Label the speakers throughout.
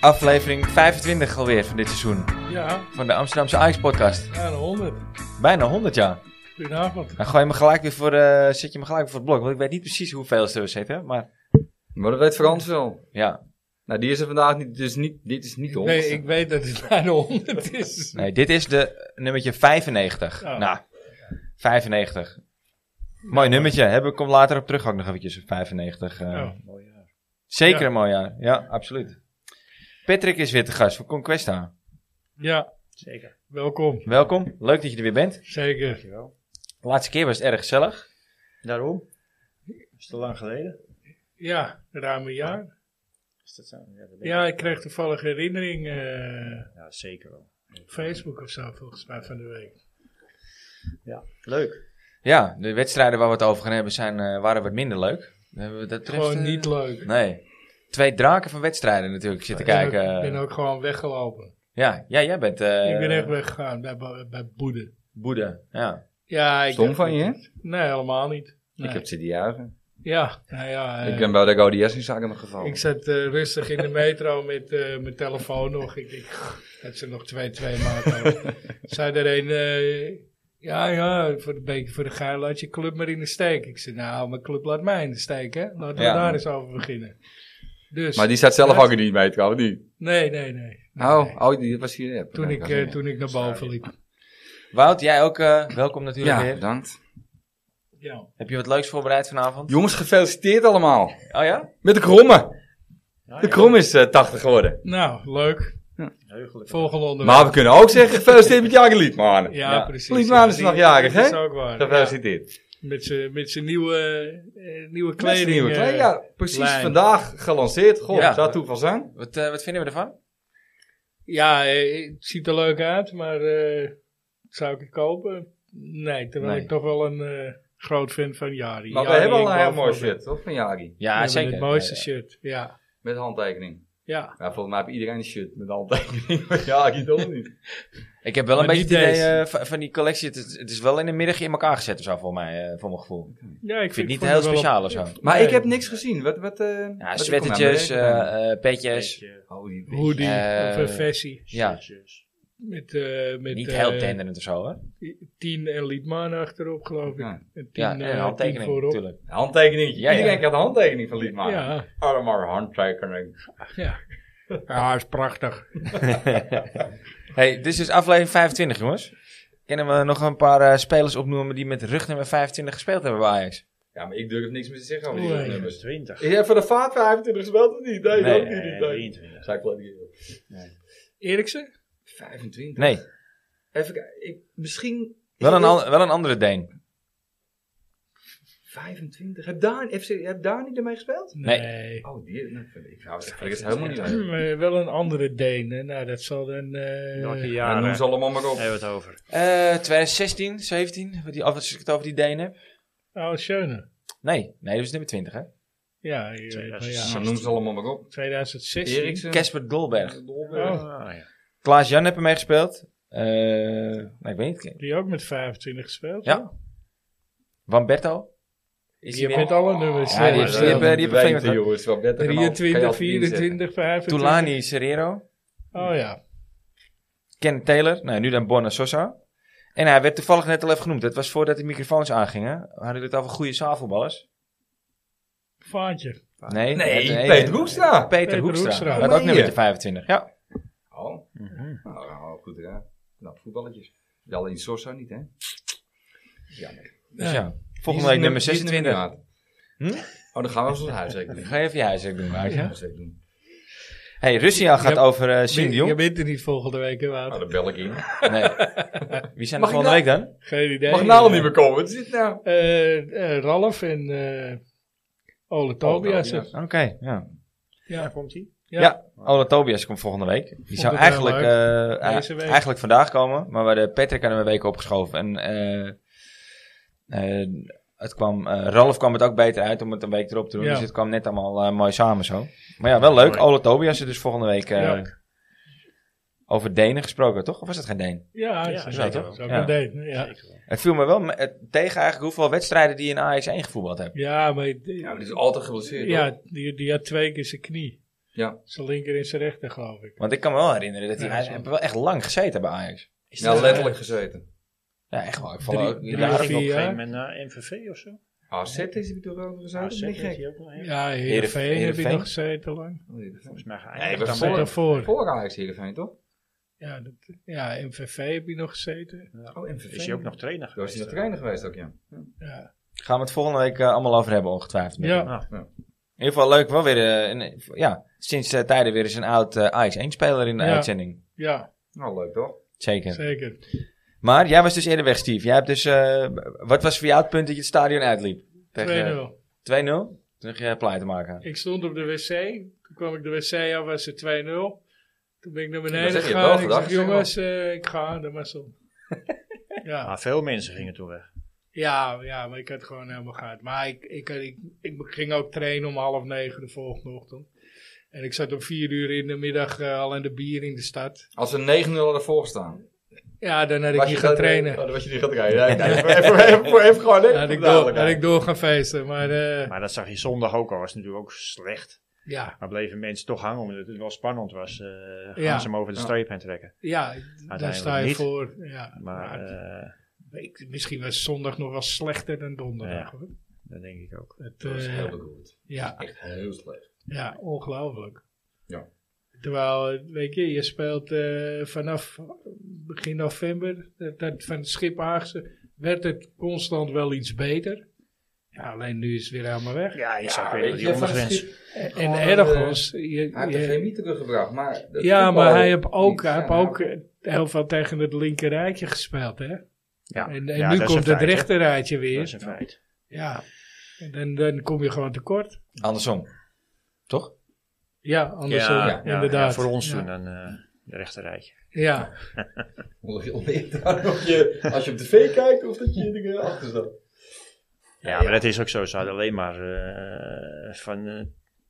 Speaker 1: Aflevering 25 alweer van dit seizoen.
Speaker 2: Ja,
Speaker 1: Van de Amsterdamse Ajax podcast.
Speaker 2: bijna 100.
Speaker 1: Bijna 100 jaar.
Speaker 2: Goedenavond.
Speaker 1: Dan gooi je me gelijk weer voor, eh, zet je me gelijk weer voor het blok. Want ik weet niet precies hoeveel er zitten. Maar
Speaker 3: Maar dat weet Frans wel.
Speaker 1: ja,
Speaker 3: Nou, die is er vandaag niet. Dus niet, dit is niet de
Speaker 2: Nee,
Speaker 3: honderdste.
Speaker 2: ik weet dat het bijna 100 is.
Speaker 1: nee, dit is de nummertje 95.
Speaker 2: Oh.
Speaker 1: Nou, 95. Mooi nummertje. Hebben ik kom later op terug ook nog eventjes. 95. eh.
Speaker 2: Ja.
Speaker 1: Zeker
Speaker 2: Oh. Ja.
Speaker 1: een mooi jaar. Ja, absoluut. Patrick is weer te gast van Conquesta.
Speaker 2: Ja. Zeker. Welkom.
Speaker 1: Welkom. Leuk dat je er weer bent.
Speaker 2: Zeker.
Speaker 1: De laatste keer was het erg gezellig.
Speaker 4: Daarom? Is te lang geleden?
Speaker 2: Ja, ruim een jaar.
Speaker 4: Is dat zo? Ja, dat denk
Speaker 2: Ja, ik kreeg toevallig herinnering, eh
Speaker 4: Ja, zeker wel.
Speaker 2: Facebook of zo volgens mij van de week.
Speaker 4: Leuk.
Speaker 1: Ja, de wedstrijden waar we het over gaan hebben zijn, eh, waren wat minder leuk. Dan hebben we dat betreft,
Speaker 2: Gewoon
Speaker 1: eh,
Speaker 2: niet leuk.
Speaker 1: Nee. Twee draken van wedstrijden natuurlijk zitten kijken.
Speaker 2: Ik ben ook, ben ook gewoon weggelopen.
Speaker 1: Ja, ja, jij bent eh
Speaker 2: ik ben echt weggegaan bij, Bo- bij Boede.
Speaker 1: Boede. Ja.
Speaker 2: Ja, ik
Speaker 3: Stom van je, hè?
Speaker 2: Nee, helemaal niet. Nee.
Speaker 3: Ik heb zitten juichen.
Speaker 2: Ja, nou ja. eh,
Speaker 3: ik ben bij de Gaudias in Zaken gevallen.
Speaker 2: Ik zat eh, rustig in de metro met eh, mijn telefoon nog. Ik denk, dat ze nog twee, twee maken. Zei er een, eh, ja, ja, voor de, beetje voor de geil laat je club maar in de steek. Ik zei, nou, mijn club laat mij in de steek, hè. Laten we
Speaker 1: Ja.
Speaker 2: daar eens over beginnen. Dus,
Speaker 3: Maar die staat zelf ook niet mee, trouwens. Die.
Speaker 2: nee, nee, nee. Nee, nee.
Speaker 3: Oh, oh, die was hier. ja,
Speaker 2: Toen
Speaker 3: nee,
Speaker 2: ik,
Speaker 3: was
Speaker 2: eh,
Speaker 3: hier.
Speaker 2: toen ik naar boven liep.
Speaker 1: Wout, jij ook eh, welkom natuurlijk
Speaker 3: Ja,
Speaker 1: weer.
Speaker 3: bedankt.
Speaker 2: Ja.
Speaker 1: Heb je wat leuks voorbereid vanavond?
Speaker 3: Jongens, gefeliciteerd allemaal.
Speaker 1: Oh ja?
Speaker 3: Met de kromme.
Speaker 4: Ja,
Speaker 3: De krom is eh, 80 geworden.
Speaker 2: Nou, leuk.
Speaker 4: Heugelijk.
Speaker 2: Volgende onderwerp.
Speaker 3: Maar we kunnen ook zeggen, gefeliciteerd met Jagen Liedmanen.
Speaker 2: ja,
Speaker 1: Ja.
Speaker 2: precies.
Speaker 3: Liedmanen is
Speaker 2: Die-
Speaker 3: nog jarig,
Speaker 2: Dat is
Speaker 3: hè?
Speaker 2: ook waar. Ja.
Speaker 3: Gefeliciteerd.
Speaker 2: Met zijn- Met zijn nieuwe, eh, nieuwe
Speaker 3: Met
Speaker 2: kleding.
Speaker 3: de nieuwe
Speaker 2: eh,
Speaker 3: kleding, ja, precies
Speaker 2: lijn.
Speaker 3: vandaag gelanceerd. Goh,
Speaker 1: Ja.
Speaker 3: zou het toeval zijn?
Speaker 1: Wat, eh, wat vinden we ervan?
Speaker 2: Ja, eh, het ziet er leuk uit, maar eh, zou ik het kopen? Nee, terwijl
Speaker 1: Nee.
Speaker 2: ik toch wel een eh, groot fan van Jari.
Speaker 3: Maar we
Speaker 2: Jari,
Speaker 3: hebben al
Speaker 2: ik
Speaker 3: een heel
Speaker 2: wou
Speaker 3: mooi
Speaker 2: van-
Speaker 3: shirt, toch? Van Jagi.
Speaker 2: We
Speaker 1: Ja,
Speaker 2: hebben
Speaker 1: zeker.
Speaker 2: Het mooiste
Speaker 1: Ja, ja.
Speaker 2: shirt, ja.
Speaker 3: Met handtekening.
Speaker 2: Ja,
Speaker 3: Ja, volgens mij heeft iedereen een shirt met handtekening. ja, ik toch niet.
Speaker 1: Ik heb wel een
Speaker 2: Maar
Speaker 1: beetje
Speaker 2: niet
Speaker 1: het idee
Speaker 2: deze.
Speaker 1: eh, van, van die collectie. Het, is- het is wel in de middag in elkaar gezet of zo, voor mij, eh, voor mijn gevoel.
Speaker 2: ja ik,
Speaker 1: Ik vind het niet
Speaker 2: vond
Speaker 1: heel
Speaker 2: wel
Speaker 1: speciaal
Speaker 2: op-
Speaker 1: of zo.
Speaker 3: Maar
Speaker 2: Nee.
Speaker 3: ik heb niks gezien. Wat, wat, eh
Speaker 1: Ja,
Speaker 3: wat-
Speaker 1: sweatertjes,
Speaker 3: kom maar,
Speaker 1: eh, eh, petjes.
Speaker 4: Beetje
Speaker 3: oh, die-
Speaker 2: Hoodie
Speaker 1: Eh,
Speaker 2: of een versie.
Speaker 1: Ja,
Speaker 4: shirtjes.
Speaker 2: Met, eh met
Speaker 1: niet
Speaker 2: eh,
Speaker 1: heel tenderend of zo, hè?
Speaker 2: Tien en Liedman achterop, geloof ik.
Speaker 3: Ja.
Speaker 2: En tien,
Speaker 1: Ja,
Speaker 2: eh,
Speaker 1: en
Speaker 2: tien
Speaker 1: handtekening
Speaker 2: voorop.
Speaker 1: natuurlijk.
Speaker 3: Handtekening.
Speaker 1: Ja, ja.
Speaker 3: Iedereen krijgt een handtekening van Liedmaat. Ja.
Speaker 2: Ja,
Speaker 3: Allemaal handtekening.
Speaker 2: ja. Ja, is prachtig.
Speaker 1: hey, dit is dus aflevering 25, jongens. Kunnen we nog een paar eh, spelers opnoemen die met rug nummer 25 gespeeld hebben bij Ajax?
Speaker 3: Ja, maar ik durf niks meer te zeggen over
Speaker 2: Nee.
Speaker 3: die
Speaker 4: Nummer
Speaker 3: nummers.
Speaker 4: 20.
Speaker 3: Ik heb voor de vaat 25 gespeeld of niet? Nee,
Speaker 1: Nee,
Speaker 3: dat niet.
Speaker 4: Eh,
Speaker 3: Nee.
Speaker 4: 23.
Speaker 3: Zou ik wel niet-
Speaker 2: Eriksen?
Speaker 3: 25.
Speaker 1: Nee,
Speaker 3: Even kijken. Ik, misschien...
Speaker 1: wel een, an- wel een andere Deen.
Speaker 3: 25. Heb daar, FC, heb daar niet mee gespeeld?
Speaker 1: Nee.
Speaker 3: Oh, die... nou, vind ik nou, dat vind ik het helemaal niet leuk.
Speaker 2: Eh, wel een andere Deen. hè. Nou, dat zal dan... eh,
Speaker 4: Welke
Speaker 3: Ja, noem
Speaker 4: jaren
Speaker 3: ze allemaal maar op.
Speaker 4: hebben we het over?
Speaker 1: Eh 2016, 17, wat die, als ik het over die Deen heb.
Speaker 2: Oh, Schöne.
Speaker 1: Nee, nee, dat is nummer 20, hè?
Speaker 2: Ja, je weet wel, ja.
Speaker 3: Nou, Noem ze allemaal maar op.
Speaker 2: 2016.
Speaker 3: Eriksen.
Speaker 1: Casper Dolberg.
Speaker 3: Dolberg.
Speaker 2: Oh,
Speaker 4: Ah, ja.
Speaker 1: Klaas Jan heeft ermee gespeeld. Eh, nou, ik weet niet.
Speaker 2: Die ook met 25 gespeeld.
Speaker 1: Ja. Wamberto. Is
Speaker 2: Je
Speaker 1: hij
Speaker 2: bent
Speaker 1: weer?
Speaker 2: alle nummers.
Speaker 1: Ja, die
Speaker 2: eh,
Speaker 1: heeft-
Speaker 2: eh,
Speaker 1: die hebben- die hebben
Speaker 3: weten, jongens. Wat beter kan al- kan je
Speaker 2: 23,
Speaker 3: altijd
Speaker 2: 24, 25.
Speaker 1: Tulani Serrero.
Speaker 2: Oh ja.
Speaker 1: Ken Taylor. Nou, nu dan Borna Sosa. En hij werd toevallig net al even genoemd. Dat was voordat de microfoons aangingen. Hadden jullie het over goede zaalvoetballers?
Speaker 2: Vaantje.
Speaker 1: Nee,
Speaker 3: Nee,
Speaker 1: het-
Speaker 3: Peter Hoekstra.
Speaker 1: Peter,
Speaker 2: Peter
Speaker 1: Hoekstra. Oh,
Speaker 2: Hoekstra.
Speaker 1: Dat
Speaker 3: Meen
Speaker 1: ook
Speaker 3: je?
Speaker 1: nummer 25. Ja.
Speaker 3: Oh, nou, nou, goed gedaan. Knap voetballetjes. Wel in Sosa niet, hè? Jammer.
Speaker 1: Dus
Speaker 2: Ja.
Speaker 1: ja. Volgende week nummer 26. Hm?
Speaker 3: Oh, dan gaan we ons huiswerk doen.
Speaker 1: Ga even je huiswerk doen, Maarten.
Speaker 3: Huiswerk doen.
Speaker 1: Hey, Russia gaat
Speaker 2: Ja.
Speaker 1: over eh Siem de
Speaker 2: Je
Speaker 1: Jong.
Speaker 2: bent er niet volgende week, hè, Wouter?
Speaker 3: Nou, dan bel ik in.
Speaker 1: Nee. Wie zijn er
Speaker 3: Mag
Speaker 1: volgende
Speaker 3: ik
Speaker 1: week dan?
Speaker 2: Geen idee.
Speaker 3: Mag nou al niet meer komen. Wat is dit nou?
Speaker 2: Eh, eh, Ralf en eh Ole Tobias.
Speaker 3: Tobias.
Speaker 1: Oké, ja.
Speaker 2: Ja,
Speaker 4: komt hij?
Speaker 1: Ja,
Speaker 2: Ja.
Speaker 1: Ola Tobias komt volgende week. Die zou
Speaker 2: het
Speaker 1: eigenlijk,
Speaker 2: heel
Speaker 1: eh,
Speaker 2: Deze
Speaker 1: eh,
Speaker 2: week.
Speaker 1: eigenlijk vandaag komen, maar we hadden Patrick hadden we een week opgeschoven. En eh, eh, het kwam, eh, Ralf kwam het ook beter uit om het een week erop te doen.
Speaker 2: Ja.
Speaker 1: Dus het kwam net allemaal eh, mooi samen zo. Maar ja, wel leuk.
Speaker 4: Mooi.
Speaker 1: Ola Tobias is dus volgende week eh,
Speaker 2: Ja.
Speaker 1: over Denen gesproken, toch? Of was dat geen Deen?
Speaker 2: Ja,
Speaker 4: Ja,
Speaker 2: dat is
Speaker 4: zeker
Speaker 2: ook-
Speaker 4: wel.
Speaker 2: is ook
Speaker 1: Ja.
Speaker 2: een date, hè, Ja.
Speaker 4: Zeker wel.
Speaker 1: Het viel me wel me- eh, tegen eigenlijk hoeveel wedstrijden die in Ajax 1 gevoetbald hebben.
Speaker 2: ja, maar... die-
Speaker 3: Ja, maar die is altijd geblesseerd.
Speaker 2: Ja,
Speaker 3: hoor.
Speaker 2: die, die had twee keer zijn knie.
Speaker 3: Ja.
Speaker 2: Zijn linker en zijn rechter, geloof ik.
Speaker 1: Want ik kan me wel herinneren dat hij,
Speaker 2: Ja,
Speaker 1: hij
Speaker 2: zo.
Speaker 1: heeft wel echt lang gezeten bij Ajax.
Speaker 4: Is
Speaker 3: Ja,
Speaker 4: dat-
Speaker 3: Nou, letterlijk gezeten.
Speaker 1: Ja, echt wel. Ik
Speaker 2: Drie-
Speaker 1: val ook
Speaker 2: drie
Speaker 4: Ja,
Speaker 1: jaren-
Speaker 2: of
Speaker 4: ging op een
Speaker 2: vier
Speaker 4: gegeven
Speaker 2: jaar.
Speaker 4: moment naar MVV of zo.
Speaker 3: AZ is hij toch over gezeten?
Speaker 4: AZ
Speaker 3: Ben ik
Speaker 4: heeft
Speaker 3: gek?
Speaker 4: hij ook nog heen.
Speaker 2: Ja,
Speaker 1: Heerenveen.
Speaker 2: Heerenveen heb ik nog gezeten lang.
Speaker 3: Oh, Heerenveen.
Speaker 4: Volgens mij
Speaker 1: Nee,
Speaker 4: geëindigd.
Speaker 1: we
Speaker 4: dan
Speaker 1: voor-
Speaker 4: bij-
Speaker 2: Daarvoor.
Speaker 3: Voor Ajax Heerenveen, toch?
Speaker 2: Ja, dat, ja, MVV heb ik nog gezeten.
Speaker 3: Oh, MVV.
Speaker 4: Is hij ook nog trainer
Speaker 3: Daar is
Speaker 4: geweest?
Speaker 3: hij nog trainer geweest ook, ja.
Speaker 2: Ja.
Speaker 1: Gaan we het volgende week eh, allemaal over hebben, ongetwijfeld. denk ik.
Speaker 2: Ja.
Speaker 1: In ieder geval leuk, wel weer. eh, een- ja, sinds eh, tijden weer eens een oud eh Ajax 1-speler in de
Speaker 2: Ja.
Speaker 1: uitzending.
Speaker 2: ja,
Speaker 3: Nou, leuk toch?
Speaker 1: Zeker.
Speaker 2: zeker.
Speaker 1: Maar jij was dus eerder weg, Steve. Jij hebt dus, eh, wat was voor jou het punt dat je het stadion uitliep? Tegen,
Speaker 2: 2-0.
Speaker 1: 2-0? Toen ging je plaat te maken.
Speaker 2: Ik stond op de wc. Toen kwam ik de wc af, was het 2-0. Toen ben ik naar
Speaker 3: Dat
Speaker 2: beneden
Speaker 3: heb je wel
Speaker 2: gegaan. Ik
Speaker 3: gedacht,
Speaker 2: zeg,
Speaker 3: zeg maar.
Speaker 2: jongens, eh, ik ga, dat was zo. ja.
Speaker 4: Maar veel mensen gingen toen weg.
Speaker 2: Ja, ja, maar ik had gewoon helemaal gehad. Maar ik, ik, had- ik, ik ging ook trainen om half negen de volgende ochtend. En ik zat om vier uur in de middag eh, al aan de bier in de stad.
Speaker 3: Als we 9-0 hadden voorgestaan.
Speaker 2: Ja, dan had ik
Speaker 3: was
Speaker 2: hier
Speaker 3: je
Speaker 2: gaan
Speaker 3: dat-
Speaker 2: trainen.
Speaker 3: Oh, dan was je niet gaan trainen. Ja, ik dacht, even, even, even, even gewoon
Speaker 2: Dan
Speaker 3: even.
Speaker 2: had ik, door,
Speaker 3: dadelijk.
Speaker 2: had ik door gaan feesten. Maar eh,
Speaker 4: Maar dat zag je zondag ook al. was natuurlijk ook slecht.
Speaker 2: ja,
Speaker 4: Maar bleven mensen toch hangen omdat het wel spannend was. eh gaan
Speaker 2: Ja.
Speaker 4: ze hem over de
Speaker 3: Ja.
Speaker 4: streep heen trekken.
Speaker 2: ja daar sta je
Speaker 4: niet.
Speaker 2: voor. Ja,
Speaker 4: Maar
Speaker 2: maar
Speaker 4: eh,
Speaker 2: ik, misschien was zondag nog wel slechter dan donderdag.
Speaker 4: Ja.
Speaker 2: hoor.
Speaker 4: dat denk ik ook.
Speaker 2: Het,
Speaker 3: Dat was
Speaker 2: eh,
Speaker 3: heel goed.
Speaker 2: ja,
Speaker 3: Echt heel slecht.
Speaker 2: ja, ongelooflijk.
Speaker 3: Ja.
Speaker 2: Terwijl, eh, weet je, je speelt eh, vanaf begin november, dat, dat van het schip Haagse, werd het constant wel iets beter. Ja, alleen nu is het weer helemaal weg.
Speaker 4: Ja, ik zag
Speaker 3: Ja,
Speaker 4: weer
Speaker 3: weet
Speaker 4: dat
Speaker 3: je,
Speaker 4: die
Speaker 3: van
Speaker 4: ondergrens.
Speaker 3: Schip-
Speaker 2: En
Speaker 3: Gewoon,
Speaker 2: ergens, je-
Speaker 3: Hij heeft de
Speaker 2: je-
Speaker 3: chemie teruggebracht, maar... dat
Speaker 2: ja,
Speaker 3: voetbal-
Speaker 2: maar hij heeft ook, hij
Speaker 3: Ja, nou,
Speaker 2: heeft ook eh, heel veel tegen het linkerrijtje gespeeld, hè.
Speaker 4: Ja,
Speaker 2: En, en nu
Speaker 4: ja, dat is een
Speaker 2: komt het
Speaker 4: feit, hè.
Speaker 2: rechterrijtje
Speaker 4: Dat is
Speaker 2: weer.
Speaker 4: een feit.
Speaker 2: Ja, en dan, dan kom je gewoon tekort.
Speaker 1: Andersom. Toch?
Speaker 2: Ja, andersom,
Speaker 4: ja, ja,
Speaker 2: inderdaad.
Speaker 4: eh, ja, voor ons
Speaker 2: Ja.
Speaker 4: toen een eh de rechterrijtje.
Speaker 2: Ja.
Speaker 3: Onder- onder- daar of je- Als je op tv kijkt of dat je er eh, achter zat.
Speaker 4: Ja, maar dat is ook zo. Ze hadden alleen maar eh, van eh,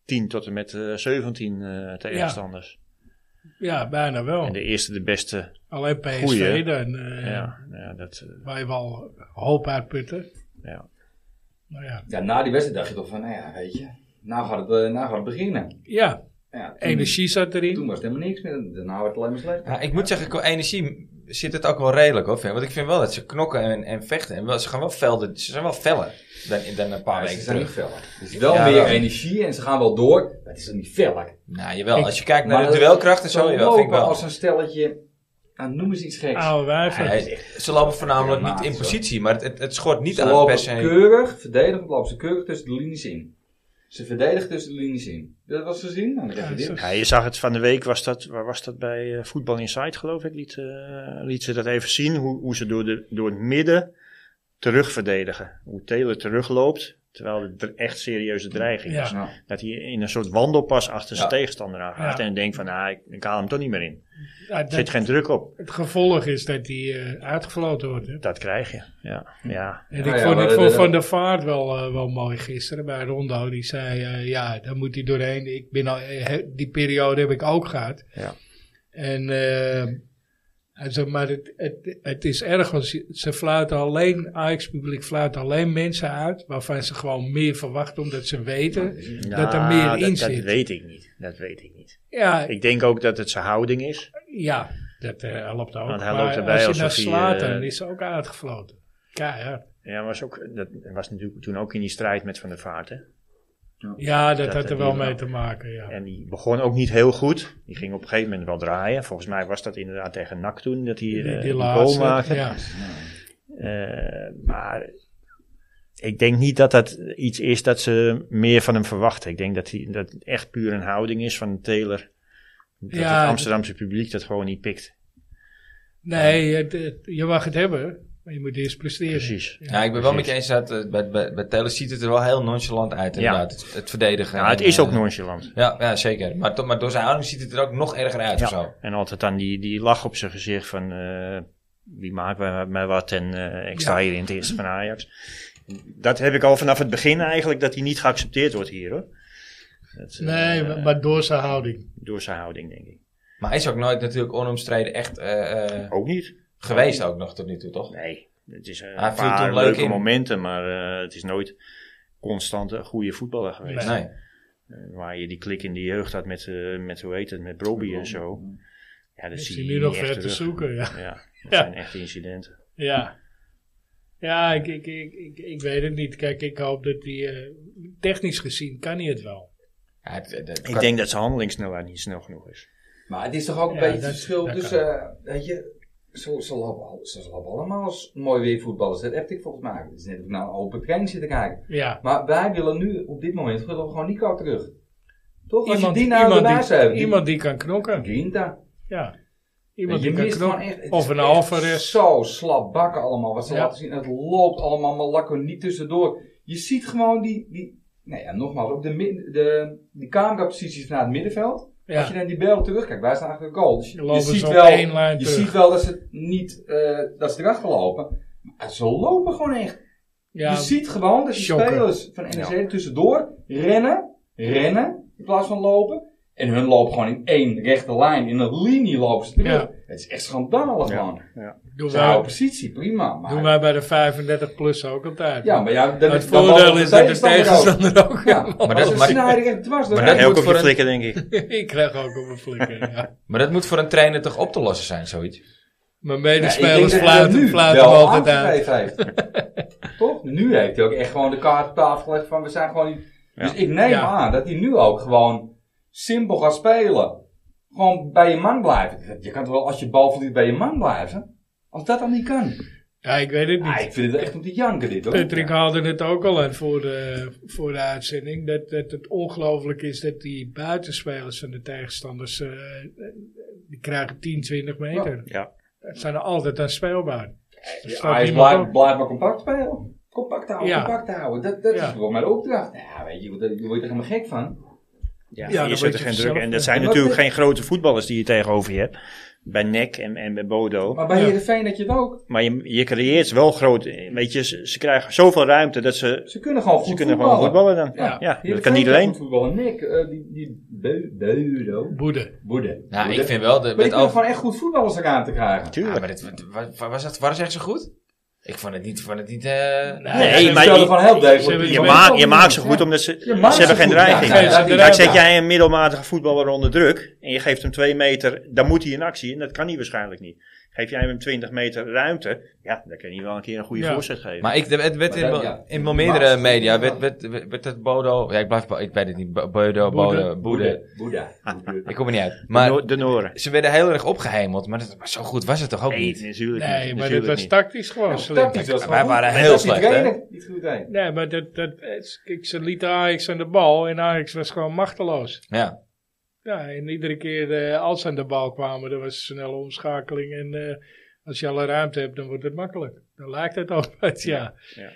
Speaker 4: 10 tot en met eh, 17 eh, tegenstanders.
Speaker 2: ja, bijna wel.
Speaker 4: En de eerste, de beste.
Speaker 2: Alleen PSV
Speaker 4: Goeie.
Speaker 2: dan, eh,
Speaker 4: Oh. Ja, ja, dat, eh,
Speaker 2: waar je wel hoop uitputten.
Speaker 4: ja.
Speaker 2: Nou ja,
Speaker 3: Ja, na die wedstrijd dacht je toch van, nou ja, weet je... Nou gaat het, eh, nou gaat het beginnen.
Speaker 2: ja
Speaker 3: Ja, toen-
Speaker 2: energie zat
Speaker 3: Toen
Speaker 2: erin.
Speaker 3: was het helemaal niks meer. Daarna werd het alleen maar slecht.
Speaker 1: Ja, ik moet zeggen, qua energie zit het ook wel redelijk hoor. vind ik. Want ik vind wel dat ze knokken en, en vechten. En wel, ze, gaan wel velden, ze zijn wel feller dan, dan een paar
Speaker 3: Ja, ze
Speaker 1: weken
Speaker 3: zijn niet
Speaker 1: terug.
Speaker 3: feller. Er is wel
Speaker 1: Ja,
Speaker 3: meer
Speaker 1: wel.
Speaker 3: energie en ze gaan wel door. Maar het is toch niet feller.
Speaker 1: Nou, jawel.
Speaker 2: Ik-
Speaker 1: Als je kijkt naar
Speaker 3: Maar
Speaker 1: de
Speaker 3: dat-
Speaker 1: duelkracht en zo,
Speaker 3: Ze
Speaker 1: jawel, vind ik
Speaker 3: lopen
Speaker 1: wel.
Speaker 3: als een stelletje... Nou, noem eens iets geks.
Speaker 2: Oude wijven.
Speaker 1: Hij- ze lopen voornamelijk
Speaker 3: Ja,
Speaker 1: niet in
Speaker 3: zo.
Speaker 1: positie, maar het, het, het schort niet
Speaker 3: ze
Speaker 1: aan het
Speaker 3: lopen
Speaker 1: per se.
Speaker 3: keurig, verdedigend lopen ze keurig tussen de linies in. Ze verdedigen tussen de linies in. Dat was gezien? Nou, dan krijg je
Speaker 2: Ja,
Speaker 3: dit.
Speaker 4: Ja, je zag het van de week, was dat, waar was dat bij eh, Voetbal Insight geloof ik, liet, eh, liet ze dat even zien, hoe, hoe ze door, de, door het midden terugverdedigen. Hoe Taylor terugloopt, terwijl het dr- echt serieuze dreiging
Speaker 2: Ja.
Speaker 4: is.
Speaker 3: Nou,
Speaker 4: Dat hij in een soort wandelpas achter zijn
Speaker 1: Ja.
Speaker 4: tegenstander aangaat
Speaker 2: Ja.
Speaker 4: en denkt van, ah, ik, ik haal hem toch niet meer in.
Speaker 2: Ja,
Speaker 4: Er zit
Speaker 2: dat,
Speaker 4: geen druk op.
Speaker 2: het gevolg is dat hij eh, uitgefloten wordt. Hè.
Speaker 4: Dat krijg je, ja. ja.
Speaker 2: En ik
Speaker 3: Ja, ja,
Speaker 2: vond,
Speaker 3: maar
Speaker 2: ik
Speaker 3: dat-
Speaker 2: vond
Speaker 3: dat-
Speaker 2: Van der Vaart wel, eh, wel mooi gisteren bij Rondo. Die zei, eh, ja, daar moet hij doorheen. Ik ben al, eh, he- die periode heb ik ook gehad.
Speaker 4: Ja.
Speaker 2: En eh, hij zei, maar het, het, het is erg, want ze- ze fluiten alleen, Ajax-publiek fluit alleen mensen uit... waarvan ze gewoon meer verwachten, omdat ze weten... dat er
Speaker 4: Nou,
Speaker 2: meer in
Speaker 4: dat,
Speaker 2: zit.
Speaker 4: Dat weet ik niet, dat weet ik niet.
Speaker 2: Ja,
Speaker 4: Ik denk ook dat het zijn houding is.
Speaker 2: Ja, dat eh, helpt ook.
Speaker 4: Want hij
Speaker 2: Maar
Speaker 4: loopt erbij
Speaker 2: als je
Speaker 4: alsof
Speaker 2: naar
Speaker 4: hij,
Speaker 2: slaat,
Speaker 4: eh,
Speaker 2: dan is ze ook uitgefloten. Keihard.
Speaker 4: Ja, maar was ook, dat was natuurlijk toen ook in die strijd met Van der Vaart, hè.
Speaker 2: Ja, dat,
Speaker 4: dat
Speaker 2: had er
Speaker 4: had
Speaker 2: wel
Speaker 4: hij
Speaker 2: mee
Speaker 4: wel.
Speaker 2: te maken, ja.
Speaker 4: En die begon ook niet heel goed. Die ging op een gegeven moment wel draaien. Volgens mij was dat inderdaad tegen NAC toen dat hij eh, die, goal maakte.
Speaker 2: ja.
Speaker 4: Eh, maar ik denk niet dat dat iets is dat ze meer van hem verwachten. Ik denk dat, hij, dat het echt puur een houding is van Taylor. Dat
Speaker 2: Ja,
Speaker 4: het Amsterdamse publiek dat gewoon niet pikt.
Speaker 2: Nee, het- het- je mag het hebben, maar je moet eerst presteren.
Speaker 4: Precies. Nou,
Speaker 2: Ja.
Speaker 1: Ja, ik ben wel met je eens dat eh, bij, bij, bij Telen ziet het er wel heel nonchalant uit inderdaad. Het, het verdedigen.
Speaker 4: Ja, het
Speaker 1: en,
Speaker 4: is ook
Speaker 1: eh,
Speaker 4: nonchalant.
Speaker 1: Ja, ja, zeker. Maar, toch- maar door zijn houding ziet het er ook nog erger uit of zo.
Speaker 4: Ja. En altijd dan die, die lach op zijn gezicht van eh, wie maakt mij, mij wat en eh, ik sta
Speaker 2: Ja.
Speaker 4: hier in het eerste van Ajax. Dat heb ik al vanaf het begin eigenlijk, dat hij niet geaccepteerd wordt hier hoor. Dat, eh,
Speaker 2: Nee, maar- maar door zijn houding.
Speaker 4: Door zijn houding denk ik.
Speaker 1: Maar hij is ook nooit natuurlijk onomstreden echt eh, eh,
Speaker 4: Ook niet.
Speaker 1: geweest ook nog tot nu toe, toch?
Speaker 4: Nee, het is eh,
Speaker 1: Hij
Speaker 4: een
Speaker 1: viel toen
Speaker 4: paar
Speaker 1: leuk
Speaker 4: leuke
Speaker 1: in.
Speaker 4: momenten, maar eh, het is nooit constant een goede voetballer geweest.
Speaker 2: Nee.
Speaker 1: Nee.
Speaker 4: eh, waar je die klik in de jeugd had met, eh, met hoe heet het, met Broby en zo. Ja, dat
Speaker 2: Ik
Speaker 4: zie
Speaker 2: zie
Speaker 4: je
Speaker 2: nu
Speaker 4: niet
Speaker 2: nog
Speaker 4: echt
Speaker 2: ver te
Speaker 4: terug.
Speaker 2: zoeken, ja.
Speaker 4: Ja, dat
Speaker 2: Ja.
Speaker 4: zijn echte incidenten.
Speaker 2: Ja, ja ik, ik, ik, ik, ik weet het niet. Kijk, ik hoop dat die... eh, technisch gezien kan hij het wel.
Speaker 1: Ja, het- het- het
Speaker 4: Ik
Speaker 1: kan-
Speaker 4: denk dat zijn handelingssnelheid niet snel genoeg is.
Speaker 3: Maar het is toch ook een
Speaker 2: Ja,
Speaker 3: beetje
Speaker 2: dat-
Speaker 3: het verschil
Speaker 2: dat
Speaker 3: tussen, eh, weet je, ze, ze, lopen, al- ze lopen allemaal als mooi weer voetballers. Dat heb ik volgens mij. Het is net of ik naar een open trein zit te kijken.
Speaker 2: Ja.
Speaker 3: Maar wij willen nu, op dit moment, willen we gewoon Nico terug. Toch? Als
Speaker 2: Iemand,
Speaker 3: je die nou
Speaker 2: iemand,
Speaker 3: daarnaast
Speaker 2: die,
Speaker 3: hebt. die-
Speaker 2: iemand die kan knokken.
Speaker 3: Grinta.
Speaker 2: Ja.
Speaker 3: Weet
Speaker 2: Iemand
Speaker 3: je
Speaker 2: die kan
Speaker 3: mist gewoon echt,
Speaker 2: knokken.
Speaker 3: het
Speaker 2: Of
Speaker 3: is
Speaker 2: een
Speaker 3: echt
Speaker 2: Alvarez.
Speaker 3: Zo slap bakken allemaal, wat ze
Speaker 2: Ja.
Speaker 3: laten zien. Het loopt allemaal maar lakker niet tussendoor. Je ziet gewoon die, die nou ja, nogmaals, ook de, min- de, die cameraposities naar het middenveld. Als je
Speaker 2: Ja.
Speaker 3: naar die beelden terugkijkt, wij staan achter de goal. Dus je,
Speaker 2: Lopen ze
Speaker 3: ziet,
Speaker 2: op
Speaker 3: wel,
Speaker 2: één lijn
Speaker 3: je
Speaker 2: terug.
Speaker 3: ziet wel dat ze niet, eh, dat ze erachter lopen. Maar ze lopen gewoon echt.
Speaker 2: Ja.
Speaker 3: Je ziet gewoon dat die
Speaker 2: Shocker.
Speaker 3: spelers van NEC er tussendoor rennen, rennen, in plaats van lopen. En hun lopen gewoon in één rechte lijn, in een linie lopen ze terug.
Speaker 2: Ja.
Speaker 3: Het is echt schandalig, man.
Speaker 2: Doen
Speaker 3: Ze houden
Speaker 2: wij,
Speaker 3: positie, prima.
Speaker 2: doen
Speaker 3: Maar,
Speaker 2: wij bij de 35 plus ook altijd.
Speaker 3: ja, maar ja, dat
Speaker 2: het
Speaker 3: dan
Speaker 2: voordeel
Speaker 3: loopt
Speaker 2: is dat de
Speaker 3: tegenstander ook.
Speaker 2: tegenstander ook.
Speaker 3: Ja,
Speaker 1: Maar dat-
Speaker 3: maar dat
Speaker 1: maar-
Speaker 3: is snijden echt dwars. door
Speaker 1: Maar
Speaker 3: elkaar.
Speaker 1: dat-
Speaker 4: En ook
Speaker 1: moet
Speaker 4: op
Speaker 1: voor
Speaker 4: je
Speaker 1: een-
Speaker 4: flikken, denk ik.
Speaker 2: ik krijg ook op mijn flikker. Ja.
Speaker 1: Maar dat moet voor een trainer toch op te lossen zijn, zoiets?
Speaker 2: Mijn
Speaker 3: Ja, ik
Speaker 2: medespelers
Speaker 3: denk dat hij dat
Speaker 2: fluiten,
Speaker 3: nu
Speaker 2: fluiten
Speaker 3: wel
Speaker 2: altijd uit.
Speaker 3: aangegeven heeft. Toch? Nu heeft hij ook echt gewoon de kaart op tafel gelegd van we zijn gewoon niet... Dus ik neem
Speaker 2: Ja.
Speaker 3: aan dat hij nu ook gewoon simpel gaat spelen. Gewoon bij je man blijven. Je kan toch wel als je bal verliest bij je man blijven? Als dat dan niet kan.
Speaker 2: Ja, ik weet het niet.
Speaker 3: Ah, ik vind het echt om te janken dit hoor.
Speaker 2: Patrick haalde het ook al aan voor de, voor de uitzending. Dat, dat het ongelooflijk is dat die buitenspelers van de tegenstanders. eh, die krijgen 10, 20 meter.
Speaker 4: Ja.
Speaker 2: Dat zijn er altijd aan speelbaar. Er
Speaker 3: Ja,
Speaker 2: staat
Speaker 3: Hij is
Speaker 2: niemand
Speaker 3: blijf,
Speaker 2: op.
Speaker 3: blijf maar compact spelen. Compact houden,
Speaker 2: Ja.
Speaker 3: compact houden. Dat, dat
Speaker 2: Ja.
Speaker 3: is gewoon mijn opdracht. Nou, weet je, daar word je er helemaal gek van.
Speaker 4: Ja,
Speaker 2: Ja, dan
Speaker 4: je zet
Speaker 2: weet
Speaker 4: er
Speaker 2: je
Speaker 4: geen
Speaker 2: vanzelf,
Speaker 4: druk. En
Speaker 2: ja.
Speaker 4: dat zijn
Speaker 3: Maar
Speaker 4: natuurlijk
Speaker 3: dat-
Speaker 4: geen grote voetballers die je tegenover je hebt. Bij Nek en, en bij Bodo.
Speaker 3: Maar bij
Speaker 2: Ja.
Speaker 3: Heerenveen dat je het ook.
Speaker 4: Maar je, je creëert wel groot. Weet je, ze, ze krijgen zoveel ruimte dat ze.
Speaker 3: Ze kunnen gewoon goed
Speaker 4: Ze kunnen
Speaker 3: voetballen.
Speaker 4: gewoon voetballen dan.
Speaker 3: Ja.
Speaker 4: Ja,
Speaker 3: Heerenveen
Speaker 4: dat kan niet
Speaker 3: goed
Speaker 4: alleen.
Speaker 3: voetballen. Nick, eh, die, die Beu- Beudo.
Speaker 2: Boede.
Speaker 3: Boede.
Speaker 1: Nou,
Speaker 3: Boede.
Speaker 1: ik vind wel...
Speaker 3: Maar
Speaker 1: De,
Speaker 3: je
Speaker 1: met
Speaker 3: kunt
Speaker 1: Alvarez-
Speaker 3: gewoon echt goed voetballers eraan te krijgen.
Speaker 1: Ja,
Speaker 4: Tuurlijk.
Speaker 1: maar dit, wat, wat- was dat, waren ze echt zo goed? Ik vond het niet... Vond het niet eh,
Speaker 4: Nee,
Speaker 3: ze
Speaker 4: maar
Speaker 3: spelen
Speaker 4: je-
Speaker 3: gewoon heel degelijk.
Speaker 2: ze hebben-
Speaker 4: je,
Speaker 2: maar-
Speaker 4: maakt je maakt ze goed
Speaker 3: Ja.
Speaker 4: omdat ze. Ze
Speaker 3: maakt ze
Speaker 4: hebben geen
Speaker 3: goed, ja.
Speaker 4: dreiging.
Speaker 3: Ja,
Speaker 2: ja, ja,
Speaker 4: Kijk,
Speaker 2: ja.
Speaker 4: zet jij een middelmatige voetballer onder druk. En je geeft hem twee meter. Dan moet hij in actie. En dat kan hij waarschijnlijk niet. Geef jij hem 20 meter ruimte. Ja, dan kan hij wel een keer een goede
Speaker 2: Ja.
Speaker 4: voorzet geven.
Speaker 1: Maar ik, het werd
Speaker 3: Maar
Speaker 1: in,
Speaker 3: dat-
Speaker 1: wel-
Speaker 3: ja.
Speaker 1: in wel meerdere
Speaker 3: Maar-
Speaker 1: media werd, werd, werd, het Bodo... Ja, ik blijf... Ik weet het niet. Bo- Bodo, Bodo, Boede.
Speaker 3: Boeddha. Boeddha.
Speaker 1: Ah, Ik kom er niet uit.
Speaker 4: de,
Speaker 1: Maar
Speaker 4: Noor- de Noren.
Speaker 1: ze werden heel erg opgehemeld. Maar, dat, maar zo goed was het toch ook
Speaker 4: Nee,
Speaker 1: niet?
Speaker 4: natuurlijk niet.
Speaker 2: Nee, maar dit
Speaker 4: natuurlijk
Speaker 2: was
Speaker 4: niet.
Speaker 2: tactisch gewoon
Speaker 3: Ja,
Speaker 2: slim.
Speaker 3: tactisch was het
Speaker 1: oh, Wij
Speaker 3: wel
Speaker 1: waren
Speaker 3: goed.
Speaker 1: heel
Speaker 3: Dat is die
Speaker 1: slecht, hè?
Speaker 3: trainer Niet goed heen.
Speaker 2: Nee, maar dat, dat, het- kijk, ze lieten Ajax aan de bal en Ajax was gewoon machteloos.
Speaker 1: Ja.
Speaker 2: Ja, en iedere keer eh, als ze aan de bal kwamen, er was snelle omschakeling. En eh, als je alle ruimte hebt, dan wordt het makkelijk. Dan lijkt het altijd, ja.
Speaker 4: ja.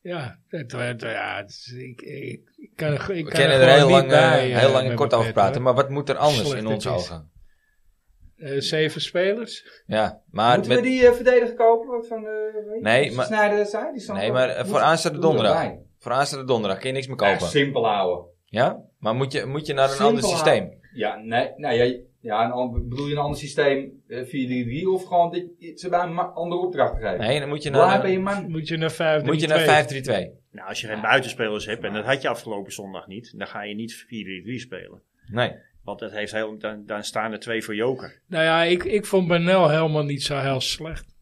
Speaker 2: Ja, het, het- ja het is- ik, ik, ik kan er,
Speaker 1: We
Speaker 2: ik kan er
Speaker 1: kunnen
Speaker 2: gewoon
Speaker 1: er heel
Speaker 2: niet
Speaker 1: lang, eh,
Speaker 2: bij, eh,
Speaker 1: heel lang en
Speaker 2: met
Speaker 1: kort
Speaker 2: mijn
Speaker 1: over
Speaker 2: pet,
Speaker 1: praten.
Speaker 2: hoor.
Speaker 1: Maar wat moet er anders
Speaker 2: Slecht
Speaker 1: in onze
Speaker 2: het is.
Speaker 1: ogen?
Speaker 2: Eh, zeven spelers?
Speaker 1: Ja, maar...
Speaker 3: Moeten
Speaker 1: Met,
Speaker 3: we die eh, verdediger kopen? Wat van, eh
Speaker 1: Nee, maar-
Speaker 3: Snijder zei, die stond
Speaker 1: nee,
Speaker 3: er-
Speaker 1: maar eh,
Speaker 3: Moet-
Speaker 1: voor aanstaande
Speaker 3: doe erbij.
Speaker 1: donderdag. Voor aanstaande donderdag kun je niks meer
Speaker 3: Ja,
Speaker 1: kopen.
Speaker 3: simpel houden.
Speaker 1: Ja? Maar moet je, moet je naar een
Speaker 3: Simpel
Speaker 1: ander
Speaker 3: houden.
Speaker 1: systeem?
Speaker 3: Ja, nee, nou ja, ja een ander, bedoel je een ander systeem, eh 4-3-3, of gewoon dat je- ze bij een ma- andere opdracht geven?
Speaker 1: Nee, dan moet je nou
Speaker 3: Waar
Speaker 1: naar,
Speaker 3: ben je man?
Speaker 2: Moet je naar vijf?
Speaker 1: moet je
Speaker 2: drie, twee?
Speaker 1: naar 5-3-2.
Speaker 4: Nou, als je geen buitenspelers hebt, en dat had je afgelopen zondag niet, dan ga je niet 4-3-3 spelen.
Speaker 1: Nee.
Speaker 4: Want dat heeft heel, dan, dan staan er twee voor Joker.
Speaker 2: Nou ja, ik, ik vond Benel helemaal niet zo heel slecht.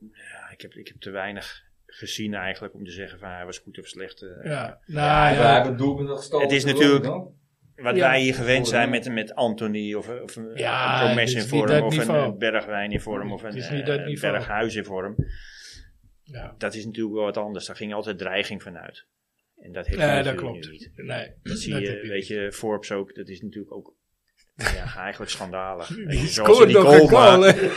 Speaker 4: Ja, ik, heb, ik heb te weinig gezien eigenlijk om te zeggen van hij was goed of slecht. eh.
Speaker 2: Ja, nou
Speaker 3: Ja,
Speaker 2: ja.
Speaker 3: We hebben het doelpunt nog gestolen.
Speaker 4: Het is
Speaker 3: Dat
Speaker 4: natuurlijk-
Speaker 3: wil ik nog.
Speaker 4: Wat
Speaker 2: Ja.
Speaker 4: wij hier gewend zijn met, met Anthony of, eh, of een-
Speaker 2: Ja,
Speaker 4: een
Speaker 2: het is
Speaker 4: Promes in
Speaker 2: niet
Speaker 4: vorm
Speaker 2: dat
Speaker 4: of een
Speaker 2: niveau.
Speaker 4: eh, Bergwijn in vorm of
Speaker 2: Het
Speaker 4: een
Speaker 2: is niet dat
Speaker 4: eh,
Speaker 2: niveau.
Speaker 4: Berghuis in vorm.
Speaker 2: ja.
Speaker 4: Dat is natuurlijk wel wat anders. Daar ging altijd dreiging vanuit. En dat heeft
Speaker 2: Nee,
Speaker 4: hij
Speaker 2: dat
Speaker 4: natuurlijk
Speaker 2: klopt.
Speaker 4: nu niet.
Speaker 2: Nee,
Speaker 4: Dat zie je,
Speaker 2: heb je
Speaker 4: weet je, Forbes ook, dat is natuurlijk ook ja, eigenlijk schandalig. Weet je,
Speaker 2: niet.
Speaker 4: zoals
Speaker 2: Scoort
Speaker 4: hij die
Speaker 2: nog een
Speaker 4: goal maakt.
Speaker 2: goal, hè?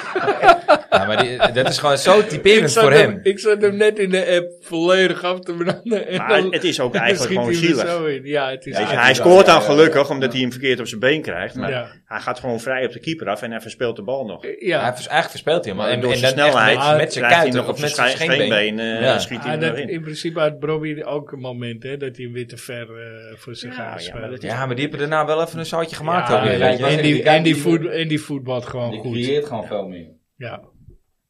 Speaker 1: Ja, maar die, dat is gewoon zo
Speaker 2: Ik
Speaker 1: typerend
Speaker 2: zat
Speaker 1: voor
Speaker 2: hem-
Speaker 1: hem.
Speaker 2: Ik zat hem net in de app volledig af te branden. en
Speaker 4: Maar
Speaker 2: dan-
Speaker 4: het is ook
Speaker 2: dan
Speaker 4: eigenlijk
Speaker 2: schiet
Speaker 4: gewoon
Speaker 2: hij er
Speaker 4: zielig.
Speaker 2: zo in. Ja, het is
Speaker 4: Weet je,
Speaker 3: Ja,
Speaker 4: hij
Speaker 3: het is
Speaker 4: scoort
Speaker 3: wel-
Speaker 4: dan
Speaker 3: ja,
Speaker 4: gelukkig
Speaker 3: ja.
Speaker 4: omdat hij hem verkeerd op zijn been krijgt. Maar
Speaker 2: Ja.
Speaker 4: hij gaat gewoon vrij op de keeper af en hij verspeelt de bal nog.
Speaker 1: Hij,
Speaker 2: ja.
Speaker 1: vers- eigenlijk verspeelt hij hem.
Speaker 4: En
Speaker 1: En,
Speaker 4: door
Speaker 1: en
Speaker 4: zijn
Speaker 1: dan echt
Speaker 4: snelheid
Speaker 1: met, met zijn
Speaker 4: krijgt hij
Speaker 1: kuiten
Speaker 4: nog
Speaker 1: of
Speaker 4: op
Speaker 1: met
Speaker 4: zijn
Speaker 1: zijn
Speaker 4: schei-
Speaker 1: scheenbeen.
Speaker 4: scheenbeen eh,
Speaker 1: Ja.
Speaker 4: schiet hij
Speaker 2: Ah,
Speaker 4: hem
Speaker 2: dat,
Speaker 4: erin.
Speaker 2: in principe had Brobbey ook een moment hè, dat hij een witte ver eh, voor zich
Speaker 4: Ja,
Speaker 2: aan
Speaker 4: ja,
Speaker 2: spelen.
Speaker 4: maar dat is-
Speaker 1: Ja, maar die hebben daarna wel even een zoutje gemaakt.
Speaker 2: Ja,
Speaker 1: ook weer,
Speaker 3: ja,
Speaker 1: weet je.
Speaker 3: ja.
Speaker 2: en, die,
Speaker 3: Ik was
Speaker 2: en, die
Speaker 3: echt-
Speaker 2: voet, en die voetbalt gewoon
Speaker 3: Je
Speaker 2: goed.
Speaker 3: creëert gewoon veel meer.
Speaker 2: Ja.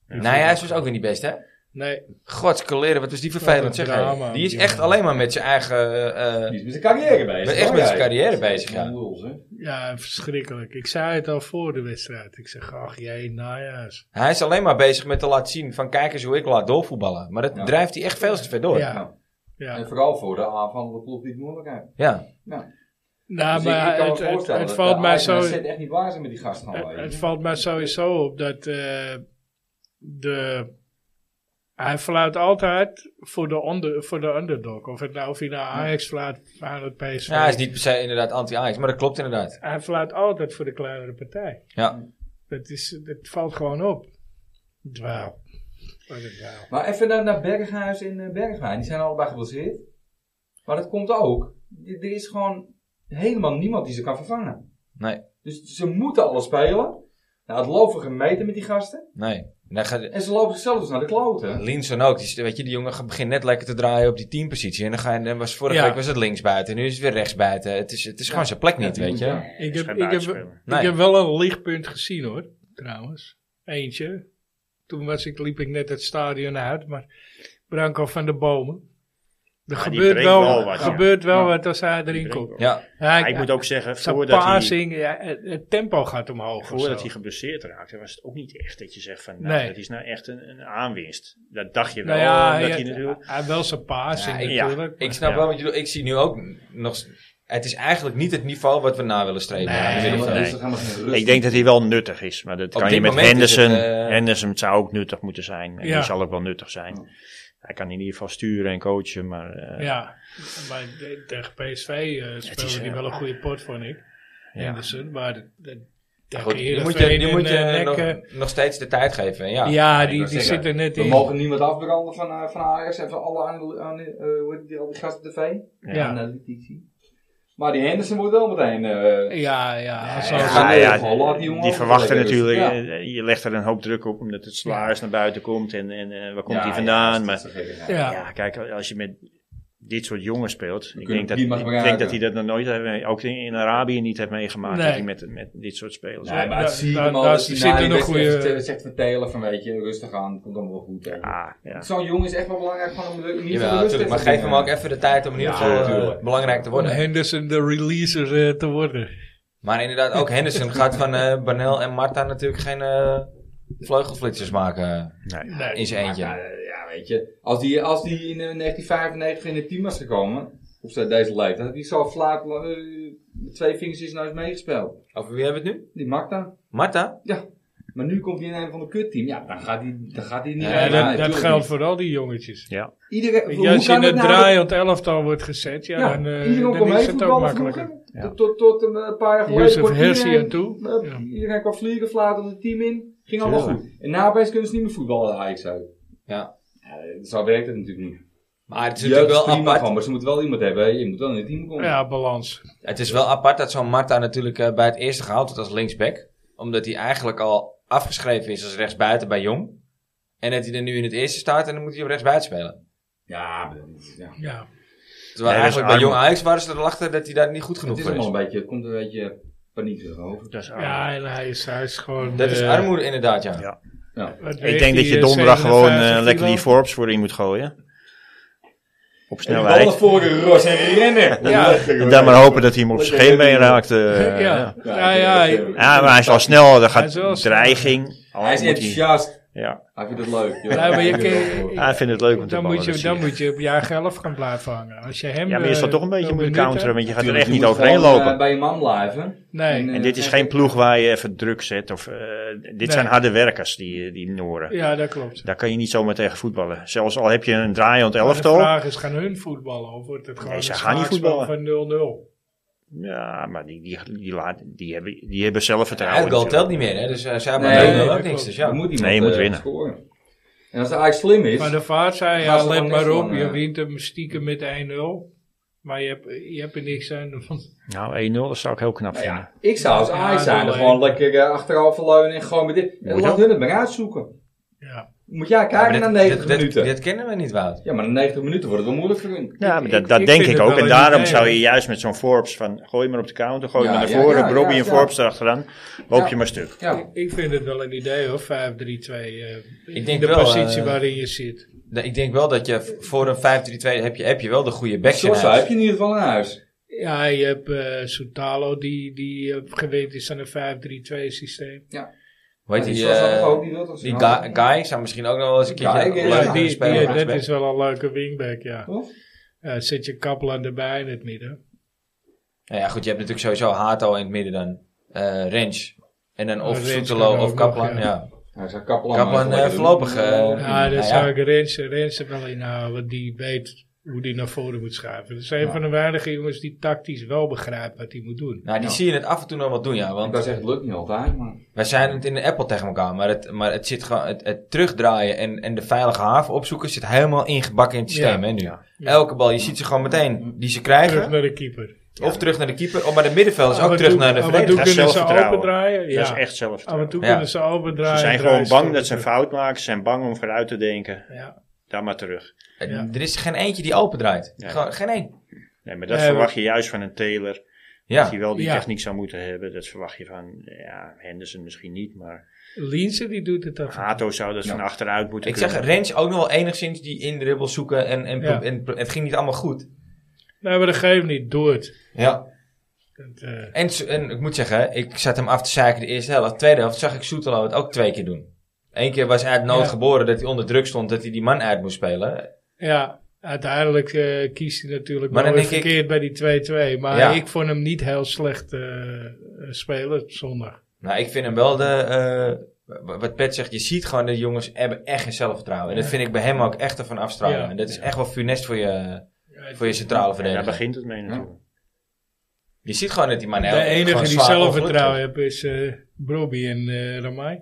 Speaker 1: Nou ja, hij is dus ook weer niet best, hè?
Speaker 2: Nee,
Speaker 1: Godskeleren, wat is die
Speaker 2: Wat een
Speaker 1: vervelend zeg
Speaker 2: drama,
Speaker 1: hé. Die is
Speaker 2: die
Speaker 1: echt
Speaker 2: jongen.
Speaker 1: alleen maar met zijn eigen... eh, eh,
Speaker 3: Die is met zijn carrière bezig.
Speaker 1: echt
Speaker 3: hoor,
Speaker 1: met zijn
Speaker 3: jij.
Speaker 1: carrière bezig, ja.
Speaker 3: Lul, hè.
Speaker 2: ja, verschrikkelijk. Ik zei het al voor de wedstrijd. Ik zeg, ach jee, najaars.
Speaker 1: hij is alleen maar bezig met te laten zien van kijk eens hoe ik laat doorvoetballen. Maar dat
Speaker 3: Ja.
Speaker 1: drijft hij echt veel te ver door. Ja.
Speaker 2: Ja, ja.
Speaker 3: En vooral voor de aanvallende ploeg die het moeilijk heeft. Ja.
Speaker 2: Nou,
Speaker 3: Dus ik- ik
Speaker 2: maar
Speaker 3: kan me
Speaker 2: het, het,
Speaker 3: voorstellen
Speaker 2: het
Speaker 3: dat
Speaker 2: valt
Speaker 3: de
Speaker 2: mij
Speaker 3: Ajax en
Speaker 2: zo...
Speaker 3: AZ echt niet waar zijn met die gasten al.
Speaker 2: Het,
Speaker 3: weet
Speaker 2: Eh, het
Speaker 3: je.
Speaker 2: valt mij sowieso op dat eh, de, hij fluit altijd voor de, onder, voor de underdog. Of, het nou, of hij naar Ajax fluit, aan het PSV.
Speaker 1: hij is niet per se inderdaad anti-Ajax, maar dat klopt inderdaad.
Speaker 2: Hij fluit altijd voor de kleinere partij.
Speaker 1: Ja.
Speaker 2: Dat, is, dat valt gewoon op. Dwaal. Wat een dwaal.
Speaker 3: Maar even naar, naar Berghuis en eh, Bergwijn. Die zijn allebei geblesseerd. Maar dat komt ook. Er er is gewoon helemaal niemand die ze kan vervangen.
Speaker 1: Nee,
Speaker 3: Dus ze moeten alles spelen. Nou, het lopen gemeten met die gasten.
Speaker 1: nee. En dan gaat,
Speaker 3: En ze lopen zichzelf dus naar de kloten.
Speaker 1: Linson ook. Die, weet je, die jongen begint net lekker te draaien op die teampositie. En dan, ga je, dan was vorige
Speaker 2: Ja.
Speaker 1: week was het linksbuiten. Nu is het weer rechtsbuiten. Het is, het is gewoon zijn plek niet,
Speaker 3: Ja,
Speaker 1: weet je.
Speaker 3: ja.
Speaker 2: Ik heb,
Speaker 4: is geen
Speaker 2: ik, heb,
Speaker 4: buitenspeler.
Speaker 1: Nee.
Speaker 2: ik heb wel een lichtpunt gezien hoor, trouwens. Eentje. Toen was ik, liep ik net het stadion uit, maar Branko van de Bomen. Er
Speaker 4: Ja, die
Speaker 2: gebeurt
Speaker 4: breekt
Speaker 2: wel,
Speaker 4: wel wat, ja.
Speaker 2: gebeurt wel
Speaker 4: Ja.
Speaker 2: wat als hij erin
Speaker 4: breekt
Speaker 2: komt.
Speaker 4: wel.
Speaker 1: Ja,
Speaker 2: Ja,
Speaker 4: Maar ik moet ook zeggen,
Speaker 2: zijn
Speaker 4: voordat hij,
Speaker 2: passing, ja, het, het tempo gaat omhoog. of
Speaker 4: voordat
Speaker 2: zo.
Speaker 4: hij geblesseerd raakte, was het ook niet echt dat je zegt van, nou,
Speaker 2: Nee.
Speaker 4: dat is nou echt een, een aanwinst. Dat dacht je wel,
Speaker 2: nou ja,
Speaker 4: dat
Speaker 2: hij,
Speaker 4: Oh, hij natuurlijk...
Speaker 2: hij wel zijn passing
Speaker 1: Ja, ik-
Speaker 2: natuurlijk.
Speaker 1: ik snap
Speaker 4: Ja.
Speaker 1: wel wat je bedoelt. Ik zie nu ook nog... s- Het is eigenlijk niet het niveau wat we na willen streven.
Speaker 2: Nee,
Speaker 1: aan de
Speaker 3: Helemaal-
Speaker 1: middenveld.
Speaker 4: nee.
Speaker 3: dus er gaan nog geen rust
Speaker 4: Ik denk dat hij wel nuttig is, maar dat
Speaker 1: Op
Speaker 4: kan je
Speaker 1: dit
Speaker 4: met
Speaker 1: moment is
Speaker 4: Henderson.
Speaker 1: het, eh,
Speaker 4: Henderson zou ook nuttig moeten zijn. En
Speaker 2: Ja.
Speaker 4: die zal ook wel nuttig zijn. Hij kan in ieder geval sturen en coachen, maar eh, ja.
Speaker 2: Ja, maar de- tegen PSV eh speelde
Speaker 4: is,
Speaker 2: hij
Speaker 4: eh,
Speaker 2: wel een goede pot, vond ik. Henderson, maar de, de, tegen
Speaker 1: Goed, die moet je,
Speaker 2: Heerenveen
Speaker 1: die moet je
Speaker 2: en, eh,
Speaker 1: nog,
Speaker 2: Nek,
Speaker 1: nog steeds de tijd geven. hè? Ja,
Speaker 2: eh,
Speaker 1: Ja,
Speaker 2: Ja,
Speaker 1: ik
Speaker 2: die,
Speaker 1: wou
Speaker 2: die
Speaker 1: zeggen,
Speaker 2: zit er net
Speaker 3: We
Speaker 2: in.
Speaker 3: mogen niemand afbranden van, eh, van Ajax en van alle aan, aan, eh, hoe heet die, al die gasten op tv.
Speaker 2: Ja.
Speaker 3: Analytici. Maar die Henderson wordt wel meteen... eh,
Speaker 2: Ja, ja. als-
Speaker 3: ja,
Speaker 2: als-
Speaker 3: ja. Holland, die
Speaker 4: die,
Speaker 3: jongen ook
Speaker 4: verwachten
Speaker 3: wel lekker
Speaker 4: natuurlijk,
Speaker 3: rust.
Speaker 4: eh, je legt er een hoop druk op omdat het salaris naar buiten komt en, en eh, waar komt
Speaker 3: ja,
Speaker 4: hij
Speaker 3: ja,
Speaker 4: vandaan.
Speaker 3: dat
Speaker 4: maar
Speaker 3: is te gek, ja.
Speaker 4: ja.
Speaker 2: ja.
Speaker 4: kijk, als je met dit soort jongens speelt, ik
Speaker 3: kunnen
Speaker 4: denk, dat,
Speaker 3: het niet maar
Speaker 4: ik denk
Speaker 3: gebruiken.
Speaker 4: dat hij dat nog nooit, heeft mee- ook in, in Arabië niet heeft meegemaakt,
Speaker 2: Nee.
Speaker 4: dat hij met, met dit soort spelers.
Speaker 3: Nee, maar het
Speaker 2: daar-
Speaker 3: zie je
Speaker 2: daar-
Speaker 3: hem al.
Speaker 2: daar
Speaker 3: dat
Speaker 2: zit
Speaker 3: hij na
Speaker 2: er
Speaker 3: die
Speaker 2: nog
Speaker 3: wedstrijd
Speaker 2: goeie-
Speaker 3: zegt- Zegt vertelen van weet je, rustig aan, het komt allemaal wel goed. hè.
Speaker 4: Ah, ja.
Speaker 3: Zo'n jongen is echt wel belangrijk gewoon om de in ieder
Speaker 1: jawel,
Speaker 3: geval
Speaker 1: natuurlijk. Maar geef hem ook even de tijd om in ieder
Speaker 3: Ja,
Speaker 1: geval eh,
Speaker 3: natuurlijk.
Speaker 1: belangrijk te
Speaker 2: om
Speaker 1: worden.
Speaker 2: Henderson de releaser eh, te worden.
Speaker 1: Maar inderdaad, ook Henderson gaat van eh Banel en Marta natuurlijk geen eh, vleugelflitsers maken eh,
Speaker 4: Nee.
Speaker 1: in zijn eentje.
Speaker 3: Ja, eh, ja, weet je. Als die, als die in eh, 1995 in het team was gekomen, op zijn- deze leeftijd, had hij zo flaat eh, met twee vingers is nou eens meegespeeld.
Speaker 1: Over wie hebben we het nu?
Speaker 3: Die maakt dan.
Speaker 1: Marta?
Speaker 3: Ja. Maar nu komt hij in een van de kutteam. Ja, dan gaat hij, dan gaat hij niet.
Speaker 1: Ja,
Speaker 3: mee.
Speaker 2: Ja,
Speaker 1: dat-
Speaker 2: dat, dat
Speaker 3: tuurlijk
Speaker 2: geldt
Speaker 3: niet.
Speaker 2: voor al die jongetjes.
Speaker 4: Ja.
Speaker 3: Iedereen,
Speaker 2: Weet
Speaker 3: hoe
Speaker 2: je, als je
Speaker 3: kan
Speaker 2: in het
Speaker 3: nou dat-
Speaker 2: draaiend elftal wordt gezet, ja,
Speaker 3: Ja,
Speaker 2: dan, eh,
Speaker 3: iedereen
Speaker 2: dan
Speaker 3: kon
Speaker 2: is
Speaker 3: mee
Speaker 2: het ook
Speaker 3: voetballen
Speaker 2: makkelijker.
Speaker 3: vroeger.
Speaker 4: Ja.
Speaker 3: Tot, tot, tot een eh, paar jaar geleden.
Speaker 2: Joseph
Speaker 3: kon
Speaker 2: Hersie
Speaker 3: iedereen-
Speaker 2: en toe.
Speaker 3: eh,
Speaker 2: Ja.
Speaker 3: Iedereen kwam vliegen, vlaat op het team in. Ging allemaal
Speaker 4: Tuurlijk.
Speaker 3: goed. En na opeens kunnen ze niet meer voetballen, Ajax uit.
Speaker 1: Ja.
Speaker 3: Eh, Zo werkt het natuurlijk niet.
Speaker 1: Maar het is
Speaker 3: Je hebt
Speaker 1: natuurlijk wel
Speaker 3: prima
Speaker 1: apart.
Speaker 3: gewoon, maar ze moeten wel iemand hebben. hè. Je moet wel in het team komen.
Speaker 2: Ja, balans.
Speaker 1: Het is wel apart dat zo'n Marta natuurlijk eh, bij het eerste gehaald wordt als linksback. Omdat hij eigenlijk al afgeschreven is als rechtsbuiten bij Jong. En dat hij er nu in het eerste staat en dan moet hij op rechtsbuiten spelen.
Speaker 3: Ja, maar dat is- ja.
Speaker 2: Ja.
Speaker 1: Terwijl
Speaker 4: Nee, dat is
Speaker 1: eigenlijk bij
Speaker 4: arm.
Speaker 1: Jong Ajax waren ze er achter dat hij daar niet goed
Speaker 3: Het
Speaker 1: genoeg
Speaker 3: is
Speaker 1: voor is.
Speaker 3: allemaal een beetje, het komt een beetje paniekerig over.
Speaker 4: Dat is ah.
Speaker 2: ja, en hij is, hij is gewoon...
Speaker 1: Dat is
Speaker 2: eh,
Speaker 1: armoede inderdaad, ja.
Speaker 4: Ja.
Speaker 3: Ja.
Speaker 2: wat
Speaker 4: Ik
Speaker 2: weegt
Speaker 4: denk dat
Speaker 2: die,
Speaker 4: je
Speaker 2: eh,
Speaker 4: donderdag gewoon eh,
Speaker 2: 57
Speaker 4: lekker die
Speaker 2: kilo?
Speaker 4: Forbes voor in moet gooien. Op
Speaker 3: En die ballen
Speaker 4: snelheid.
Speaker 3: voor de ros en rennen.
Speaker 2: Ja.
Speaker 3: Lekker,
Speaker 4: En
Speaker 3: hoor.
Speaker 4: dan maar hopen dat hij hem op
Speaker 3: Lekker
Speaker 4: zijn scheen
Speaker 3: rennen.
Speaker 4: mee raakt. eh,
Speaker 2: Ja, ja,
Speaker 4: ja.
Speaker 2: ja. ja,
Speaker 3: dat is, eh,
Speaker 4: Ja, maar hij is al snel. Er
Speaker 2: Hij is wel
Speaker 4: gaat
Speaker 2: snel.
Speaker 4: dreiging. Al
Speaker 3: Hij is
Speaker 4: moet
Speaker 3: enthousiast.
Speaker 4: ja.
Speaker 3: Hij vindt het leuk. joh.
Speaker 2: Ja, maar je
Speaker 3: Ik vind het
Speaker 2: kan-
Speaker 3: wel goed.
Speaker 4: Ja, hij vindt het leuk om te
Speaker 2: Dan moet, je,
Speaker 4: ballen.
Speaker 2: dan
Speaker 4: Dan
Speaker 2: moet je op jaar 11 gaan blijven hangen. Als je hem,
Speaker 4: ja, maar je staat
Speaker 2: eh,
Speaker 4: toch een beetje
Speaker 2: wil
Speaker 4: moeten
Speaker 2: benutten-
Speaker 4: counteren, want je gaat er
Speaker 3: Tuurlijk,
Speaker 4: echt
Speaker 3: je
Speaker 4: niet
Speaker 3: moet
Speaker 4: overheen
Speaker 3: gewoon, eh,
Speaker 4: lopen.
Speaker 3: bij je man blijven.
Speaker 2: Nee.
Speaker 3: En, eh,
Speaker 4: En dit is geen ploeg waar je even druk zet. Of, eh, dit zijn harde werkers, die, eh, die Noren.
Speaker 2: Ja, dat klopt.
Speaker 4: Daar kan je niet zomaar tegen voetballen. Zelfs al heb je een draaiend
Speaker 2: Maar
Speaker 4: elftal.
Speaker 2: De vraag is, gaan hun voetballen? Of wordt het gewoon
Speaker 4: ze
Speaker 2: een
Speaker 4: gaan niet
Speaker 2: schaakspel
Speaker 4: voetballen.
Speaker 2: van 0-0?
Speaker 4: Ja, maar die, die, die, laten- die, hebben, die hebben zelfvertrouwen.
Speaker 1: Uitgoal
Speaker 4: natuurlijk.
Speaker 1: telt niet meer, hè. Dus eh, zij
Speaker 3: Nee,
Speaker 1: hebben
Speaker 3: nee,
Speaker 1: ook
Speaker 2: dat
Speaker 1: niks.
Speaker 2: klopt.
Speaker 1: Dus
Speaker 3: Dan
Speaker 1: ja.
Speaker 3: moet iemand
Speaker 4: Nee, je moet
Speaker 3: eh,
Speaker 4: winnen.
Speaker 3: scoren. En als de Ajax slim is,
Speaker 2: Maar de vaart zei,
Speaker 3: Gaan
Speaker 2: ja,
Speaker 3: ze
Speaker 2: let
Speaker 3: gewoon
Speaker 2: maar
Speaker 3: niks
Speaker 2: op,
Speaker 3: van,
Speaker 2: je
Speaker 3: eh.
Speaker 2: wint hem stiekem met 1-0. Maar je hebt, je hebt er niks aan. Want
Speaker 4: Nou, 1-0, dat zou ik heel knap
Speaker 3: nou
Speaker 4: vinden.
Speaker 3: ja, ik zou als
Speaker 2: Ja,
Speaker 3: Ajax zijn,
Speaker 2: doe
Speaker 3: er gewoon
Speaker 2: maar.
Speaker 3: lekker eh, achteroverleunen en gewoon met dit.
Speaker 4: Moet
Speaker 3: Laat
Speaker 4: ook.
Speaker 3: hun het maar uitzoeken.
Speaker 2: ja.
Speaker 3: Moet jij
Speaker 1: Ja, maar
Speaker 3: kijken
Speaker 1: dit-
Speaker 3: naar 90
Speaker 1: dit- dit-
Speaker 3: minuten.
Speaker 1: Dit kennen we niet, Wout.
Speaker 3: ja, maar na 90 minuten wordt het wel moeilijk voor hun.
Speaker 4: Ja, maar
Speaker 2: Ik-
Speaker 4: dat,
Speaker 2: ik-
Speaker 4: dat
Speaker 2: ik
Speaker 4: denk
Speaker 2: vind
Speaker 4: ik
Speaker 2: het
Speaker 4: ook.
Speaker 2: wel
Speaker 4: En
Speaker 2: een
Speaker 4: daarom
Speaker 2: idee.
Speaker 4: zou je juist met zo'n Forbes van gooi maar op de counter, gooi
Speaker 3: Ja,
Speaker 4: maar naar
Speaker 3: ja,
Speaker 4: voren,
Speaker 3: ja,
Speaker 4: Brobby
Speaker 3: ja,
Speaker 4: en
Speaker 3: ja.
Speaker 4: Forbes erachteraan, loop je maar stuk.
Speaker 3: Ja.
Speaker 2: Ik, ik vind het wel een idee hoor, 5-3-2. eh, in
Speaker 1: denk
Speaker 2: de
Speaker 1: wel,
Speaker 2: positie
Speaker 1: eh,
Speaker 2: waarin je zit.
Speaker 1: Nou, Ik denk wel dat je v- voor een 5-3-2 heb je, heb je wel de goede backs in
Speaker 3: Sosa
Speaker 1: huis.
Speaker 3: heb je in ieder geval in huis.
Speaker 2: Ja, je hebt eh Soutalo die, die eh, gewend is aan een 5-3-2 systeem.
Speaker 1: Hoe heet
Speaker 3: Ja,
Speaker 1: die?
Speaker 3: Sosa
Speaker 1: eh,
Speaker 3: nog ook, die wil toch
Speaker 1: die
Speaker 3: zo-
Speaker 1: guy, guy zou misschien ook nog wel eens een keertje
Speaker 3: Guy,
Speaker 1: een
Speaker 3: ja,
Speaker 1: leuke
Speaker 2: Ja, die,
Speaker 1: speler
Speaker 2: die-
Speaker 1: kunnen
Speaker 2: dat
Speaker 1: spelen.
Speaker 2: is wel een leuke wingback, ja.
Speaker 3: Toch?
Speaker 2: Eh, zet je Kaplan erbij in het midden.
Speaker 1: Nou ja, goed, je hebt natuurlijk sowieso Hato in het midden dan. eh Range. En dan of
Speaker 2: Range
Speaker 1: Soetelo
Speaker 2: kan
Speaker 1: of
Speaker 2: ook
Speaker 1: Kaplan.
Speaker 2: nog,
Speaker 1: Ja.
Speaker 2: ja.
Speaker 3: Hij zei Kaplan.
Speaker 1: Kaplan,
Speaker 3: maar even
Speaker 1: eh, voorlopig,
Speaker 3: lekker doen.
Speaker 1: eh,
Speaker 2: Ja, daar
Speaker 1: nou
Speaker 2: zou
Speaker 1: ja.
Speaker 2: ik Rensen, Rensen wel in houden, want die weet hoe die naar voren moet schuiven. Dat zijn
Speaker 3: Ja.
Speaker 2: van de weinige jongens die tactisch wel begrijpen wat hij moet doen.
Speaker 1: Nou, die
Speaker 3: Ja.
Speaker 1: zie je het af en toe nog wat doen, ja.
Speaker 3: ik
Speaker 1: Want
Speaker 3: wou zeggen, het lukt niet altijd, maar...
Speaker 1: wij zijn het in de Apple tegen elkaar. Maar het, maar het, zit gewoon, het, het terugdraaien en, en de veilige haven opzoeken zit helemaal ingebakken in het systeem,
Speaker 2: Ja.
Speaker 1: hè, nu.
Speaker 4: Ja.
Speaker 1: Elke bal, je ziet ze gewoon meteen die ze krijgen.
Speaker 2: Terug naar de keeper.
Speaker 1: Of terug naar de keeper. Oh, maar de middenveld is ook
Speaker 2: Af en
Speaker 1: terug
Speaker 2: toe-
Speaker 1: naar de
Speaker 2: af en toe
Speaker 1: verdediger.
Speaker 4: Dat is
Speaker 2: kunnen ze
Speaker 4: zelfvertrouwen.
Speaker 2: opendraaien. Ja.
Speaker 4: Dat is echt zelf.
Speaker 2: Af en toe
Speaker 1: Ja.
Speaker 2: kunnen ze opendraaien.
Speaker 4: Ze zijn gewoon
Speaker 2: draaien,
Speaker 4: bang
Speaker 2: stoppen
Speaker 4: dat ze een
Speaker 2: terug.
Speaker 4: fout maken, ze zijn bang om vooruit te denken.
Speaker 2: Ja.
Speaker 4: Daar maar terug.
Speaker 1: Eh,
Speaker 2: Ja.
Speaker 1: Er is geen eentje die open draait.
Speaker 4: Ja.
Speaker 1: Gewoon, geen één.
Speaker 4: Nee, maar dat
Speaker 2: Nee,
Speaker 4: verwacht je juist van een Taylor, dat
Speaker 1: Ja.
Speaker 4: hij wel die
Speaker 2: Ja.
Speaker 4: techniek zou moeten hebben. Dat verwacht je van, ja, Henderson misschien niet, maar
Speaker 2: Linse die doet het af. en toe.
Speaker 4: Hato zou dat
Speaker 3: Ja.
Speaker 4: van achteruit moeten
Speaker 1: Ik zeg,
Speaker 4: kunnen.
Speaker 1: Rens ook nog wel enigszins die indribbel zoeken. En, en,
Speaker 2: Ja.
Speaker 1: en, het ging niet allemaal goed.
Speaker 2: Nee, maar dat geeft niet. Doe het.
Speaker 1: Ja.
Speaker 2: Dat, eh,
Speaker 1: En, s- en ik moet zeggen, ik zat hem af te zeiken de eerste helft. Tweede helft zag ik Soetelo het ook twee keer doen. Eén keer was hij uit nood
Speaker 2: Ja.
Speaker 1: geboren dat hij onder druk stond, dat hij die man uit moest spelen.
Speaker 2: ja, uiteindelijk eh, kiest hij natuurlijk
Speaker 1: Maar
Speaker 2: maar wel
Speaker 1: dan
Speaker 2: weer
Speaker 1: denk ik-
Speaker 2: verkeerd bij die 2-2. Maar
Speaker 1: Ja.
Speaker 2: ik vond hem niet heel slecht eh, eh, spelen zondag.
Speaker 1: Nou, ik vind hem wel de... eh, wa- wat Pet zegt, je ziet gewoon dat jongens hebben echt geen zelfvertrouwen. En dat vind ik bij hem ook echt ervan afstralen.
Speaker 2: Ja.
Speaker 1: En dat is
Speaker 4: Ja.
Speaker 1: echt wel funest voor je, voor je centrale
Speaker 4: En daar
Speaker 1: verdediger.
Speaker 4: begint het mee natuurlijk.
Speaker 1: Je ziet gewoon dat die man
Speaker 2: de enige die zelfvertrouwen heeft is eh Broby en eh Ramai.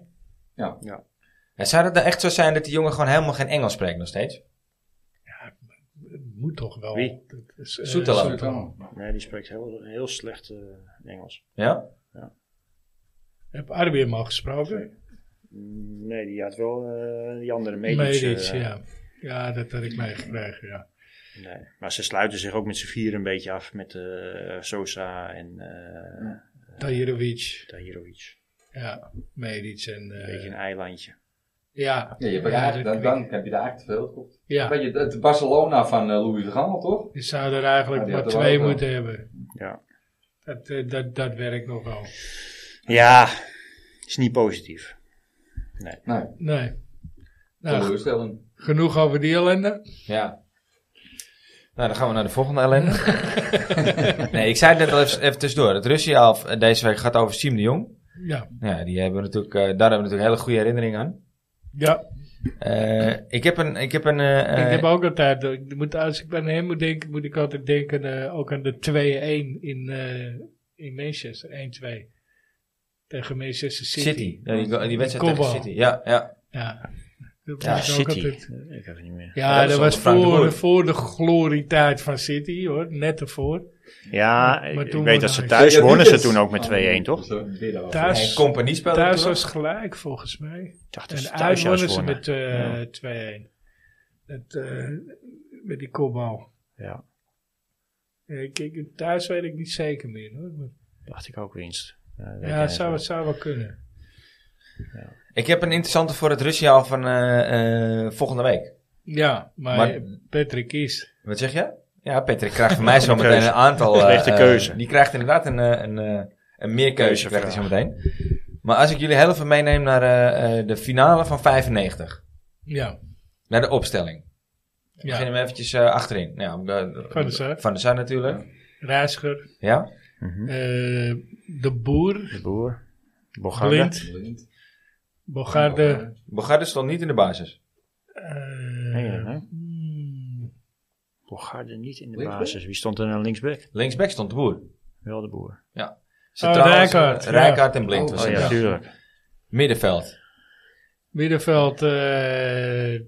Speaker 1: En zou dat nou echt zo zijn dat die jongen gewoon helemaal geen Engels spreekt nog steeds?
Speaker 2: Moet toch wel.
Speaker 4: Wie?
Speaker 2: Dat is, eh,
Speaker 1: Soetelo.
Speaker 4: Nee, die spreekt heel, heel slecht eh, Engels.
Speaker 1: Ja?
Speaker 2: Heb Arby hem al gesproken?
Speaker 4: Mm, Nee, die had wel eh, die andere eh, medisch.
Speaker 2: Medic, ja. Ja, dat had ik meegekregen, ja.
Speaker 4: Nee. Maar ze sluiten zich ook met z'n vier een beetje af met eh, Sosa en eh
Speaker 2: Tahirovic.
Speaker 4: Tahirovic.
Speaker 2: Ja, Medic en...
Speaker 4: Een
Speaker 2: eh,
Speaker 4: beetje een eilandje.
Speaker 2: ja,
Speaker 3: Ja, je hebt
Speaker 2: Ja,
Speaker 3: eigenlijk-
Speaker 2: dat
Speaker 3: dan,
Speaker 2: weet
Speaker 3: dan heb je daar echt te veel op.
Speaker 2: ja.
Speaker 3: Weet je, het Barcelona van eh, Louis van Gaal, toch?
Speaker 2: Je zou er eigenlijk
Speaker 3: Ja, die
Speaker 2: maar
Speaker 3: had er
Speaker 2: twee
Speaker 3: wel,
Speaker 2: moeten hebben.
Speaker 4: Ja.
Speaker 2: Dat, eh, dat, dat werkt nog wel.
Speaker 4: ja, is niet positief.
Speaker 3: Nee,
Speaker 2: Nee. Nou,
Speaker 3: teleurstellend.
Speaker 2: genoeg over die ellende.
Speaker 1: Ja. Nou, dan gaan we naar de volgende ellende. nee, ik zei het net al even, even tussendoor. Het Russia of eh, deze week gaat over Siem de Jong.
Speaker 2: Ja.
Speaker 1: Ja, die hebben we natuurlijk, eh, daar hebben we natuurlijk hele goede herinneringen aan.
Speaker 2: Ja,
Speaker 1: Eh, ik heb een... Ik heb een eh,
Speaker 2: ik heb ook altijd... Ik moet, als ik aan hem moet denken, moet ik altijd denken eh, ook aan de 2-1 in, eh, in Manchester. 1-2. Tegen Manchester City.
Speaker 1: eh, City. Ja, die, go- die wedstrijd
Speaker 2: Kopbal.
Speaker 1: tegen City. Ja, ja.
Speaker 2: Ja, dat
Speaker 1: Ja,
Speaker 2: moet ik ook
Speaker 4: City.
Speaker 2: altijd-
Speaker 4: Ik heb het niet meer.
Speaker 1: Ja,
Speaker 2: Ja,
Speaker 1: dat
Speaker 2: dat
Speaker 1: stond
Speaker 2: was
Speaker 1: Frank de
Speaker 2: voor,
Speaker 1: Boer.
Speaker 2: de, voor de glorietijd van City, hoor. Net ervoor.
Speaker 4: Ja,
Speaker 2: Maar
Speaker 4: ik
Speaker 2: toen
Speaker 4: weet dat
Speaker 2: we
Speaker 4: ze
Speaker 2: naar-
Speaker 4: thuis
Speaker 3: Ja,
Speaker 4: wonnen ze
Speaker 3: Wietens.
Speaker 4: toen ook met 2-1,
Speaker 3: Oh,
Speaker 4: toch?
Speaker 3: zo, dit al.
Speaker 2: Thuis-
Speaker 1: En compagnie speelde
Speaker 2: Thuis
Speaker 1: toen
Speaker 2: was gelijk, volgens mij.
Speaker 4: Ik dacht dat ze
Speaker 2: En
Speaker 4: thuis
Speaker 2: uit wonnen
Speaker 4: juist
Speaker 2: ze
Speaker 4: wonnen.
Speaker 2: met eh 2-1. Dat, eh, met die kopbal.
Speaker 4: Ja,
Speaker 2: Ja, Ik, ik, thuis weet ik niet zeker meer, hoor. Maar,
Speaker 4: dacht ik ook winst. Ja, dat weet
Speaker 2: ja,
Speaker 4: jij
Speaker 2: zou,
Speaker 4: wel.
Speaker 2: het zou wel kunnen.
Speaker 1: ook. Ik heb een interessante voor het Russia van eh, eh, volgende week.
Speaker 2: Ja, maar,
Speaker 1: Maar-
Speaker 2: Patrick kiest.
Speaker 1: Wat zeg je? Ja, Patrick krijgt van mij zo
Speaker 4: Een
Speaker 1: meteen
Speaker 4: keuze.
Speaker 1: een aantal... eh,
Speaker 4: Slechte
Speaker 1: eh,
Speaker 4: keuze.
Speaker 1: die krijgt inderdaad een, eh, een, eh, een meerkeuze, krijgt hij zo
Speaker 4: Keuzevraag.
Speaker 1: meteen. Maar als ik jullie heel even meeneem naar eh, eh, de finale van 95.
Speaker 2: Ja,
Speaker 1: Naar de opstelling. We
Speaker 2: ja.
Speaker 1: beginnen hem eventjes eh, achterin. Ja, eh,
Speaker 2: Van der Sar.
Speaker 1: Van der Sar natuurlijk.
Speaker 2: Reiziger,
Speaker 1: Ja?
Speaker 4: Mhm.
Speaker 2: eh, De Boer,
Speaker 4: De boer. Bogarde.
Speaker 2: Blind,
Speaker 3: Blind.
Speaker 2: Bogarde.
Speaker 1: Bogarde stond niet in de basis.
Speaker 2: eh,
Speaker 4: Nee, hè?
Speaker 2: hmm,
Speaker 4: Bogarde niet in de
Speaker 3: Linksback?
Speaker 4: basis. Wie stond er nou linksback?
Speaker 1: Linksback stond de boer.
Speaker 4: Wel de boer.
Speaker 1: Centraal was, eh,
Speaker 2: Oh, Rijkaard, ja.
Speaker 1: Rijkaard en Blind was
Speaker 4: Oh
Speaker 1: het.
Speaker 4: ja,
Speaker 2: Ja.
Speaker 4: tuurlijk.
Speaker 1: Middenveld.
Speaker 2: Middenveld, eh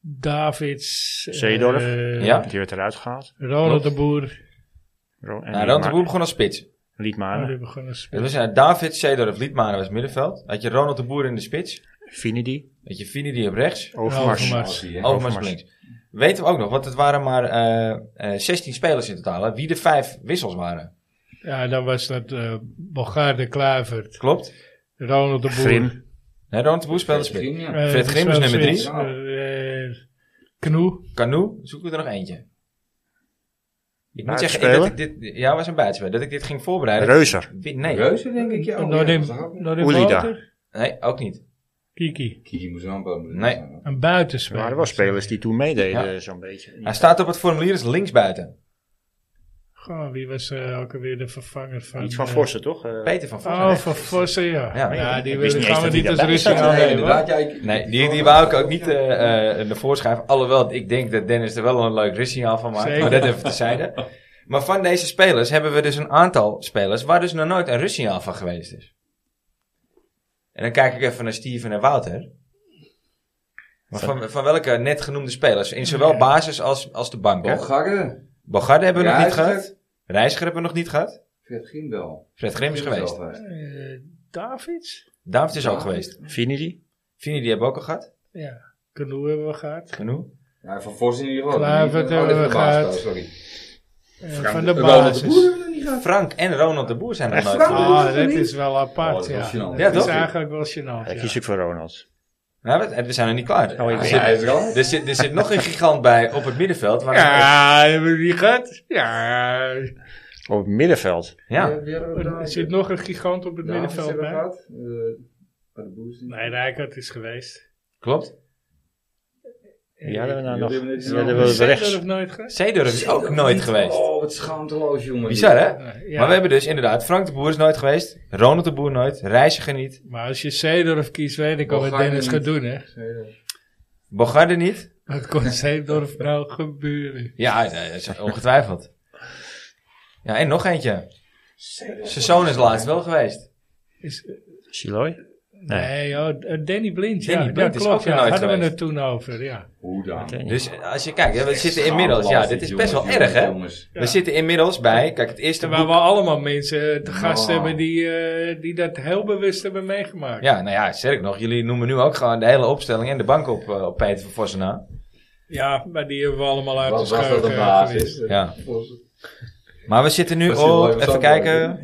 Speaker 2: Davids. eh,
Speaker 4: Zeedorf.
Speaker 1: Ja.
Speaker 4: Die werd eruit gehaald.
Speaker 2: Ronald de
Speaker 1: Klopt.
Speaker 2: Boer.
Speaker 4: Ro- en
Speaker 1: Nou,
Speaker 4: Liedma-
Speaker 1: Ronald de Boer begon als spits.
Speaker 2: Oh, die
Speaker 4: Liedmanen.
Speaker 2: begonnen
Speaker 1: Dat
Speaker 2: te spelen.
Speaker 1: was, eh, David Seedorf Liedmanen was middenveld. Had je Ronald de Boer in de spits.
Speaker 4: Finidi,
Speaker 1: Weet je, Finidi op rechts.
Speaker 4: Overmars.
Speaker 2: Overmars.
Speaker 3: Als die, hè.
Speaker 1: Overmars op
Speaker 4: Overmars.
Speaker 1: links. Weten we ook nog, want het waren maar eh, eh, 16 spelers in totaal. hè, Wie de vijf wissels waren.
Speaker 2: Ja, dan was dat eh Bogaar de Kluivert,
Speaker 1: Klopt.
Speaker 2: Ronald de Boer.
Speaker 4: Grim.
Speaker 1: Hè, Ronald de Boer speelde
Speaker 3: Ja,
Speaker 1: spits.
Speaker 3: ja.
Speaker 2: eh,
Speaker 1: Fred Grim is nummer drie.
Speaker 2: Sven Spits, eh, eh, Knoe.
Speaker 1: Canoe, zoeken we er nog eentje. Ik moet zeggen, ik,
Speaker 4: Buitenspeler?
Speaker 1: dat ik dit, ja, was een buitenspeler. Dat ik dit ging voorbereiden.
Speaker 4: Reuzer.
Speaker 1: Wi- Nee,
Speaker 3: Reuzen, denk ik. Ja, oh, ja,
Speaker 2: Noordin
Speaker 3: dat is ook-
Speaker 2: Noordin
Speaker 4: Oelida.
Speaker 2: Walter.
Speaker 1: nee, ook niet.
Speaker 2: Kiki.
Speaker 3: Kiki moest er wel een paar minuten
Speaker 1: Nee.
Speaker 3: zijn.
Speaker 2: Een
Speaker 4: Er
Speaker 2: buitenspeler.
Speaker 4: waren wel spelers die toen meededen,
Speaker 1: Ja.
Speaker 4: zo'n beetje.
Speaker 1: Hij staat op het formulier dus als linksbuiten.
Speaker 2: Goh, wie was eh, ook alweer de vervanger van...
Speaker 4: Iets van
Speaker 2: eh,
Speaker 4: Forsen, toch? Eh,
Speaker 1: Peter van Vossen.
Speaker 2: Oh, van Vossen, ja.
Speaker 1: Ja,
Speaker 2: Ja,
Speaker 1: maar
Speaker 4: ik- ik
Speaker 2: die
Speaker 4: wist
Speaker 2: willen
Speaker 4: niet eens
Speaker 2: gaan we
Speaker 4: dat die
Speaker 2: niet als
Speaker 4: daarbij
Speaker 2: ruzie
Speaker 4: zat.
Speaker 2: aan
Speaker 3: Nee,
Speaker 2: nemen.
Speaker 3: inderdaad. Ja, ik,
Speaker 1: Nee, die, die wou ik ook niet eh, eh, naar voren schuiven. Alhoewel, ik denk dat Dennis er wel een leuk rustsignaal van maakt. Maar
Speaker 2: Zeker.
Speaker 1: dat even tezijde. Maar van deze spelers hebben we dus een aantal spelers... waar dus nog nooit een rustsignaal van geweest is. En dan kijk ik even naar Steven en Wouter. Maar van, van welke net genoemde spelers? In zowel basis als, als de bank. hè?
Speaker 3: Bogarde.
Speaker 1: Bogarde hebben we nog niet gehad.
Speaker 3: Reiziger.
Speaker 1: Reiziger hebben we nog niet gehad.
Speaker 3: Fred Grim wel.
Speaker 1: Fred Grim is geweest.
Speaker 2: Eh, Davids?
Speaker 1: David is ook geweest.
Speaker 4: Finidi.
Speaker 1: Vini die hebben we ook al gehad.
Speaker 2: Ja. Canoe hebben we gehad.
Speaker 1: Genoeg.
Speaker 3: Ja, van Vos in ieder geval.
Speaker 2: Kluivert
Speaker 3: Die- oh,
Speaker 2: hebben
Speaker 3: die
Speaker 2: we
Speaker 3: van Baas,
Speaker 2: gehad.
Speaker 3: Sorry.
Speaker 2: Eh, van de
Speaker 3: Ronald de Boer
Speaker 2: basis.
Speaker 3: hebben we nog niet gehad.
Speaker 1: Frank en Ronald de Boer zijn er
Speaker 4: Echt?
Speaker 1: nooit
Speaker 3: Frank
Speaker 1: geweest.
Speaker 3: de Boer
Speaker 2: Ah,
Speaker 3: is er
Speaker 2: dat
Speaker 3: niet.
Speaker 2: is wel apart,
Speaker 3: Oh, dat is
Speaker 2: ja.
Speaker 3: wel gênant.
Speaker 1: Ja,
Speaker 2: dat
Speaker 1: toch?
Speaker 2: is eigenlijk wel gênant,
Speaker 4: Daar
Speaker 2: ja.
Speaker 4: kies ik voor Ronald.
Speaker 1: Nou, we, we zijn er niet klaar.
Speaker 4: Oh, ik
Speaker 1: er,
Speaker 4: ben-
Speaker 1: zit,
Speaker 3: hij is er al.
Speaker 1: er, zit, er zit nog een gigant bij op het middenveld. Waar
Speaker 2: Ja, hebben we die gehad? Ja.
Speaker 4: Op het middenveld.
Speaker 1: ja.
Speaker 3: Wie hebben we
Speaker 2: Er
Speaker 3: daar?
Speaker 2: zit nog een gigant op het
Speaker 3: Davids
Speaker 2: middenveld
Speaker 3: hebben we
Speaker 2: bij.
Speaker 3: gehad. Eh, maar de Boer is niet.
Speaker 2: Nee, Rijkaard is geweest. Eh,
Speaker 1: klopt.
Speaker 4: Die hadden we nou
Speaker 3: Die
Speaker 4: nog.
Speaker 3: hebben we net
Speaker 4: Die
Speaker 3: zo-
Speaker 4: hadden
Speaker 2: Is
Speaker 4: we
Speaker 2: Zender
Speaker 4: rechts.
Speaker 2: of nooit gehad?
Speaker 1: Zeedorf is ook nooit geweest.
Speaker 3: Oh, wat schaamteloos, jongen.
Speaker 1: Bizar, hè?
Speaker 2: Nee, ja.
Speaker 1: Maar we hebben dus inderdaad Frank de Boer is nooit geweest. Ronald de Boer nooit. Reiziger niet.
Speaker 2: Maar als je Zeedorf kiest, weet ik al wat
Speaker 3: Bulgarije
Speaker 2: Dennis
Speaker 3: niet.
Speaker 2: gaat doen, hè.
Speaker 1: Bogarde niet.
Speaker 2: Wat kon Zeedorf nou gebeuren?
Speaker 1: Ja, nee, dat is ongetwijfeld. Ja, en nog eentje. Zijn zoon is laatst wel geweest.
Speaker 2: Is,
Speaker 4: Siloy.
Speaker 2: nee, joh, eh, Danny Blind.
Speaker 1: Danny
Speaker 2: ja,
Speaker 1: Blind
Speaker 2: dat
Speaker 1: is
Speaker 2: klopt,
Speaker 1: ook
Speaker 2: ja,
Speaker 1: nooit
Speaker 2: hadden we
Speaker 1: geweest.
Speaker 2: het toen over, ja.
Speaker 3: Hoe dan?
Speaker 1: Dus als je kijkt, hè, we zitten inmiddels... Ja, dit is best wel erg, hè?
Speaker 2: Ja.
Speaker 1: We zitten inmiddels bij... Kijk, het eerste
Speaker 2: Terwijl
Speaker 1: boek...
Speaker 2: we allemaal mensen te gast
Speaker 3: Nou.
Speaker 2: hebben die, eh, die dat heel bewust hebben meegemaakt.
Speaker 1: Ja, nou ja, sterk nog. Jullie noemen nu ook gewoon de hele opstelling en de bank op, eh, op Peter van Vossen na.
Speaker 2: Ja, maar die hebben we allemaal uit
Speaker 3: Wat
Speaker 2: de
Speaker 3: was dat
Speaker 2: scheuren
Speaker 3: een
Speaker 2: geweest.
Speaker 3: basis?
Speaker 1: Ja. Maar we zitten nu op, even kijken.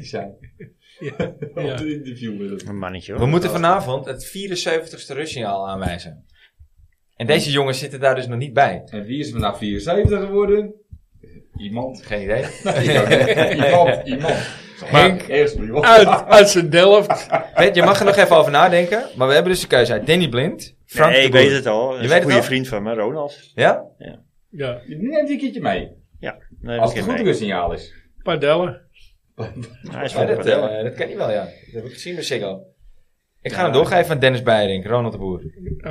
Speaker 3: Op de interview met het.
Speaker 4: Een mannetje
Speaker 1: We
Speaker 4: hoor.
Speaker 1: moeten vanavond het 74ste rustsignaal aanwijzen. En deze jongens zitten daar dus nog niet bij.
Speaker 3: En wie is er vandaag 74 geworden? Iemand.
Speaker 1: Geen idee.
Speaker 3: iemand, iemand.
Speaker 2: Henk,
Speaker 3: ergens op iemand.
Speaker 2: Uit, uit zijn Delft.
Speaker 1: Pet, je mag er nog even over nadenken. Maar we hebben dus de keuze uit Danny Blind, Frank
Speaker 4: nee,
Speaker 1: de
Speaker 4: ik
Speaker 1: Boer.
Speaker 4: weet het al. Dat is
Speaker 1: weet
Speaker 4: een
Speaker 1: het
Speaker 4: goede
Speaker 1: al?
Speaker 4: vriend van me, Ronald.
Speaker 1: Ja?
Speaker 2: Ja,
Speaker 3: Neem die een keertje mee.
Speaker 4: Ja, nee,
Speaker 3: Als
Speaker 4: dat
Speaker 3: het
Speaker 4: ken
Speaker 3: goed
Speaker 4: ik.
Speaker 3: een signaal is.
Speaker 2: Padellen.
Speaker 4: Hij is
Speaker 1: Ja,
Speaker 4: van de
Speaker 1: dat, eh,
Speaker 4: Padella.
Speaker 1: dat ken je wel, ja. Dat heb ik gezien bij Siggo. Ik ga hem doorgeven aan Dennis Beiring, Ronald de Boer.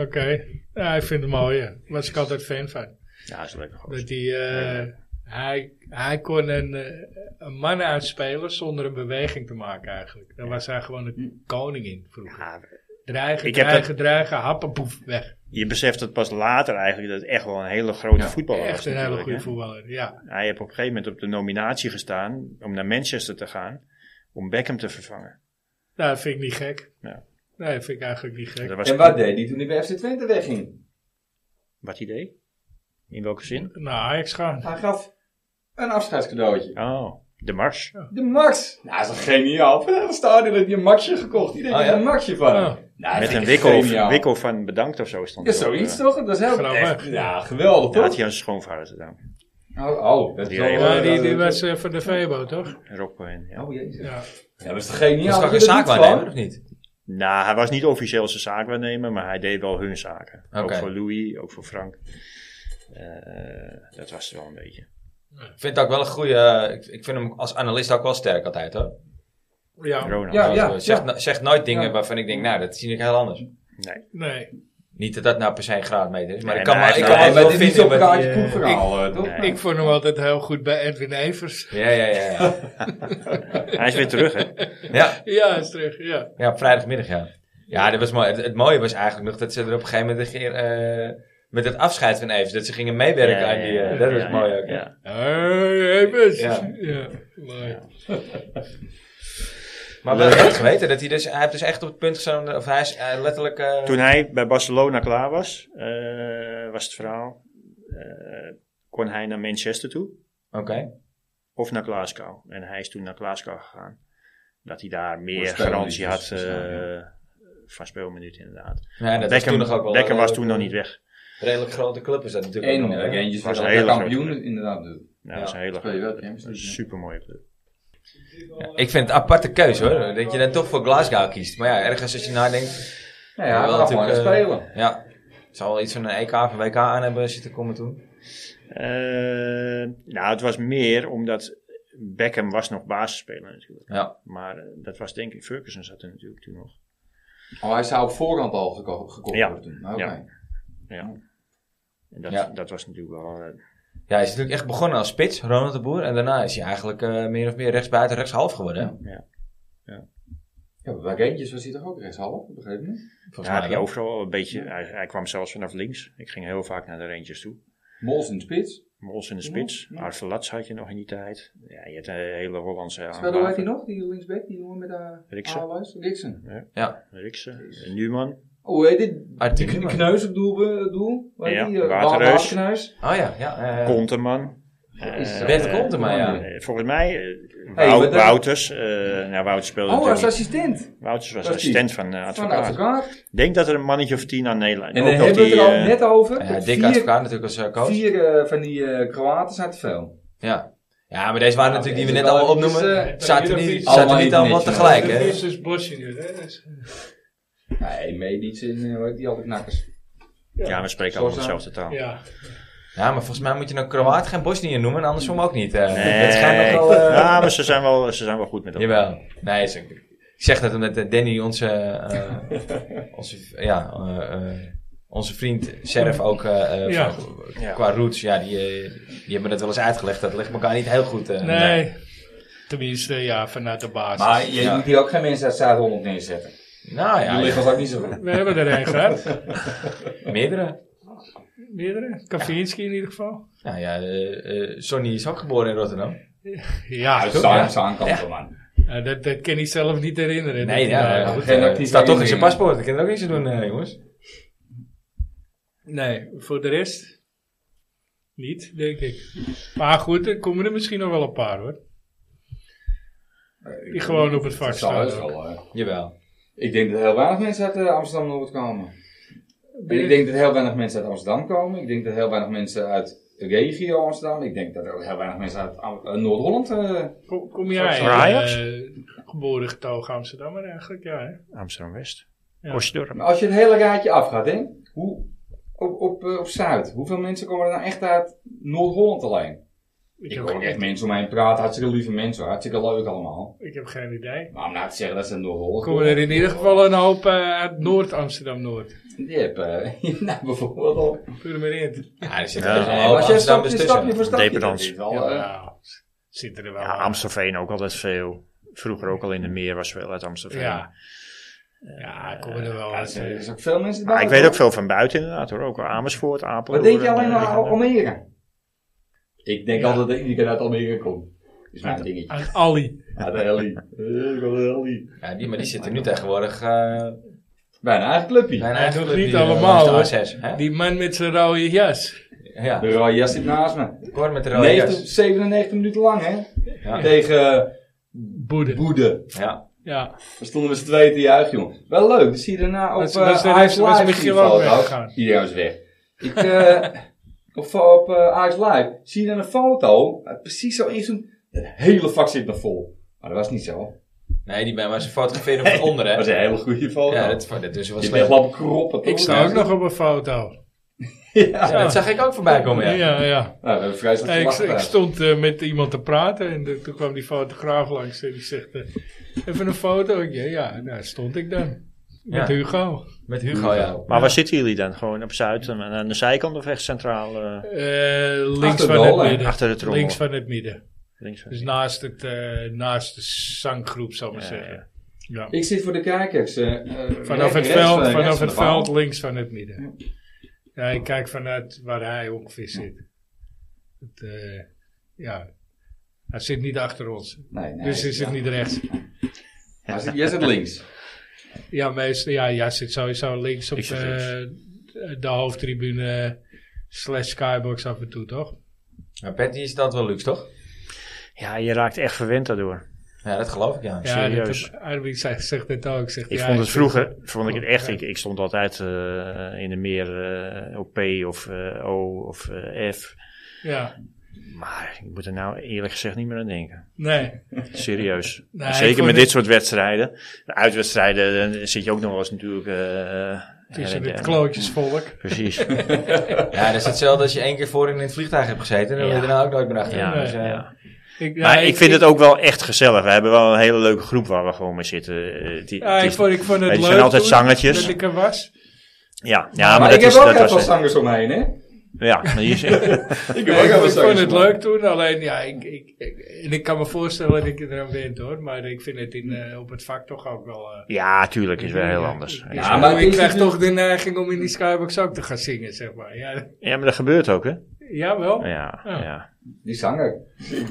Speaker 2: Oké. Ja, ik vind het mooi, ja. Was ik altijd fan van.
Speaker 4: Ja, is lekker goed.
Speaker 2: Dat die, eh, hij, hij kon een, eh, een man uitspelen zonder een beweging te maken eigenlijk. Daar was hij gewoon een koning in vroeger.
Speaker 4: Ja,
Speaker 2: Dreigen,
Speaker 4: Hm. Ik heb
Speaker 2: dreigen, dreigen, happen, poef, weg.
Speaker 4: je beseft het pas later eigenlijk dat het echt wel een hele grote
Speaker 3: Ja,
Speaker 4: voetballer was.
Speaker 2: Echt een hele
Speaker 4: Oh, natuurlijk,
Speaker 2: goede
Speaker 4: hè.
Speaker 2: voetballer, ja.
Speaker 4: Hij heeft op een gegeven moment op de nominatie gestaan om naar Manchester te gaan. Om Beckham te vervangen.
Speaker 2: Nou, dat vind ik niet gek.
Speaker 4: Ja.
Speaker 2: Nee, dat vind ik eigenlijk niet gek.
Speaker 4: Dat was
Speaker 3: En wat deed hij toen hij bij FC Twente wegging?
Speaker 4: Wat idee? In welke zin?
Speaker 2: Nou, Ajax gaan.
Speaker 3: Hij gaf een afscheidscadeautje.
Speaker 4: Oh, de mars.
Speaker 3: De Max. Nou, dat is toch geniaal. Van het stadion heb je een Maxje gekocht. Iedereen
Speaker 1: Oh,
Speaker 3: heeft
Speaker 1: ja?
Speaker 3: een Maxje van hem.
Speaker 2: Oh.
Speaker 3: Nou, dat
Speaker 4: Met
Speaker 3: vind
Speaker 4: een
Speaker 3: ik
Speaker 4: wikkel,
Speaker 3: geniaal.
Speaker 4: wikkel van bedankt of zo stond
Speaker 3: Ja,
Speaker 4: er op,
Speaker 3: zoiets
Speaker 4: eh.
Speaker 3: toch? Dat is heel...
Speaker 2: Grappig.
Speaker 3: Echt, ja, geweldig
Speaker 4: Dat had
Speaker 3: toch?
Speaker 4: hij aan zijn schoonvader gedaan.
Speaker 3: Oh, oh, dat is
Speaker 4: Ja,
Speaker 3: wel...
Speaker 4: ja,
Speaker 2: Ja,
Speaker 3: eh,
Speaker 2: die, die was eh, van de Vebo, toch?
Speaker 4: Rob Cohen, ja.
Speaker 3: Oh, jezus.
Speaker 2: Ja.
Speaker 3: Ja, dat is toch
Speaker 1: Dat
Speaker 3: geniaal?
Speaker 1: is toch
Speaker 3: je
Speaker 1: een
Speaker 3: dat
Speaker 1: zaak
Speaker 3: doet
Speaker 1: waarnemen,
Speaker 3: gewoon?
Speaker 1: of niet?
Speaker 4: Nou, hij was niet officieel zijn zaakwaarnemer, maar hij deed wel hun zaken. Ook
Speaker 1: Oké.
Speaker 4: voor Louis, ook voor Frank. Eh, dat was het wel een beetje.
Speaker 1: Ik vind het ook wel een goede... Ik, ik vind hem als analist ook wel sterk altijd, hoor.
Speaker 2: Ja,
Speaker 4: Ronald.
Speaker 3: Ja, ja.
Speaker 1: zegt, no- zegt nooit dingen
Speaker 3: Ja.
Speaker 1: waarvan ik denk, nou, dat zie ik heel anders.
Speaker 4: Nee.
Speaker 2: nee.
Speaker 1: Niet dat dat nou per se een graadmeter is, maar
Speaker 4: Nee,
Speaker 1: ik kan
Speaker 4: maar
Speaker 1: maar,
Speaker 4: hij
Speaker 1: ik
Speaker 4: heeft
Speaker 1: kan
Speaker 4: wel-
Speaker 1: wel
Speaker 3: Nee,
Speaker 1: veel
Speaker 3: maar dit is niet
Speaker 1: vinden
Speaker 3: zo'n
Speaker 1: met die,
Speaker 3: kaartje
Speaker 1: eh,
Speaker 3: koekverhaal, eh, toch?
Speaker 4: Nee.
Speaker 2: Ik vond hem altijd heel goed bij Edwin Evers.
Speaker 1: Ja, ja, ja. Ja,
Speaker 4: Hij is weer terug, hè?
Speaker 1: ja,
Speaker 2: Ja, is terug, ja.
Speaker 1: ja op vrijdagmiddag, ja. Ja, dat was mooi. Het, het mooie was eigenlijk nog dat ze er op een gegeven moment een keer, eh, met het afscheid van Evers, dat ze gingen meewerken aan die... eh, dat was
Speaker 4: ja,
Speaker 1: mooi
Speaker 4: ja,
Speaker 1: ook, hè.
Speaker 4: ja.
Speaker 2: Hey, Evers!
Speaker 1: Ja.
Speaker 2: Ja, mooi.
Speaker 1: Maar wel echt geweten dat hij dus, hij heeft dus echt op het punt gestaan, of hij is eh, letterlijk... eh,
Speaker 4: Toen hij bij Barcelona klaar was, eh, was het verhaal, eh, kon hij naar Manchester toe
Speaker 1: Oké.
Speaker 4: of naar Glasgow. En hij is toen naar Glasgow gegaan. Dat hij daar meer
Speaker 3: Voor speelminuten,
Speaker 4: garantie had
Speaker 3: dus, ja,
Speaker 4: eh, van speelminuut inderdaad.
Speaker 1: Ja, dat was
Speaker 4: Beckham
Speaker 1: toen nog ook wel... eh,
Speaker 4: Beckham
Speaker 1: een
Speaker 4: was toen nog niet weg.
Speaker 1: Redelijk grote club is dat natuurlijk ook
Speaker 3: Eén
Speaker 1: nog,
Speaker 3: eh,
Speaker 1: hè?
Speaker 3: eentje
Speaker 4: was
Speaker 3: was
Speaker 4: een hele
Speaker 3: kampioen
Speaker 4: grote.
Speaker 3: inderdaad. dus.
Speaker 4: Nou, dat is
Speaker 1: Ja,
Speaker 4: een hele
Speaker 3: speel je wel
Speaker 4: goede-
Speaker 3: Champions League, ja.
Speaker 4: supermooie club.
Speaker 1: Ja, ik vind het een aparte keuze hoor, dat je dan toch voor Glasgow kiest. Maar ja, ergens als je nadenkt,
Speaker 3: Nou ja,
Speaker 1: Wel
Speaker 3: we gaan gewoon gaan
Speaker 1: natuurlijk, eh,
Speaker 3: spelen.
Speaker 1: ja, het zal wel iets van een EK of een WK aan hebben zitten komen toen.
Speaker 4: Eh, nou, het was meer omdat Beckham was nog basisspeler natuurlijk.
Speaker 1: Ja,
Speaker 4: Maar eh, dat was denk ik, Ferguson zat er natuurlijk toen nog.
Speaker 3: Oh, hij zou op voorhand al geko- gekocht
Speaker 4: Ja.
Speaker 3: worden toen. Oké.
Speaker 4: Ja. Ja. En dat,
Speaker 1: Ja.
Speaker 4: dat was natuurlijk wel... eh,
Speaker 1: ja, hij is natuurlijk echt begonnen als spits, Ronald de Boer. En daarna is hij eigenlijk eh, meer of meer rechtsbuiten, rechtshalf geworden. hè?
Speaker 3: Ja. Ja, maar bij Reentjes was hij toch ook rechtshalf, op een gegeven moment?
Speaker 1: Volgens
Speaker 4: Ja,
Speaker 1: mij
Speaker 4: heb je
Speaker 1: wel.
Speaker 4: overal een beetje. Hij, hij kwam zelfs vanaf links. Ik ging heel vaak naar de Rangers toe.
Speaker 3: Mols in de spits.
Speaker 4: Mols in de spits.
Speaker 3: Ja, ja.
Speaker 4: Arthur Lats had je nog in die tijd. Ja, je had een hele Hollandse
Speaker 3: Terwijl, hoe heet hij
Speaker 4: aanbaken.
Speaker 3: nog, die linksback, die jongen met de
Speaker 4: Riksen.
Speaker 3: aanluis? Riksen.
Speaker 1: Ja,
Speaker 4: Riksen, eh, Newman.
Speaker 3: Oh, hoe heet dit?
Speaker 1: Ah, die
Speaker 3: Die kn-
Speaker 1: man.
Speaker 3: kneus op doel, eh, doel. Hoe heet
Speaker 4: Ja,
Speaker 3: die? Eh,
Speaker 4: Waterreus.
Speaker 3: Wa- Waterkneus.
Speaker 1: oh ja, ja. eh,
Speaker 4: Konterman.
Speaker 3: Is
Speaker 4: Eh
Speaker 3: dat-
Speaker 1: Bert Konterman, ja.
Speaker 4: eh, Volgens mij eh,
Speaker 3: Hey,
Speaker 4: Wou-
Speaker 3: maar dat-
Speaker 4: Wouters. eh, nou, Wouters speelde
Speaker 3: Oh, als
Speaker 4: natuurlijk
Speaker 3: assistent.
Speaker 4: niet. Wouters was
Speaker 3: was die.
Speaker 4: assistent van eh
Speaker 3: Van
Speaker 4: advocaat.
Speaker 3: advocaat.
Speaker 4: Ik denk dat er een mannetje of tien aan Nederland.
Speaker 3: En
Speaker 4: ook
Speaker 3: dan
Speaker 4: nog
Speaker 3: hebben we het er
Speaker 4: die,
Speaker 3: al
Speaker 4: eh,
Speaker 3: net over.
Speaker 1: ja, Dick
Speaker 3: vier
Speaker 1: Advocaat natuurlijk als eh, coach.
Speaker 3: vier eh, van die eh, Kroaten zijn te veel.
Speaker 1: Ja. ja, maar deze waren natuurlijk die we
Speaker 3: Ja,
Speaker 1: net allemaal
Speaker 3: dit is,
Speaker 1: opnoemen.
Speaker 3: eh,
Speaker 1: zaten niet,
Speaker 2: Ibrahimovic.
Speaker 1: zaten
Speaker 3: Allemaal
Speaker 1: niet allemaal
Speaker 3: niet netjes.
Speaker 1: tegelijk,
Speaker 2: Dat
Speaker 1: hè?
Speaker 2: is dus Bosnië. hè, dus-
Speaker 3: Nee, Medici en eh, hoe heet die altijd knakkers.
Speaker 4: Ja, we spreken
Speaker 3: Zoals
Speaker 4: allemaal dezelfde taal.
Speaker 2: Ja.
Speaker 1: Ja, maar volgens mij moet je nou Kroaat geen Bosnië noemen, andersom ook niet. eh.
Speaker 4: Nee,
Speaker 1: Dat schijnt nog wel... eh,
Speaker 4: ja, maar ze zijn wel, ze zijn wel goed met
Speaker 3: eh,
Speaker 4: elkaar.
Speaker 1: Jawel. Nee, is, ik zeg dat omdat eh, Danny, onze, eh, onze, ja, eh, eh, onze vriend Serf ook eh, eh,
Speaker 2: Ja.
Speaker 1: van-
Speaker 4: Ja.
Speaker 1: qua roots, ja, die, eh, die hebben dat wel eens uitgelegd. Dat ligt elkaar niet heel goed. eh.
Speaker 2: Nee. Tenminste, ja, vanuit de basis.
Speaker 3: Maar je
Speaker 1: Ja.
Speaker 3: moet hier ook geen mensen uit Zuid-Holland neerzetten.
Speaker 1: Nou ja,
Speaker 3: Die liggen ons ook niet zo goed.
Speaker 2: We hebben er een gehad.
Speaker 1: meerdere.
Speaker 2: Meerdere. Kavinski in ieder geval.
Speaker 1: Nou ja, eh, eh, Sonny is ook geboren in Rotterdam.
Speaker 2: Ja,
Speaker 3: Uit
Speaker 2: toch?
Speaker 1: ja.
Speaker 3: Zaan- Zaankampen, man.
Speaker 2: Ja, dat, dat kan ik zelf niet
Speaker 1: Nee,
Speaker 2: herinneren. dat hij
Speaker 1: ja,
Speaker 2: daar-
Speaker 1: ja,
Speaker 3: goed,
Speaker 1: eh,
Speaker 3: geen
Speaker 1: het
Speaker 3: actieve
Speaker 1: staat toch in zijn
Speaker 3: herinneringen.
Speaker 1: paspoort. Ik kan er ook niks aan doen, eh, jongens.
Speaker 2: Nee, voor de rest niet, denk ik. Maar goed, er komen er misschien nog wel een paar hoor. Die gewoon op het vak
Speaker 3: Dat zal
Speaker 2: staan.
Speaker 3: heus
Speaker 2: ook.
Speaker 3: wel, eh.
Speaker 1: Jawel.
Speaker 3: Ik denk dat heel weinig mensen uit eh, Amsterdam Noord komen. En ik
Speaker 2: Ben-
Speaker 3: denk dat heel weinig mensen uit Amsterdam komen. Ik denk dat heel weinig mensen uit regio Amsterdam. Ik denk dat er heel weinig mensen uit Am- eh, Noord-Holland. eh,
Speaker 2: Kom, kom jij?
Speaker 4: Voor Ajax?
Speaker 2: eh, geboren getogen Amsterdammer eigenlijk, ja. Hè?
Speaker 4: Amsterdam West.
Speaker 2: Ja.
Speaker 4: Osdorp.
Speaker 3: Maar als je het hele raadje afgaat, hè? Hoe, op, op, eh, op Zuid, hoeveel mensen komen er nou echt uit Noord-Holland alleen? Ik
Speaker 2: heb,
Speaker 3: hoor echt mensen om mij praten, hartstikke lieve mensen, hoor. hartstikke leuk allemaal.
Speaker 2: ik heb geen idee.
Speaker 3: Maar om nou te zeggen dat ze uit Noord-Holland
Speaker 2: Komen er in ieder geval een hoop eh, uit Noord-Amsterdam-Noord.
Speaker 3: Je hebt, eh, nou bijvoorbeeld al.
Speaker 2: Purmerend.
Speaker 1: Ja, dus er zit
Speaker 4: Ja.
Speaker 1: er een
Speaker 3: Nee,
Speaker 1: hoop
Speaker 3: maar als je
Speaker 1: Amsterdammers
Speaker 3: oh, stapje,
Speaker 1: tussen.
Speaker 3: stapje voor stapje.
Speaker 4: Deperans.
Speaker 3: dat is wel,
Speaker 2: Ja,
Speaker 3: eh,
Speaker 2: nou, zitten er wel
Speaker 4: Ja,
Speaker 2: aan.
Speaker 4: Amstelveen ook altijd veel. Vroeger ook al in de meer was veel uit Amstelveen.
Speaker 2: Ja. Ja, komen er wel
Speaker 3: ja, er
Speaker 2: uit.
Speaker 3: zijn- er
Speaker 2: eh,
Speaker 3: zijn ook veel mensen
Speaker 4: Maar
Speaker 3: bij.
Speaker 4: ik weet ook veel van buiten inderdaad hoor. Ook Amersfoort,
Speaker 3: Wat
Speaker 4: Apeldoorn.
Speaker 3: denk je alleen
Speaker 4: eh,
Speaker 3: aan Al- Almere? Ik denk
Speaker 2: Ja.
Speaker 3: altijd dat iedereen uit Almere komt. Is mijn dingetje.
Speaker 2: Aan Ali.
Speaker 3: Uit de Helly. Eh, ik wil de Helly.
Speaker 1: Ja, die, maar die zitten nu tegenwoordig... eh
Speaker 3: Bijna eigen clubje.
Speaker 1: bijna
Speaker 2: Nee,
Speaker 1: echt
Speaker 2: nog
Speaker 1: op
Speaker 2: niet
Speaker 1: die, eh,
Speaker 2: allemaal,
Speaker 1: langs de
Speaker 2: hoor.
Speaker 1: A6, hè?
Speaker 2: Die man met zijn rode jas.
Speaker 1: Ja,
Speaker 3: De rode jas zit naast me.
Speaker 1: kort met de rode
Speaker 3: 90,
Speaker 1: jas.
Speaker 3: 97 minuten lang, hè?
Speaker 1: Ja.
Speaker 3: Tegen
Speaker 2: Boede.
Speaker 3: Boede.
Speaker 1: Ja.
Speaker 2: Ja.
Speaker 3: We stonden met z'n tweeën te juichen, jongen. Wel leuk, dat zie je daarna op
Speaker 2: Was-
Speaker 3: eh
Speaker 2: was- was-
Speaker 3: Ajax
Speaker 2: was
Speaker 3: Live.
Speaker 2: Michiel
Speaker 3: die
Speaker 2: ook
Speaker 3: foto.
Speaker 2: weggegaan?
Speaker 3: Iedereen was weg. Ik, eh of op eh Ajax Live zie je dan een foto, eh, precies zo eerst doen. Het hele vak zit nog vol. Maar dat was niet zo.
Speaker 1: Nee, die ben maar ze fotograferen van onder, hè?
Speaker 3: Dat was een hele goede foto.
Speaker 1: Ja, dat, dat is wel
Speaker 3: je bent
Speaker 1: slecht.
Speaker 3: wel op kroppen,
Speaker 2: Ik
Speaker 3: toch?
Speaker 2: sta ook nog op een foto.
Speaker 1: Ja, dat zag ik ook voorbij komen, ja.
Speaker 2: ja. ja.
Speaker 3: Nou, we hebben vreselijk
Speaker 2: Nee, ik,
Speaker 3: gelachen
Speaker 2: ik
Speaker 3: thuis.
Speaker 2: stond eh, met iemand te praten en de- toen kwam die fotograaf langs en die zegt, eh, even een foto. Ik, Ja, ja, daar stond ik dan. Met
Speaker 1: Ja.
Speaker 2: Hugo.
Speaker 1: Met Hugo, Oh, ja.
Speaker 4: Maar waar zitten jullie dan? Gewoon op Zuid, aan- aan de zijkant of echt centraal? eh,
Speaker 2: Eh, links
Speaker 3: Achter de
Speaker 2: van het
Speaker 3: goal, hè?
Speaker 2: midden.
Speaker 4: Achter de trommel.
Speaker 2: Links van het midden.
Speaker 4: links?
Speaker 2: Dus
Speaker 3: nou-
Speaker 2: naast, het, eh, naast de zanggroep, zal ik maar
Speaker 4: Ja, ja.
Speaker 2: zeggen. Ja.
Speaker 3: Ik zit voor de kijkers. eh, eh,
Speaker 2: Vanaf het
Speaker 3: rechts, eh,
Speaker 2: veld,
Speaker 3: rechts
Speaker 2: vanaf
Speaker 3: van
Speaker 2: het
Speaker 3: de bal.
Speaker 2: veld links van het midden. Ja, ik kijk vanuit waar hij ongeveer zit. Het, eh, ja, hij zit niet achter ons.
Speaker 3: Nee, nee,
Speaker 2: Dus is het
Speaker 3: ja.
Speaker 2: niet rechts.
Speaker 3: Maar zit- jij zit links.
Speaker 2: Ja, meestal, ja, jij zit sowieso links op
Speaker 4: Ik zit
Speaker 2: eh, de hoofdtribune slash skybox af en toe, toch?
Speaker 1: Maar Patty is dat wel luxe, toch?
Speaker 4: Ja, je raakt echt verwend daardoor.
Speaker 1: Ja, dat geloof ik, ja.
Speaker 2: Ja, dat
Speaker 4: serieus.
Speaker 2: heb- Armin zegt, zegt dit ook. Zegt,
Speaker 4: Ik
Speaker 2: ja,
Speaker 4: vond het
Speaker 2: ik-
Speaker 4: vroeger, vond
Speaker 2: oh,
Speaker 4: ik het echt, ik, ik stond altijd eh, in de meer eh, op P of eh, O of eh, F.
Speaker 2: Ja,
Speaker 4: Maar ik moet er nou eerlijk gezegd niet meer aan denken.
Speaker 2: nee.
Speaker 4: Serieus.
Speaker 2: Nee, ik
Speaker 4: Zeker
Speaker 2: vond
Speaker 4: met
Speaker 2: het-
Speaker 4: dit soort wedstrijden. De uitwedstrijden eh, zit je ook nog wel eens natuurlijk... eh,
Speaker 2: Tussen
Speaker 4: her
Speaker 2: het
Speaker 4: en der.
Speaker 2: klootjesvolk.
Speaker 4: Precies.
Speaker 1: Ja, dat is hetzelfde als je één keer voorin in het vliegtuig hebt gezeten. Dan wil je
Speaker 4: Ja.
Speaker 1: daarna ook nooit meer achter.
Speaker 4: Ja,
Speaker 1: Dus, eh,
Speaker 4: ja.
Speaker 2: Ik, ja,
Speaker 4: Maar ik vind het ook wel echt gezellig. We hebben wel een hele leuke groep waar we gewoon mee zitten. Eh, die-
Speaker 2: Ja,
Speaker 4: die-
Speaker 2: ik vond, ik vond het
Speaker 4: Weet
Speaker 2: leuk
Speaker 4: je, er zijn altijd
Speaker 2: toen
Speaker 4: zangetjes.
Speaker 2: dat ik er was.
Speaker 4: ja, ja, maar,
Speaker 3: Maar
Speaker 4: dat
Speaker 3: ik heb
Speaker 4: is,
Speaker 3: ook
Speaker 4: dat
Speaker 3: heel veel
Speaker 4: was,
Speaker 3: zangers omheen, hè?
Speaker 4: Ja, maar hier is-
Speaker 3: Ik,
Speaker 2: Nee, ik ik vond het
Speaker 3: zangers om.
Speaker 2: leuk toen, alleen ja, ik, ik, ik, en ik kan me voorstellen dat ik er aan ben hoor. Maar ik vind het in, eh, op het vak toch ook wel... eh,
Speaker 4: ja, tuurlijk is wel heel anders.
Speaker 2: Ja,
Speaker 4: Ja,
Speaker 3: maar
Speaker 2: maar
Speaker 3: het
Speaker 2: ik
Speaker 3: is
Speaker 2: krijg
Speaker 3: natuurlijk-
Speaker 2: toch de neiging om in die skybox ook te gaan zingen, zeg maar. Ja,
Speaker 4: maar dat gebeurt ook, hè?
Speaker 2: jawel.
Speaker 4: Ja, ja.
Speaker 3: Die zanger.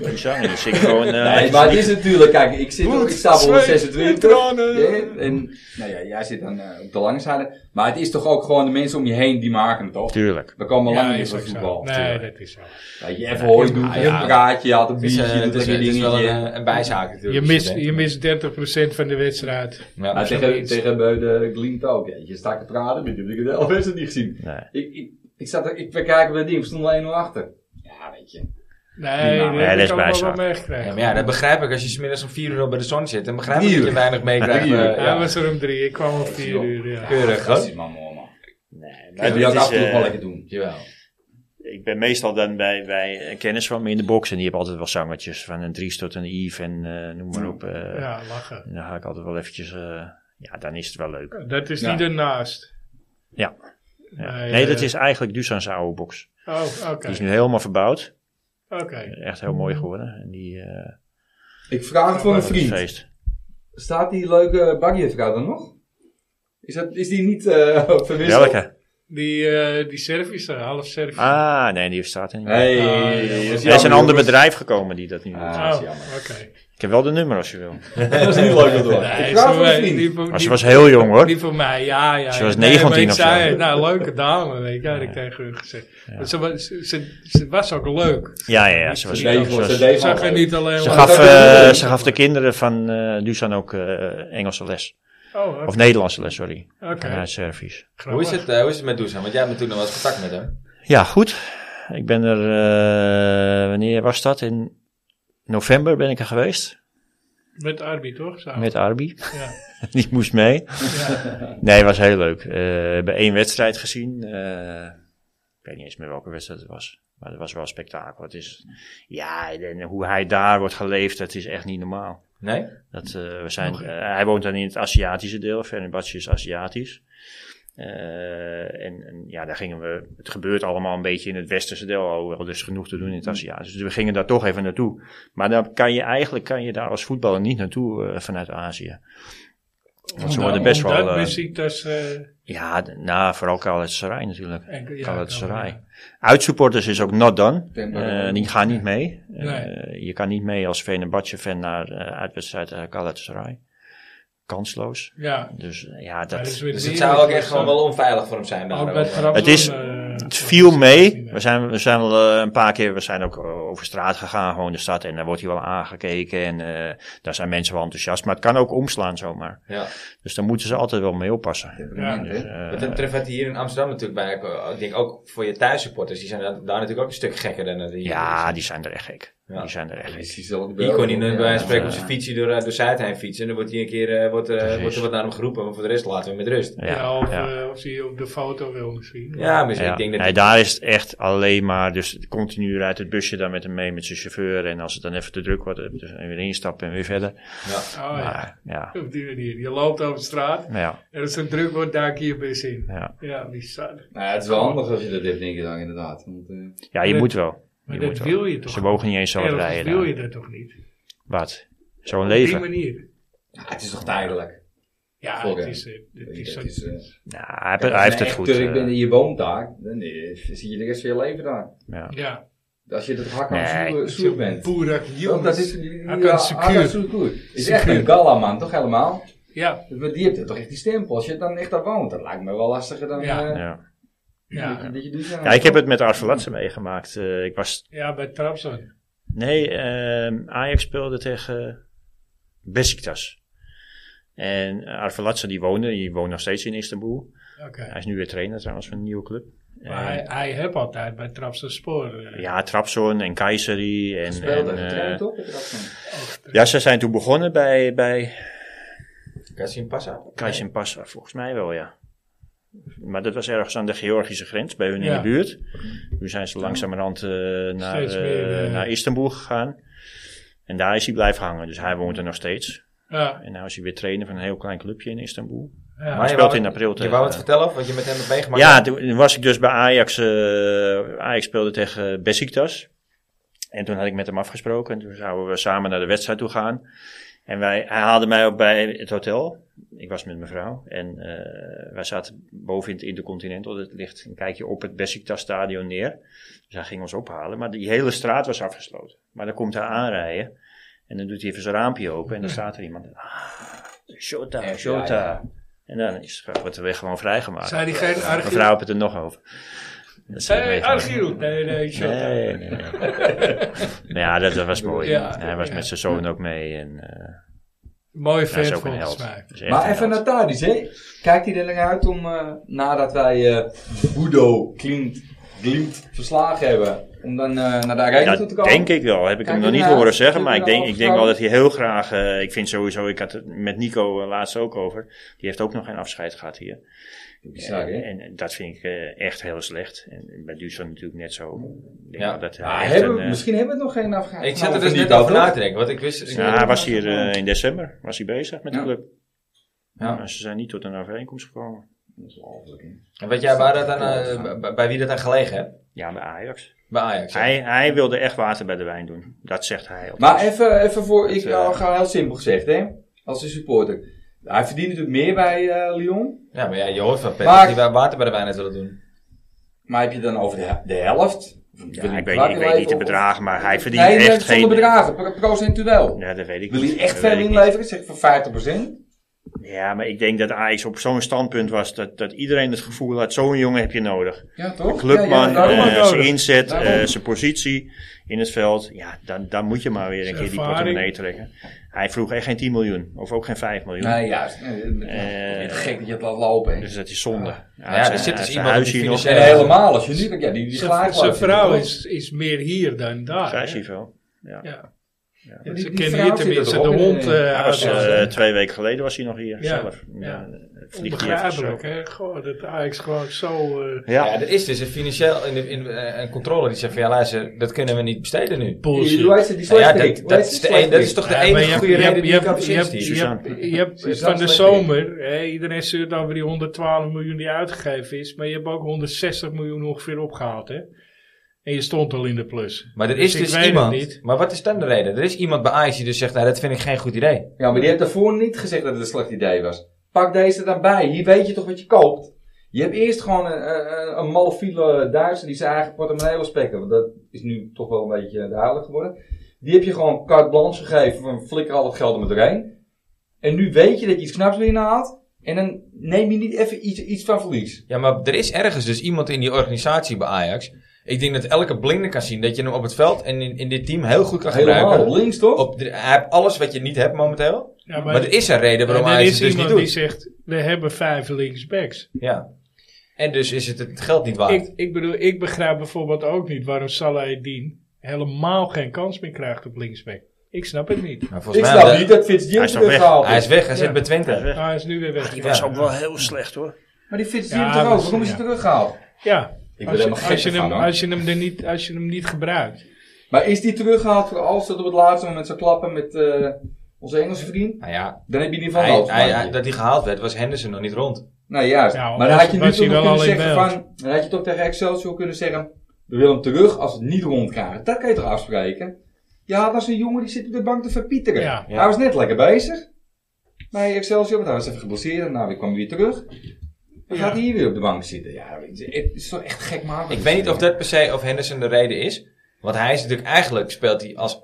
Speaker 4: Die zanger, die zit gewoon... eh,
Speaker 3: Nee, maar het is natuurlijk, kijk, ik, zit,
Speaker 2: Bloed,
Speaker 3: ik sta op
Speaker 2: zweet,
Speaker 3: 126.
Speaker 2: tranen.
Speaker 3: hè, En nou ja, jij zit dan eh, op de lange zijde. Maar het is toch ook gewoon de mensen om je heen die maken het, toch?
Speaker 4: Tuurlijk.
Speaker 3: We komen lang
Speaker 2: Ja,
Speaker 3: niet
Speaker 2: is
Speaker 3: van
Speaker 2: ook zo.
Speaker 3: voetbal.
Speaker 2: Nee, dat is zo.
Speaker 3: Weet je even hooi doen,
Speaker 1: ja,
Speaker 3: je
Speaker 1: ja.
Speaker 3: praat, je haalt een
Speaker 1: Het is, eh,
Speaker 3: biertje, doet
Speaker 1: het is,
Speaker 3: lekker
Speaker 1: het is wel een,
Speaker 3: dingetje.
Speaker 1: eh, een bijzaak natuurlijk.
Speaker 2: Je mist,
Speaker 1: hè.
Speaker 2: je mist 30% van de wedstrijd.
Speaker 1: Ja,
Speaker 3: Nou,
Speaker 1: maar-
Speaker 3: tegen, tegen bij de Glint ook. hè. Je staat te praten, maar die heb ik de helft wedstrijd niet gezien.
Speaker 4: Nee.
Speaker 3: Ik, ik, ik zat er, ik bekijk dat ding, we stonden 1-0 achter. Ja, weet je.
Speaker 2: Nee, dat
Speaker 4: Nee,
Speaker 2: heb
Speaker 4: dat is
Speaker 2: ik allemaal wel
Speaker 4: bijzaak.
Speaker 1: Ja,
Speaker 2: meegekregen.
Speaker 1: maar ja, dat begrijp ik. Als je smiddags om vier uur al bij de zon zit, dan begrijp ik
Speaker 3: Drie
Speaker 1: dat je
Speaker 3: uur.
Speaker 1: weinig meekrijgt.
Speaker 3: Drie uur.
Speaker 1: eh,
Speaker 2: Hij
Speaker 1: ja.
Speaker 2: was er om drie, ik kwam om vier uur. Ja.
Speaker 1: Keurig, hoor.
Speaker 3: Fantastisch, man, man. man.
Speaker 4: maar
Speaker 3: Kun je dat
Speaker 4: dit
Speaker 3: af
Speaker 4: is,
Speaker 3: en toe
Speaker 4: eh,
Speaker 3: wel lekker doen.
Speaker 1: Jawel.
Speaker 4: Ik ben meestal dan bij, bij kennis van me in de box en die hebben altijd wel zangetjes van een Dries tot een Yves en eh, noem maar op. eh.
Speaker 2: Ja, lachen.
Speaker 4: En dan ga ik altijd wel eventjes... eh, ja, dan is het wel leuk.
Speaker 2: Dat is
Speaker 3: Ja.
Speaker 2: niet ernaast.
Speaker 4: Ja. Ja.
Speaker 2: Nee,
Speaker 4: Nee,
Speaker 2: eh,
Speaker 4: dat is eigenlijk Dusan's oude box.
Speaker 2: Oh, oké.
Speaker 4: Die is nu helemaal verbouwd.
Speaker 2: Oké.
Speaker 4: Echt heel mooi geworden. En die, eh
Speaker 3: Ik vraag het voor een
Speaker 4: was een
Speaker 3: vriend.
Speaker 4: feest.
Speaker 3: Staat die leuke baggervrouw dan nog? Is, dat, is die niet eh verwisseld?
Speaker 4: Welke?
Speaker 2: Die, eh die Servische, half Servische.
Speaker 4: Ah, nee, die staat er niet.
Speaker 3: Hey,
Speaker 2: Ah,
Speaker 3: dat
Speaker 2: ja.
Speaker 4: er is een
Speaker 3: jammer,
Speaker 4: ander
Speaker 3: jongens.
Speaker 4: bedrijf gekomen die dat nu doet.
Speaker 3: Ah.
Speaker 2: Oh,
Speaker 3: dat is
Speaker 2: oké.
Speaker 3: jammer.
Speaker 4: Ik heb wel de nummer als je wil.
Speaker 3: Dat is niet leuk, dat hoor.
Speaker 2: Nee,
Speaker 3: ik vraag
Speaker 2: ze
Speaker 3: voor een
Speaker 2: weet-
Speaker 3: vriend.
Speaker 2: die voor-
Speaker 4: Maar ze
Speaker 2: die-
Speaker 4: was heel jong hoor.
Speaker 2: Die voor mij, ja, ja.
Speaker 4: Ze was
Speaker 2: Nee, maar
Speaker 4: 19
Speaker 2: ik
Speaker 4: of zo.
Speaker 2: zei, nou, leuke dame, weet je, had ik tegen hun gezegd. Maar Ze, was, ze, ze- ze was ook leuk.
Speaker 4: Ja, ja, ja. Ze, was,
Speaker 3: Ze
Speaker 4: ze,
Speaker 3: deed gewoon- ze deed
Speaker 2: Ze zag er
Speaker 3: gewoon
Speaker 2: niet alleen
Speaker 3: Ze
Speaker 2: maar-
Speaker 4: gaf,
Speaker 3: Dat
Speaker 4: eh,
Speaker 3: is-
Speaker 4: ze gaf de kinderen van eh Dusan ook eh, Engelse les.
Speaker 2: Oh,
Speaker 4: Of
Speaker 2: oké.
Speaker 4: Nederlandse les, sorry.
Speaker 2: Oké.
Speaker 4: Vanuit Servisch.
Speaker 1: Hoe is, het, eh, hoe is het met Dusan? Want jij hebt natuurlijk nog wel eens contact met hem.
Speaker 4: Ja, goed. Ik ben er, eh, wanneer was dat? In november ben ik er geweest.
Speaker 2: Met Arby, toch? Samen.
Speaker 4: Met Arbi.
Speaker 2: Oh. Ja.
Speaker 4: Die moest mee.
Speaker 2: ja.
Speaker 4: Nee, was heel leuk. Eh, We hebben één wedstrijd gezien. Eh, ik weet niet eens meer welke wedstrijd het was. Maar het was wel een spektakel. Het is, ja, en hoe hij daar wordt geleefd, dat is echt niet normaal.
Speaker 1: Nee?
Speaker 4: Dat, eh, we zijn, eh, hij woont dan in het Aziatische deel. Fenerbahce is Aziatisch. Eh, en, en ja, daar gingen we. Het gebeurt allemaal een beetje in het westerse deel. Alhoewel, er is genoeg te doen in het Aziatische. Dus we gingen daar toch even naartoe. Maar dan kan je eigenlijk kan je daar als voetballer niet naartoe eh, vanuit Azië. Want
Speaker 2: Nou,
Speaker 4: ze worden best wel.
Speaker 2: Omdat
Speaker 4: eh,
Speaker 2: Besiktas, eh,
Speaker 4: ja, d- nou, vooral Galatasaray natuurlijk.
Speaker 2: en- ja,
Speaker 4: Galatasaray.
Speaker 2: kan-
Speaker 4: Uitsupporters is ook not done.
Speaker 3: denk dat
Speaker 4: Eh,
Speaker 3: wel.
Speaker 4: die gaan niet mee. Eh,
Speaker 2: Nee.
Speaker 4: je kan niet mee als Fenerbahce-fan naar eh uitwedstrijd eh, Galatasaray. Kansloos.
Speaker 2: Ja.
Speaker 4: Dus eh, ja,
Speaker 2: Maar dat is
Speaker 4: dat,
Speaker 2: weer
Speaker 1: Dus
Speaker 2: meer
Speaker 1: het zou ook
Speaker 2: dan-
Speaker 1: echt gewoon wel onveilig voor hem zijn. daar
Speaker 2: Ook
Speaker 1: ook.
Speaker 2: bij Trabzon,
Speaker 4: Het is-
Speaker 2: eh,
Speaker 4: het viel mee. We zijn, we zijn wel eh, een paar keer, we zijn ook eh, over straat gegaan, gewoon de stad. En daar wordt hij wel aangekeken en eh, daar zijn mensen wel enthousiast. Maar het kan ook omslaan zomaar.
Speaker 1: Ja.
Speaker 4: Dus daar moeten ze altijd wel mee oppassen.
Speaker 2: Ja.
Speaker 4: Dus, eh,
Speaker 1: Wat hem betreft had hij hier in Amsterdam natuurlijk bij. Ik eh, ik denk ook voor je thuissupporters. Die zijn daar daar natuurlijk ook een stuk gekker dan dat die
Speaker 4: ja, die zijn er echt gek.
Speaker 1: Ja.
Speaker 4: Die zijn er echt gek.
Speaker 3: Precies hetzelfde
Speaker 1: Die kon
Speaker 3: beeld.
Speaker 1: niet bij wijze van spreken op
Speaker 4: Ja.
Speaker 1: zijn fietsje door, eh, door Zuidheim fietsen. En dan wordt hij een keer eh, wordt, eh,
Speaker 4: Precies.
Speaker 1: wordt er wat naar hem geroepen. Maar voor de rest laten we hem met rust.
Speaker 2: Ja, of, eh, of ze je op de foto wil misschien.
Speaker 1: Ja, maar
Speaker 4: Ja.
Speaker 1: Dus ik denk dat...
Speaker 4: nee, daar is het echt alleen maar, dus continu rijdt het busje dan met hem mee met zijn chauffeur. En als het dan even te druk wordt, eh, dus weer instappen en weer verder.
Speaker 1: Ja.
Speaker 2: Oh, ja.
Speaker 4: Maar, ja.
Speaker 2: Op die manier. Je loopt over de straat
Speaker 4: Ja,
Speaker 2: en als het druk wordt, duik je je bus in.
Speaker 4: ja.
Speaker 2: Ja, bizar.
Speaker 3: Nou, ja, het is wel handig als je dat hebt, denk ik dan, inderdaad. Want, eh,
Speaker 4: ja, je
Speaker 2: Maar-
Speaker 4: moet wel.
Speaker 2: Maar
Speaker 4: Je
Speaker 2: dat
Speaker 4: moet
Speaker 2: wil
Speaker 4: wel.
Speaker 2: je toch?
Speaker 4: Ze mogen niet eens zo
Speaker 2: Ergens
Speaker 4: rijden.
Speaker 2: wil
Speaker 4: daar.
Speaker 2: je dat toch niet?
Speaker 4: Wat? Zo'n
Speaker 2: Op die
Speaker 4: leven.
Speaker 2: manier.
Speaker 3: ja, het is toch tijdelijk?
Speaker 2: Ja, het
Speaker 3: Volgens mij.
Speaker 2: is, eh, het
Speaker 3: Weet
Speaker 2: is
Speaker 3: je,
Speaker 2: zo.
Speaker 3: het is, eh,
Speaker 4: Nou, hij,
Speaker 3: als
Speaker 4: hij heeft
Speaker 3: je
Speaker 4: het
Speaker 3: echt
Speaker 4: goed.
Speaker 3: Turk
Speaker 4: eh,
Speaker 3: bent en je woont daar, dan eh, zie je de rest van je leven daar.
Speaker 4: ja.
Speaker 2: Ja,
Speaker 3: Als je dat hak aan
Speaker 4: Nee.
Speaker 3: zuur- zuur bent.
Speaker 2: Boerak,
Speaker 3: Want dat is,
Speaker 2: jongens.
Speaker 3: ja,
Speaker 2: Hak aan secuur.
Speaker 3: Hak aan secuur. Is echt
Speaker 2: Secuur.
Speaker 3: een galaman, toch helemaal?
Speaker 2: Ja,
Speaker 3: Maar die heeft toch echt die stempel. Als je dan echt daar woont, dat lijkt me wel lastiger dan...
Speaker 2: Ja.
Speaker 3: eh,
Speaker 4: Ja.
Speaker 3: dat je-
Speaker 2: ja.
Speaker 3: dat je doet, ja.
Speaker 4: ja, ik heb het met Arvelatse meegemaakt. Eh, ik was
Speaker 2: ja bij Trapson.
Speaker 4: Nee, ehm, Ajax speelde tegen Besiktas. En Arvelatse die woonde, die woont nog steeds in Istanbul.
Speaker 2: Oké.
Speaker 4: Hij is nu weer trainer trouwens van een nieuwe club.
Speaker 2: Maar hij,
Speaker 4: En-
Speaker 2: hij heeft altijd bij Trapson sporen. eh,
Speaker 4: ja, Trabzon en Kayseri. En,
Speaker 3: Speelde
Speaker 4: en,
Speaker 3: en
Speaker 4: eh,
Speaker 3: getraind op. het Radman.
Speaker 2: ook.
Speaker 4: ja, ze zijn toen begonnen bij, bij
Speaker 1: Kassim Passa.
Speaker 4: Kaysen Passa, volgens mij wel, ja. Maar dat was ergens aan de Georgische grens, bij hun in
Speaker 2: Ja.
Speaker 4: de buurt. Nu zijn ze langzamerhand eh, naar,
Speaker 2: Steeds
Speaker 4: eh,
Speaker 2: meer, eh,
Speaker 4: naar Istanbul gegaan. En daar is hij blijven hangen, dus hij woont er nog steeds.
Speaker 2: Ja,
Speaker 4: En nou is hij weer trainer van een heel klein clubje in Istanbul.
Speaker 2: ja.
Speaker 4: Maar-
Speaker 1: je
Speaker 4: speelt
Speaker 1: wou-
Speaker 4: in april
Speaker 1: Je
Speaker 4: tegen-
Speaker 1: wou het vertellen of wat je met hem hebt meegemaakt?
Speaker 4: ja, toen was ik dus bij Ajax. eh, Ajax speelde tegen Besiktas. En toen had ik met hem afgesproken. En toen zouden we samen naar de wedstrijd toe gaan. En wij, hij haalde mij op bij het hotel. Ik was met mijn vrouw. En eh, wij zaten boven in het Intercontinental. Dat ligt een kijkje op het Besiktas stadion neer. Dus hij ging ons ophalen. Maar die hele straat was afgesloten. Maar dan komt hij aanrijden. En dan doet hij even zijn raampje open. En dan staat er iemand. Ah, Shota,
Speaker 3: Echt,
Speaker 4: Shota.
Speaker 3: ja, ja.
Speaker 4: En dan is, wordt er weer gewoon vrijgemaakt.
Speaker 2: Zei die geen
Speaker 4: Mijn
Speaker 2: Argiel?
Speaker 4: vrouw heeft het er nog over. Dat zei
Speaker 2: Hey,
Speaker 4: hij
Speaker 2: Argiel!
Speaker 4: gewoon.
Speaker 2: ah, Nee, nee, shut up.
Speaker 4: Nee, nee, nee. Maar ja, dat, dat was mooi.
Speaker 2: Ja,
Speaker 4: hij was
Speaker 2: ja.
Speaker 4: met zijn zoon ook mee. En, eh
Speaker 2: Mooie
Speaker 4: hij is
Speaker 2: vent
Speaker 4: ook een
Speaker 2: volgens
Speaker 4: held.
Speaker 2: mij.
Speaker 4: Dat is echt
Speaker 3: Maar
Speaker 4: een
Speaker 3: even naar
Speaker 4: held.
Speaker 3: Tadis, hè? Kijkt hij er lang uit om, eh, nadat wij eh Budo Klimt, Glimt verslagen hebben, om dan eh, naar de arena toe te
Speaker 4: Dat
Speaker 3: komen?
Speaker 4: denk ik wel. Heb ik
Speaker 3: Kijk
Speaker 4: hem nog niet
Speaker 3: ernaar.
Speaker 4: horen zeggen.
Speaker 3: Heb
Speaker 4: Maar
Speaker 3: je nou
Speaker 4: ik
Speaker 3: er
Speaker 4: denk,
Speaker 3: al
Speaker 4: ik denk wel dat
Speaker 3: vertrouwen?
Speaker 4: hij heel graag... eh, ik vind sowieso... Ik had het met Nico eh, laatst ook over. Die heeft ook nog geen afscheid gehad hier.
Speaker 3: Bizar, hè?
Speaker 4: en, en dat vind ik eh, echt heel slecht. En bij Dusan natuurlijk net zo. Ik denk
Speaker 1: Ja.
Speaker 4: wel dat hij
Speaker 3: Ja, Ah,
Speaker 4: echt
Speaker 3: hebben,
Speaker 4: een, eh,
Speaker 3: misschien hebben we het nog geen afgaan.
Speaker 1: Ik zit er
Speaker 3: Nou,
Speaker 1: dus
Speaker 3: of
Speaker 1: net
Speaker 3: niet,
Speaker 1: over
Speaker 3: toch?
Speaker 1: na te denken, want ik wist... ik-
Speaker 4: Ja, hij was hier eh, in december was hij bezig met de
Speaker 3: Ja.
Speaker 4: club.
Speaker 1: Ja.
Speaker 4: Maar ze zijn niet tot een overeenkomst gekomen.
Speaker 3: Dat is ongelooflijk, hè?
Speaker 1: En weet jij waar dat aan, eh, bij- bij wie dat aan gelegen heeft?
Speaker 4: Ja, bij Ajax.
Speaker 1: Bij Ajax. hè?
Speaker 4: Hij, hij wilde echt water bij de wijn doen. Dat zegt hij. althans.
Speaker 3: Maar even, even voor, ik
Speaker 4: Dus, eh,
Speaker 3: eh, ga heel simpel gezegd, hè? Als een supporter. Hij verdient natuurlijk meer bij eh, Lyon.
Speaker 1: Ja, maar ja, je hoort van Peter
Speaker 3: Maar-
Speaker 1: die wij water bij de wijn uit willen doen.
Speaker 3: Maar heb je dan over de, he- de helft? Of
Speaker 4: Ja,
Speaker 3: wil je
Speaker 4: ik weet,
Speaker 3: kwart
Speaker 4: ik weet
Speaker 3: inleveren
Speaker 4: niet de
Speaker 3: of-
Speaker 4: bedragen, maar hij verdient
Speaker 3: nee,
Speaker 4: echt geen...
Speaker 3: zonder bedragen, pro- procentueel.
Speaker 4: Ja, dat weet ik
Speaker 3: Wil
Speaker 4: niet.
Speaker 3: je echt
Speaker 4: Dat
Speaker 3: veel
Speaker 4: weet ik niet.
Speaker 3: inleveren? Zeg voor 50%?
Speaker 4: Ja, maar ik denk dat Ajax op zo'n standpunt was dat, dat iedereen het gevoel had, zo'n jongen heb je nodig.
Speaker 3: Ja, toch?
Speaker 4: Clubman,
Speaker 3: Ja, ja, daarom.
Speaker 4: eh, zijn inzet, eh,
Speaker 3: Daarom.
Speaker 4: zijn positie in het veld. Ja, dan, dan moet je maar weer een
Speaker 2: Zijn
Speaker 4: keer die
Speaker 2: ervaring.
Speaker 4: portemonnee trekken. Hij vroeg echt geen 10 miljoen, of ook geen 5 miljoen.
Speaker 3: Nee, juist. Nee, het-
Speaker 4: Eh,
Speaker 3: het is gek dat je het laat lopen. hè.
Speaker 4: Dus eh, dat is zonde.
Speaker 1: ja, er zit dus iemand op die
Speaker 4: nog.
Speaker 1: financiële-
Speaker 3: en helemaal, als je nu... Ja, die, die
Speaker 2: Zijn
Speaker 3: glaaglaag
Speaker 2: zijn
Speaker 3: zit er
Speaker 2: vrouw
Speaker 3: toch?
Speaker 2: is, is meer hier dan daar.
Speaker 4: Zij
Speaker 2: hè?
Speaker 4: is hier wel.
Speaker 2: Ja.
Speaker 3: Ja, die-
Speaker 2: Ze
Speaker 3: die
Speaker 2: kennen
Speaker 3: vrouw
Speaker 2: hier
Speaker 3: zit er
Speaker 2: tenminste
Speaker 3: toch
Speaker 2: de
Speaker 3: ook in,
Speaker 2: hond.
Speaker 3: eh,
Speaker 2: eh
Speaker 4: Hij was,
Speaker 2: uit,
Speaker 4: eh,
Speaker 2: eh,
Speaker 4: twee weken geleden was hij nog hier
Speaker 2: Ja,
Speaker 4: zelf.
Speaker 2: ja.
Speaker 4: vliegt hij even
Speaker 2: Onbegrijpelijk,
Speaker 4: zo.
Speaker 2: hè? Goh, dat Ajax gewoon zo eh
Speaker 1: Ja.
Speaker 4: Ja,
Speaker 1: er is dus een financieel in de, in, eh, een controle die zegt van ja luister, dat kunnen we niet besteden nu.
Speaker 2: bullshit.
Speaker 3: Die- Hoe heet ze? Die
Speaker 1: Nou ja,
Speaker 3: Slijterik.
Speaker 1: dat, dat, is de een- dat is toch de
Speaker 2: Ja, maar je
Speaker 1: enige
Speaker 2: hebt-
Speaker 1: goede
Speaker 2: je hebt-
Speaker 1: reden die
Speaker 2: je
Speaker 1: je
Speaker 2: hebt-
Speaker 1: kan
Speaker 2: je hebt-
Speaker 1: verzinnen.
Speaker 2: je hebt- Je hebt
Speaker 3: Suzanne
Speaker 2: van de
Speaker 3: Slijterik.
Speaker 2: zomer, hè, iedereen zeurt over die 112 miljoen die uitgegeven is, maar je hebt ook 160 miljoen ongeveer opgehaald, hè? En je stond al in de plus.
Speaker 1: Maar er is
Speaker 2: ik
Speaker 1: dus
Speaker 2: weet het
Speaker 1: iemand.
Speaker 2: niet.
Speaker 1: Maar wat is dan de reden? Er is iemand bij Ajax die dus zegt, nou dat vind ik geen goed idee.
Speaker 3: Ja, maar die heeft daarvoor niet gezegd dat het een slecht idee was. Pak deze dan bij. Hier weet je toch wat je koopt. Je hebt eerst gewoon een, een, een malfiele Duitser die zijn eigen portemonnee wil spekken. Want dat is nu toch wel een beetje duidelijk geworden. Die heb je gewoon carte blanche gegeven van flikker al het geld er maar doorheen. En nu weet je dat je iets knaps erin haalt. En dan neem je niet even iets, iets van verlies.
Speaker 1: Ja, maar er is ergens dus iemand in die organisatie bij Ajax. Ik denk dat elke blinde kan zien dat je hem op het veld en in, in dit team heel goed kan
Speaker 3: Helemaal
Speaker 1: gebruiken.
Speaker 3: links toch?
Speaker 1: Op de- hij heeft alles wat je niet hebt momenteel.
Speaker 2: Ja, maar,
Speaker 1: Maar er is een reden waarom
Speaker 2: er
Speaker 1: Ajax
Speaker 2: is
Speaker 1: het dus niet
Speaker 2: iemand die
Speaker 1: doet.
Speaker 2: zegt, we hebben vijf linksbacks.
Speaker 1: Ja. En dus is het het geld niet waard.
Speaker 2: Ik, ik bedoel, ik begrijp bijvoorbeeld ook niet waarom Salah Dien helemaal geen kans meer krijgt op linksback. Ik snap het niet.
Speaker 1: Maar
Speaker 3: ik
Speaker 1: Nou, volgens mij,
Speaker 3: snap
Speaker 1: de-
Speaker 3: niet dat Fitzgerald
Speaker 4: Hij is nog weg.
Speaker 3: teruggehaald
Speaker 1: hij is
Speaker 3: is.
Speaker 1: weg, hij zit
Speaker 2: Ja.
Speaker 1: bij Twente.
Speaker 4: Hij is
Speaker 2: Maar
Speaker 4: weg.
Speaker 2: Nou, hij is nu weer weg.
Speaker 4: die
Speaker 1: Ja.
Speaker 4: was ook wel heel slecht hoor.
Speaker 3: Maar die
Speaker 2: Ja,
Speaker 3: Fitzgerald toch ook.
Speaker 2: dat-
Speaker 3: Waarom is hij
Speaker 2: ja.
Speaker 3: teruggehaald?
Speaker 2: Ja.
Speaker 3: Ik
Speaker 2: Als je, als, je hem, als, je hem er niet, als je hem niet gebruikt.
Speaker 3: Maar is die teruggehaald voor als dat op het laatste moment zou klappen met eh, onze Engelse vriend?
Speaker 1: Nou ja,
Speaker 3: Dan heb je in ieder
Speaker 1: hij,
Speaker 3: geval
Speaker 1: hij- hij-
Speaker 3: nodig.
Speaker 1: dat hij gehaald werd, was Henderson nog niet rond.
Speaker 3: Nou juist.
Speaker 2: Ja,
Speaker 3: maar dan had je nu
Speaker 2: was
Speaker 3: toch
Speaker 2: hij
Speaker 3: nog
Speaker 2: wel
Speaker 3: kunnen zeggen
Speaker 2: al in
Speaker 3: van... Dan had je toch tegen Excelsior kunnen zeggen... We willen hem terug als het niet rondgaat. Dat kan je toch afspreken? Ja, dat is een jongen die zit op de bank te verpieteren.
Speaker 2: Ja,
Speaker 1: ja.
Speaker 3: Hij was net lekker bezig. Bij Excelsior, want hij was even geblesseerd. En nou, weer kwam hij weer terug. Dan
Speaker 2: Ja.
Speaker 3: gaat hij hier weer op de bank zitten. Ja, het is toch echt gek maken.
Speaker 1: Ik weet niet of dat per se of Henderson de reden is. Want hij is natuurlijk eigenlijk speelt hij als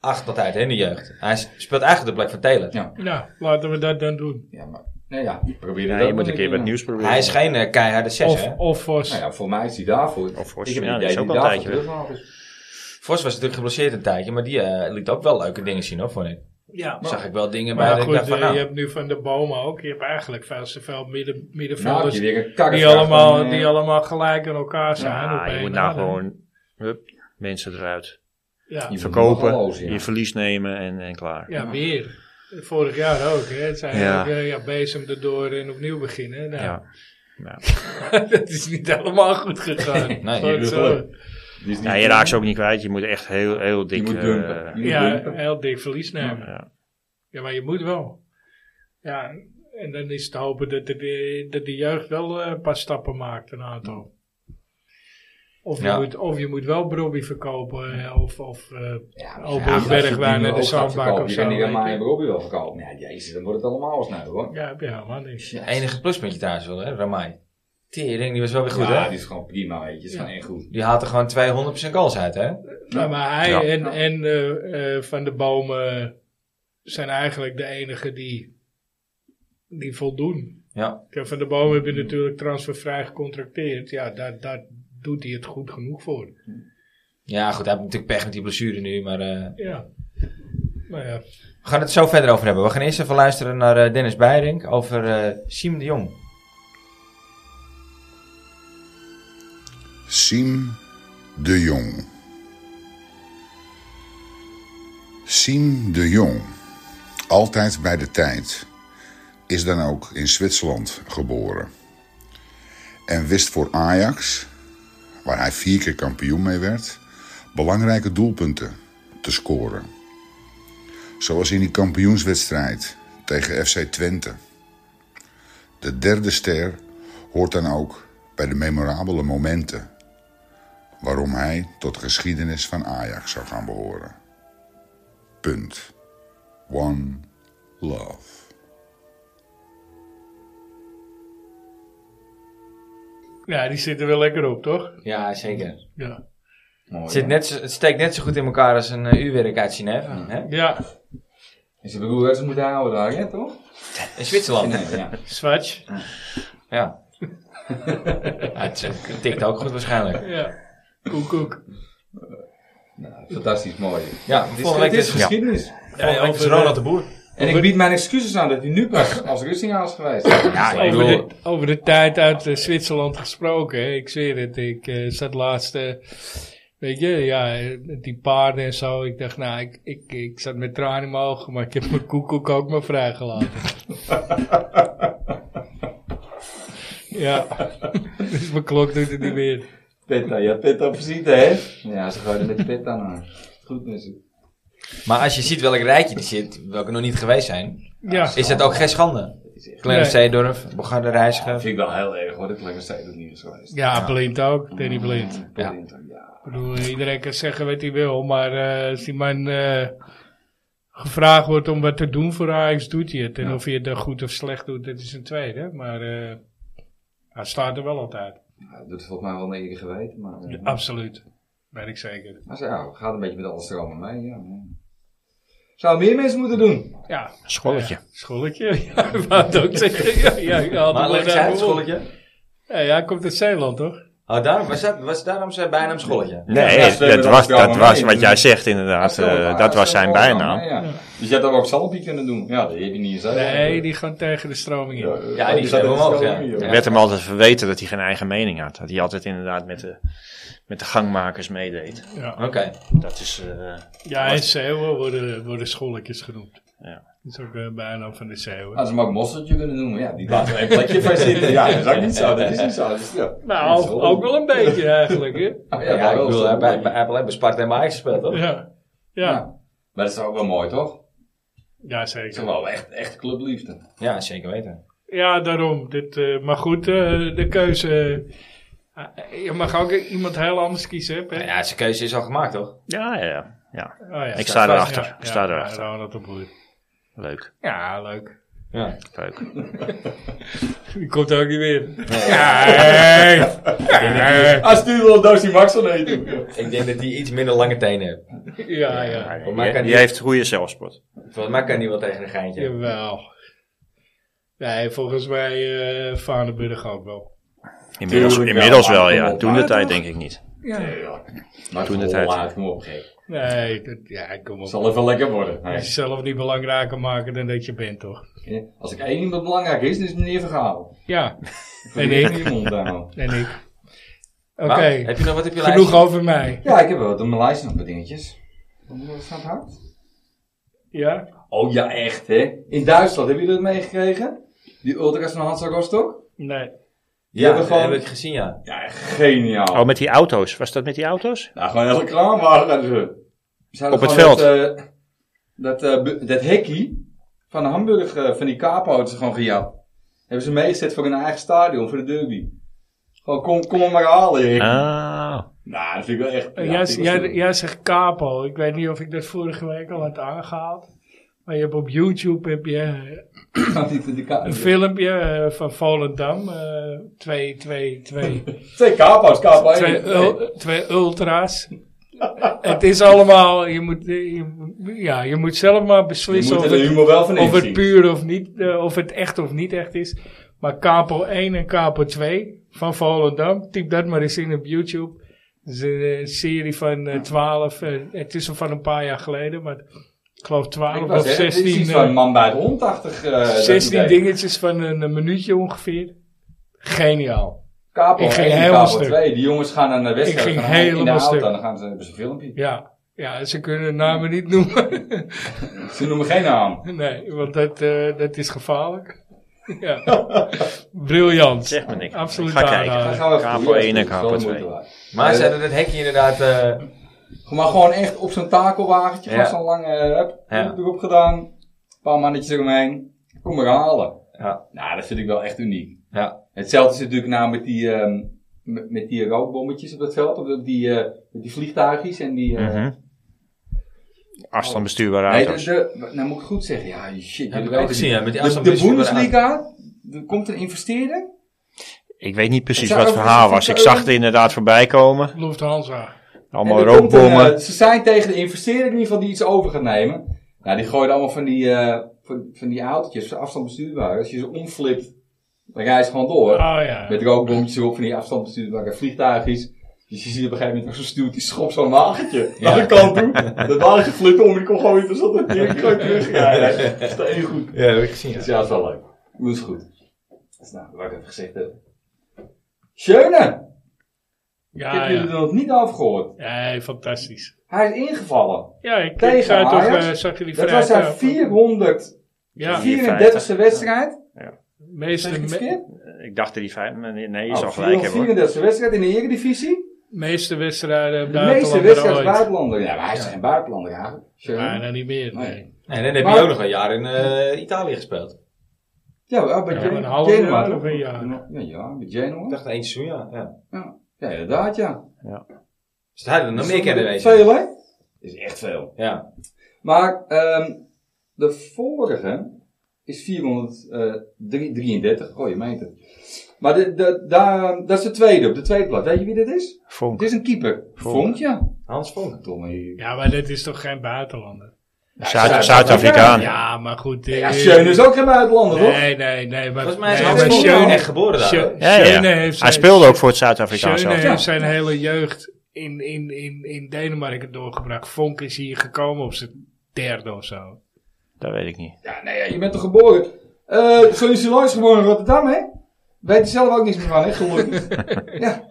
Speaker 1: acht altijd hè, in de jeugd. Hij is- speelt eigenlijk de plek van Taylor.
Speaker 3: Ja.
Speaker 2: Nou, laten we dat dan doen.
Speaker 3: Ja, maar, nou ja, probeer
Speaker 4: Ja,
Speaker 3: dat
Speaker 4: je
Speaker 3: maar
Speaker 4: moet een keer wat
Speaker 3: eh,
Speaker 4: nieuws proberen.
Speaker 1: Hij is geen eh, keiharde zes,
Speaker 2: Of,
Speaker 1: hè?
Speaker 2: of Vos.
Speaker 3: Nou ja, voor mij is hij daarvoor.
Speaker 4: Of voor
Speaker 3: ik heb
Speaker 4: ja,
Speaker 3: het
Speaker 4: die
Speaker 3: idee
Speaker 4: is
Speaker 3: dat
Speaker 4: ook
Speaker 3: hij
Speaker 4: al een tijdje
Speaker 3: daarvoor
Speaker 4: weg.
Speaker 3: teruggehaald is.
Speaker 1: Vos was natuurlijk geblesseerd een tijdje, maar die eh, liet ook wel leuke dingen zien, hoor, vond ik.
Speaker 2: Ja,
Speaker 1: Zag ik wel dingen bij
Speaker 2: Maar
Speaker 1: dat ik
Speaker 2: goed,
Speaker 1: dacht van,
Speaker 2: eh,
Speaker 1: nou,
Speaker 2: je hebt nu van de bomen ook. Je hebt eigenlijk veel te veel midden,
Speaker 3: Nou, heb
Speaker 2: middenvelders
Speaker 3: je weer een kakker.
Speaker 2: dus die, allemaal, die
Speaker 3: eh,
Speaker 2: allemaal gelijk aan elkaar zijn.
Speaker 4: Ja,
Speaker 2: op
Speaker 4: je
Speaker 2: één
Speaker 4: moet
Speaker 2: na,
Speaker 4: nou
Speaker 2: dan-
Speaker 4: gewoon hup, mensen eruit.
Speaker 2: Ja,
Speaker 3: Je
Speaker 4: Verkopen,
Speaker 3: moet nog wel
Speaker 4: je
Speaker 3: eens,
Speaker 4: verlies nemen en, en klaar.
Speaker 2: ja weer. Vorig jaar ook. Hè. Het zijn
Speaker 4: Ja.
Speaker 2: eigenlijk, eh, ja, bezem erdoor en opnieuw beginnen. Nou,
Speaker 4: Ja.
Speaker 2: dat is niet helemaal goed gegaan.
Speaker 1: Nee,
Speaker 2: Goed
Speaker 3: je
Speaker 2: zo.
Speaker 3: geluk. Die is niet
Speaker 4: Ja, je raakt ze ook niet kwijt. Je moet echt heel, heel
Speaker 3: Je
Speaker 4: dik...
Speaker 3: moet
Speaker 4: eh,
Speaker 3: dumpen. Je moet
Speaker 2: Ja,
Speaker 3: dumpen.
Speaker 2: heel dik verlies nemen. Ja.
Speaker 4: ja.
Speaker 2: maar je moet wel. Ja, en dan is het hopen dat de, dat de jeugd wel eh, een paar stappen maakt, een aantal. Of je,
Speaker 1: Ja.
Speaker 2: moet, of je moet wel Brobby verkopen, eh, of, of eh,
Speaker 3: Ja,
Speaker 2: Albo
Speaker 3: als je
Speaker 2: Bergwijn en de
Speaker 3: die ook gaat
Speaker 2: Zandbak
Speaker 3: verkopen,
Speaker 2: of
Speaker 3: Je
Speaker 2: zo,
Speaker 3: kan die
Speaker 2: weet
Speaker 3: Ramai
Speaker 2: je.
Speaker 3: en Robbie wel verkopen. Ja, jezus, dan wordt het allemaal snel hoor.
Speaker 2: ja, ja, maar niks.
Speaker 3: Ja,
Speaker 1: enige pluspuntje thuis wel, hè, Ramai. Tering, die was wel weer goed,
Speaker 3: ja,
Speaker 1: hè?
Speaker 3: die is gewoon prima, weet je. Is
Speaker 2: Ja.
Speaker 3: gewoon echt goed.
Speaker 1: Die haalt er gewoon 200% goals uit, hè?
Speaker 2: Ja, maar hij
Speaker 4: Ja.
Speaker 2: en,
Speaker 3: Ja.
Speaker 2: en eh, eh, Van de Bomen zijn eigenlijk de enigen die, die voldoen.
Speaker 1: Ja.
Speaker 2: Kijk, Van de Bomen heb je natuurlijk transfervrij gecontracteerd. Ja, daar, daar doet hij het goed genoeg voor.
Speaker 1: Ja, goed, hij heeft natuurlijk pech met die blessure nu, maar... eh,
Speaker 2: Ja. Maar ja,
Speaker 1: we gaan het zo verder over hebben. We gaan eerst even luisteren naar eh, Dennis Beirink over eh Siem de Jong.
Speaker 5: Siem de Jong. Siem de Jong, altijd bij de tijd, is dan ook in Zwitserland geboren. En wist voor Ajax, waar hij vier keer kampioen mee werd, belangrijke doelpunten te scoren. Zoals in die kampioenswedstrijd tegen FC Twente. De derde ster hoort dan ook bij de memorabele momenten waarom hij tot de geschiedenis van Ajax zou gaan behoren. Punt. One love.
Speaker 2: ja die zitten wel lekker op, toch?
Speaker 1: Ja, zeker.
Speaker 2: Ja.
Speaker 3: Mooi,
Speaker 1: Het, zit
Speaker 3: ja.
Speaker 1: net zo- het steekt net zo goed in elkaar als een eh, uurwerk uit Genève. Hè?
Speaker 2: Ja,
Speaker 3: En ze bedoelen dat ze moeten houden daar, hè, toch?
Speaker 1: In Zwitserland.
Speaker 3: Nee, ja.
Speaker 2: Swatch.
Speaker 1: Ja. Ja, het eh, tikt ook goed waarschijnlijk.
Speaker 2: Ja. Koek, koek.
Speaker 3: Fantastisch mooi.
Speaker 1: Ja,
Speaker 3: Dit is,
Speaker 1: volgende week
Speaker 3: dit is
Speaker 1: is ja.
Speaker 3: geschiedenis.
Speaker 1: Volgende week is
Speaker 2: over,
Speaker 1: Ronald de Boer.
Speaker 3: En ik bied mijn excuses aan dat hij nu pas als Russinga is geweest.
Speaker 1: Ja, ik
Speaker 2: Over
Speaker 1: bedoel,
Speaker 2: de, over de tijd uit eh, Zwitserland gesproken, hè. ik zweer het. Ik eh, zat laatst, eh, weet je, ja, eh, met die paarden en zo. Ik dacht, nou, ik, ik, ik zat met tranen in mijn ogen, maar ik heb mijn koekoek ook maar vrijgelaten. ja, dus mijn klok doet het niet meer.
Speaker 3: Petta, ja, Petta precies, hè? Ja, ze gooiden met die Petta naar. Goed met ze.
Speaker 1: maar als je ziet welk rijtje er zit, welke nog niet geweest zijn,
Speaker 2: Ja,
Speaker 1: is dat ook geen schande. Kleine
Speaker 2: Nee.
Speaker 1: Zeedorf, Bogarde
Speaker 3: Dat
Speaker 1: Reiziger.
Speaker 3: vind ik wel heel erg hoor, dat Clemens Stede het niet is geweest.
Speaker 2: ja blind ook, Danny Blind.
Speaker 1: Ja.
Speaker 3: ja.
Speaker 2: Ik bedoel, iedereen kan zeggen wat hij wil, maar eh, als die man eh, gevraagd wordt om wat te doen voor Ajax, doet hij het. En of hij het dan goed of slecht doet, dat is een tweede. Maar eh, hij staat er wel altijd.
Speaker 3: Ja, Dat doet volgens mij wel een eer geweten, maar. eh,
Speaker 2: Absoluut. Ben ik zeker.
Speaker 3: Maar zo, ja, gaat een beetje met alle stromen mee, ja. ja. Zou meer mensen moeten doen?
Speaker 2: Ja.
Speaker 4: Scholletje.
Speaker 2: Ja, scholletje. Ja, ik wou het ook zeggen. Ja, ja, ik haal
Speaker 1: Maar
Speaker 2: het wel
Speaker 1: leg eens
Speaker 2: naar
Speaker 1: uit,
Speaker 2: me op.
Speaker 1: scholletje.
Speaker 2: Ja, ja, hij komt uit Zeeland, toch?
Speaker 1: Oh, daarom, was, dat, was daarom zijn bijnaam scholletje?
Speaker 4: Nee,
Speaker 3: Ja,
Speaker 4: dat,
Speaker 3: ze hebben
Speaker 4: was,
Speaker 3: dat
Speaker 4: dat
Speaker 3: allemaal
Speaker 4: was
Speaker 3: mee.
Speaker 4: wat jij zegt inderdaad. eh, dat was zijn bijnaam.
Speaker 3: Ja. Dus je had dat ook Salbi kunnen doen? Ja, dat heb je niet eens.
Speaker 2: Nee, die gaan tegen de stroming in.
Speaker 1: Ja, die
Speaker 3: oh, zat
Speaker 1: zijn
Speaker 3: in de
Speaker 1: omhoog, ja.
Speaker 3: stroming, joh.
Speaker 1: Ja.
Speaker 4: Werd hem altijd verweten dat hij geen eigen mening had. Dat hij altijd inderdaad met de, met de gangmakers meedeed.
Speaker 2: Ja,
Speaker 1: Oké.
Speaker 4: Dat is... eh,
Speaker 2: ja en Zeeuwen worden, worden scholletjes genoemd.
Speaker 4: Ja.
Speaker 2: Dat is ook een bijnaam van de Zeeuwen.
Speaker 3: Als ze hem ook mosseltje kunnen noemen, ja, die laat er een plekje voor zitten. Ja, dat is ook niet zo, dat is niet zo. Dus, ja. Dat is
Speaker 2: Nou,
Speaker 3: wel-
Speaker 2: ook wel een beetje eigenlijk, hè?
Speaker 3: Ah,
Speaker 1: Ja,
Speaker 3: maar
Speaker 1: ik
Speaker 3: wel
Speaker 1: bedoel,
Speaker 3: zo.
Speaker 1: hij bij- bij- hij heeft alleen bij Sparta en bij Ajax gespeeld, toch?
Speaker 2: Ja. Ja,
Speaker 3: Ja. Maar dat is ook wel mooi, toch?
Speaker 2: ja
Speaker 3: Ik zeg
Speaker 2: zeker.
Speaker 3: wel, echt, echt clubliefde.
Speaker 1: Ja, zeker weten.
Speaker 2: Ja, daarom. Dit, eh, maar goed, eh, de keuze. eh, je mag ook iemand heel anders kiezen, hè? Pet?
Speaker 1: Nou Ja, zijn keuze is al gemaakt, toch?
Speaker 4: ja, ja, ja, ja.
Speaker 2: Oh, ja.
Speaker 4: Ik sta erachter. Ik sta
Speaker 2: ja,
Speaker 4: erachter.
Speaker 2: Ja, Ronald de Boer.
Speaker 4: Leuk.
Speaker 2: Ja, leuk.
Speaker 1: Ja.
Speaker 4: Peuk.
Speaker 2: Die komt ook niet meer. Ja, hey. ja,
Speaker 3: Als nu Ah, wel een doosje Max van eten.
Speaker 1: Ik denk dat hij iets minder lange tenen heeft.
Speaker 2: ja, ja.
Speaker 4: Ja,
Speaker 1: Voor mij
Speaker 4: je-
Speaker 1: kan
Speaker 4: je
Speaker 1: die-
Speaker 4: heeft goede zelfsport.
Speaker 1: Volgens mij kan hij wel tegen een geintje.
Speaker 2: Jawel. Nee, volgens mij eh Vaneburg ook wel.
Speaker 4: Inmiddels,
Speaker 3: Tuurlijk wel,
Speaker 4: inmiddels
Speaker 3: maar
Speaker 4: wel,
Speaker 3: kom
Speaker 4: ja.
Speaker 3: op,
Speaker 4: Toen
Speaker 3: maar
Speaker 4: de tijd
Speaker 3: toch?
Speaker 4: denk ik niet.
Speaker 2: Ja.
Speaker 4: Toen
Speaker 3: Maar toen
Speaker 4: de
Speaker 3: het
Speaker 4: tijd.
Speaker 3: uit. Kom op, gek.
Speaker 2: Nee, dat, ja, kom op.
Speaker 3: Het zal even lekker worden. hè.
Speaker 2: Jezelf niet belangrijker maken dan dat je bent, toch?
Speaker 3: Ja, Als ik één iemand belangrijk is, dan is het meneer Vergaal.
Speaker 2: Ja,
Speaker 3: En
Speaker 2: En
Speaker 3: ik.
Speaker 2: ik.
Speaker 3: Die mond daar, man.
Speaker 2: en ik. Oké,
Speaker 1: Maar, Heb je nog wat op je
Speaker 2: genoeg
Speaker 1: lijstje?
Speaker 2: over mij.
Speaker 3: Ja, ik heb wel wat op mijn lijstje nog wat dingetjes. Wat staat hard?
Speaker 2: Ja?
Speaker 3: Oh ja, echt hè. In Duitsland, hebben jullie dat meegekregen? Die ultras van Hans Agostok?
Speaker 2: Nee.
Speaker 3: Die hebben
Speaker 1: dat
Speaker 3: gewoon...
Speaker 1: heb ik gezien, ja.
Speaker 3: Ja, geniaal.
Speaker 4: Oh, met die auto's. Was dat met die auto's?
Speaker 3: Nou, gewoon heel kraanwagen. Ze Ze hadden
Speaker 4: Op het
Speaker 3: gewoon
Speaker 4: veld.
Speaker 3: Dat, eh, dat, eh, bu- dat hekkie van de Hamburg, eh, van die capo, hadden ze gewoon gejat. Hebben ze meegezet voor hun eigen stadion, voor de derby. Gewoon, kom, kom hem maar halen, hekkie.
Speaker 4: Ah.
Speaker 3: Nou, dat vind ik wel echt...
Speaker 2: Eh,
Speaker 3: ja,
Speaker 2: jij,
Speaker 3: vind ik wel
Speaker 2: jij,
Speaker 3: stoer.
Speaker 2: jij zegt capo. Ik weet niet of ik dat vorige week al had aangehaald. Maar je hebt op YouTube heb je eh,
Speaker 3: Gaat niet in de ka-
Speaker 2: een filmpje eh, van Volendam. eh, twee, twee, twee,
Speaker 3: Twee capo's, capo één.
Speaker 2: twee, oh,
Speaker 3: Nee.
Speaker 2: ul- twee ultra's. Het is allemaal, je moet, eh, je, moet- ja, je moet zelf maar
Speaker 3: Je
Speaker 2: beslissen
Speaker 3: moet
Speaker 2: of
Speaker 3: er de
Speaker 2: het,
Speaker 3: humor wel van
Speaker 2: of het
Speaker 3: inzien.
Speaker 2: puur of niet, eh, of het echt of niet echt is. Maar Capo 1 en Capo 2 van Volendam, typ dat maar eens in op YouTube. Dat is een eh, serie van eh, 12, eh, het is al van een paar jaar geleden, maar ik geloof 12
Speaker 3: Ik
Speaker 2: of
Speaker 3: was, hè, dit
Speaker 2: 16,
Speaker 3: is iets
Speaker 2: eh,
Speaker 3: van man bij het hond achtig, eh, dat
Speaker 2: 16
Speaker 3: idee.
Speaker 2: dingetjes van een, een minuutje ongeveer. Geniaal.
Speaker 3: Kapo
Speaker 2: Ik ging
Speaker 3: 1,
Speaker 2: helemaal
Speaker 3: Kapo
Speaker 2: stuk.
Speaker 3: 2. Die jongens gaan naar de wedstrijd.
Speaker 2: Ik ging
Speaker 3: gaan in de
Speaker 2: helemaal
Speaker 3: auto,
Speaker 2: stuk.
Speaker 3: Dan gaan ze, hebben ze een filmpje.
Speaker 2: Ja. ja, ze kunnen de namen niet noemen.
Speaker 3: Ze noemen geen naam.
Speaker 2: nee, want dat, eh, dat is gevaarlijk. ja. Briljant.
Speaker 4: Zeg maar niks.
Speaker 2: Absoluut
Speaker 4: Ik ga kijken.
Speaker 2: aanrader.
Speaker 3: Dan gaan we even
Speaker 4: Kapo
Speaker 3: goeie, dat
Speaker 4: 1 en
Speaker 3: is wel
Speaker 4: Kapo
Speaker 3: de moeite
Speaker 4: 2.
Speaker 3: waard.
Speaker 1: Maar ze hadden dat hekje inderdaad... eh,
Speaker 3: Maar gewoon echt op zo'n takelwagentje.
Speaker 1: Ja.
Speaker 3: Gewoon zo'n lange... eh, Hup,
Speaker 1: Ja.
Speaker 3: erop gedaan. Een paar mannetjes eromheen. Kom maar halen.
Speaker 1: ja,
Speaker 3: Nou, dat vind ik wel echt uniek.
Speaker 1: ja.
Speaker 3: Hetzelfde is natuurlijk nou met die, ehm, met, met die rookbommetjes op het veld. Of op die, eh, met die vliegtuigjes en die... eh,
Speaker 4: Mhm. Afstand bestuurbare
Speaker 3: Nee,
Speaker 4: auto's.
Speaker 3: de, de- nou moet ik goed zeggen. Ja, shit.
Speaker 1: Heb ik
Speaker 3: jullie weten
Speaker 1: ook gezien, ja. Met die
Speaker 3: De,
Speaker 1: afstand
Speaker 3: de
Speaker 1: bestuurbaar
Speaker 3: Bundesliga, er komt een investeerder.
Speaker 4: Ik weet niet precies
Speaker 3: Ik zag
Speaker 4: wat het
Speaker 3: ook
Speaker 4: verhaal
Speaker 3: een
Speaker 4: was. Ik
Speaker 3: fietser-
Speaker 4: zag het inderdaad voorbij komen.
Speaker 2: Lufthansa.
Speaker 4: Allemaal
Speaker 3: en er komt een,
Speaker 4: rookbommen.
Speaker 3: eh, ze zijn tegen de investeerder in ieder geval die iets over gaat nemen. Nou, die gooien allemaal van die, eh, van, van die autootjes, afstand bestuurbaar. Als je ze omflipt, dan rij ze gewoon door.
Speaker 2: Oh ja.
Speaker 3: Met rookbommetjes erop van die afstand bestuurbare vliegtuigjes. Dus je ziet op een gegeven moment zo'n stuurt die schopt zo'n wagentje
Speaker 1: Ja.
Speaker 3: naar de kant toe. Dat wagentje flipt om en die komt gewoon weer terug. zodat die gewoon terug. Ja, ja, dat is één goed.
Speaker 1: Ja, dat heb ik gezien.
Speaker 3: Dus
Speaker 1: ja.
Speaker 3: ja, dat is wel leuk. Dat is goed. Dat is nou wat ik even gezegd heb. Schöne! Ik
Speaker 2: Ja,
Speaker 3: heb jullie
Speaker 2: ja.
Speaker 3: er nog niet over gehoord.
Speaker 2: Nee, fantastisch.
Speaker 3: Hij is ingevallen.
Speaker 2: Ja, ik
Speaker 3: Tegen
Speaker 2: ik zei toch,
Speaker 3: Ajax.
Speaker 2: eh, zag je die
Speaker 3: Dat
Speaker 2: vrije
Speaker 3: was zijn
Speaker 2: trap?
Speaker 3: 434
Speaker 2: Ja,
Speaker 4: Vier-
Speaker 3: 34e wedstrijd. Zeg
Speaker 2: meeste,
Speaker 3: ik het
Speaker 2: me-
Speaker 3: verkeerd?
Speaker 4: Ik dacht dat die vijf... Nee, je
Speaker 3: Oh,
Speaker 4: zal gelijk hebben hoor.
Speaker 3: 434e wedstrijd in de Eredivisie.
Speaker 2: meeste wedstrijden
Speaker 3: De meeste wedstrijd
Speaker 2: buitenlander ooit.
Speaker 3: buitenlander. Ja, maar hij is geen buitenlander eigenlijk.
Speaker 2: Maar
Speaker 3: Schöne.
Speaker 2: nou niet meer,
Speaker 3: Nee.
Speaker 2: nee.
Speaker 1: En dan heb
Speaker 3: Maar-
Speaker 1: je ook nog een jaar in eh, Italië gespeeld.
Speaker 3: Ja, maar bij
Speaker 2: Ja,
Speaker 3: Gen-
Speaker 2: een half
Speaker 3: Genoa
Speaker 2: jaar
Speaker 3: toch?
Speaker 2: of een jaar.
Speaker 3: Ja, ja, bij
Speaker 1: Ik
Speaker 3: Genoa.
Speaker 1: dacht één seizoen, ja. ja.
Speaker 3: Ja, inderdaad, ja.
Speaker 1: Dus daar hadden we nog meer kennen wezen.
Speaker 3: Veel, hè? Is echt veel.
Speaker 1: Ja.
Speaker 3: Maar ehm, de vorige is eh, 433. Oh, je meent het. Maar de, de, daar, dat is de tweede op de tweede plaats. Weet je wie dat is?
Speaker 4: Vonk.
Speaker 3: Het is een keeper.
Speaker 4: Vonk.
Speaker 3: Vonk, ja.
Speaker 1: Hans Vonk.
Speaker 3: Tommy.
Speaker 2: Ja, maar dit is toch geen buitenlander?
Speaker 4: Zuid- Zuid-Afrikaan.
Speaker 2: Ja, maar goed. eh,
Speaker 3: Ja, Schöne is ook geen buitenlander, toch?
Speaker 2: Nee, nee, nee. Maar,
Speaker 1: Volgens mij is
Speaker 2: nee,
Speaker 1: Hans
Speaker 2: maar
Speaker 1: Vonk
Speaker 2: Schöne-
Speaker 1: wel echt geboren daar.
Speaker 2: Schö-
Speaker 1: hoor.
Speaker 4: Ja, ja.
Speaker 2: Schöne heeft
Speaker 4: Hij
Speaker 2: zijn-
Speaker 4: speelde ook voor het Zuid-Afrikaanse
Speaker 2: Schöne
Speaker 4: elftal.
Speaker 2: heeft zijn hele jeugd in, in, in, in Denemarken doorgebracht. Vonk is hier gekomen op zijn derde of zo.
Speaker 4: Dat weet ik niet.
Speaker 3: Ja, nee, ja, je bent toch geboren? Eh Sonny Siloy is geboren in Rotterdam, hè? Weet er zelf ook niks meer van, hè? Gelukkig.
Speaker 2: Ja.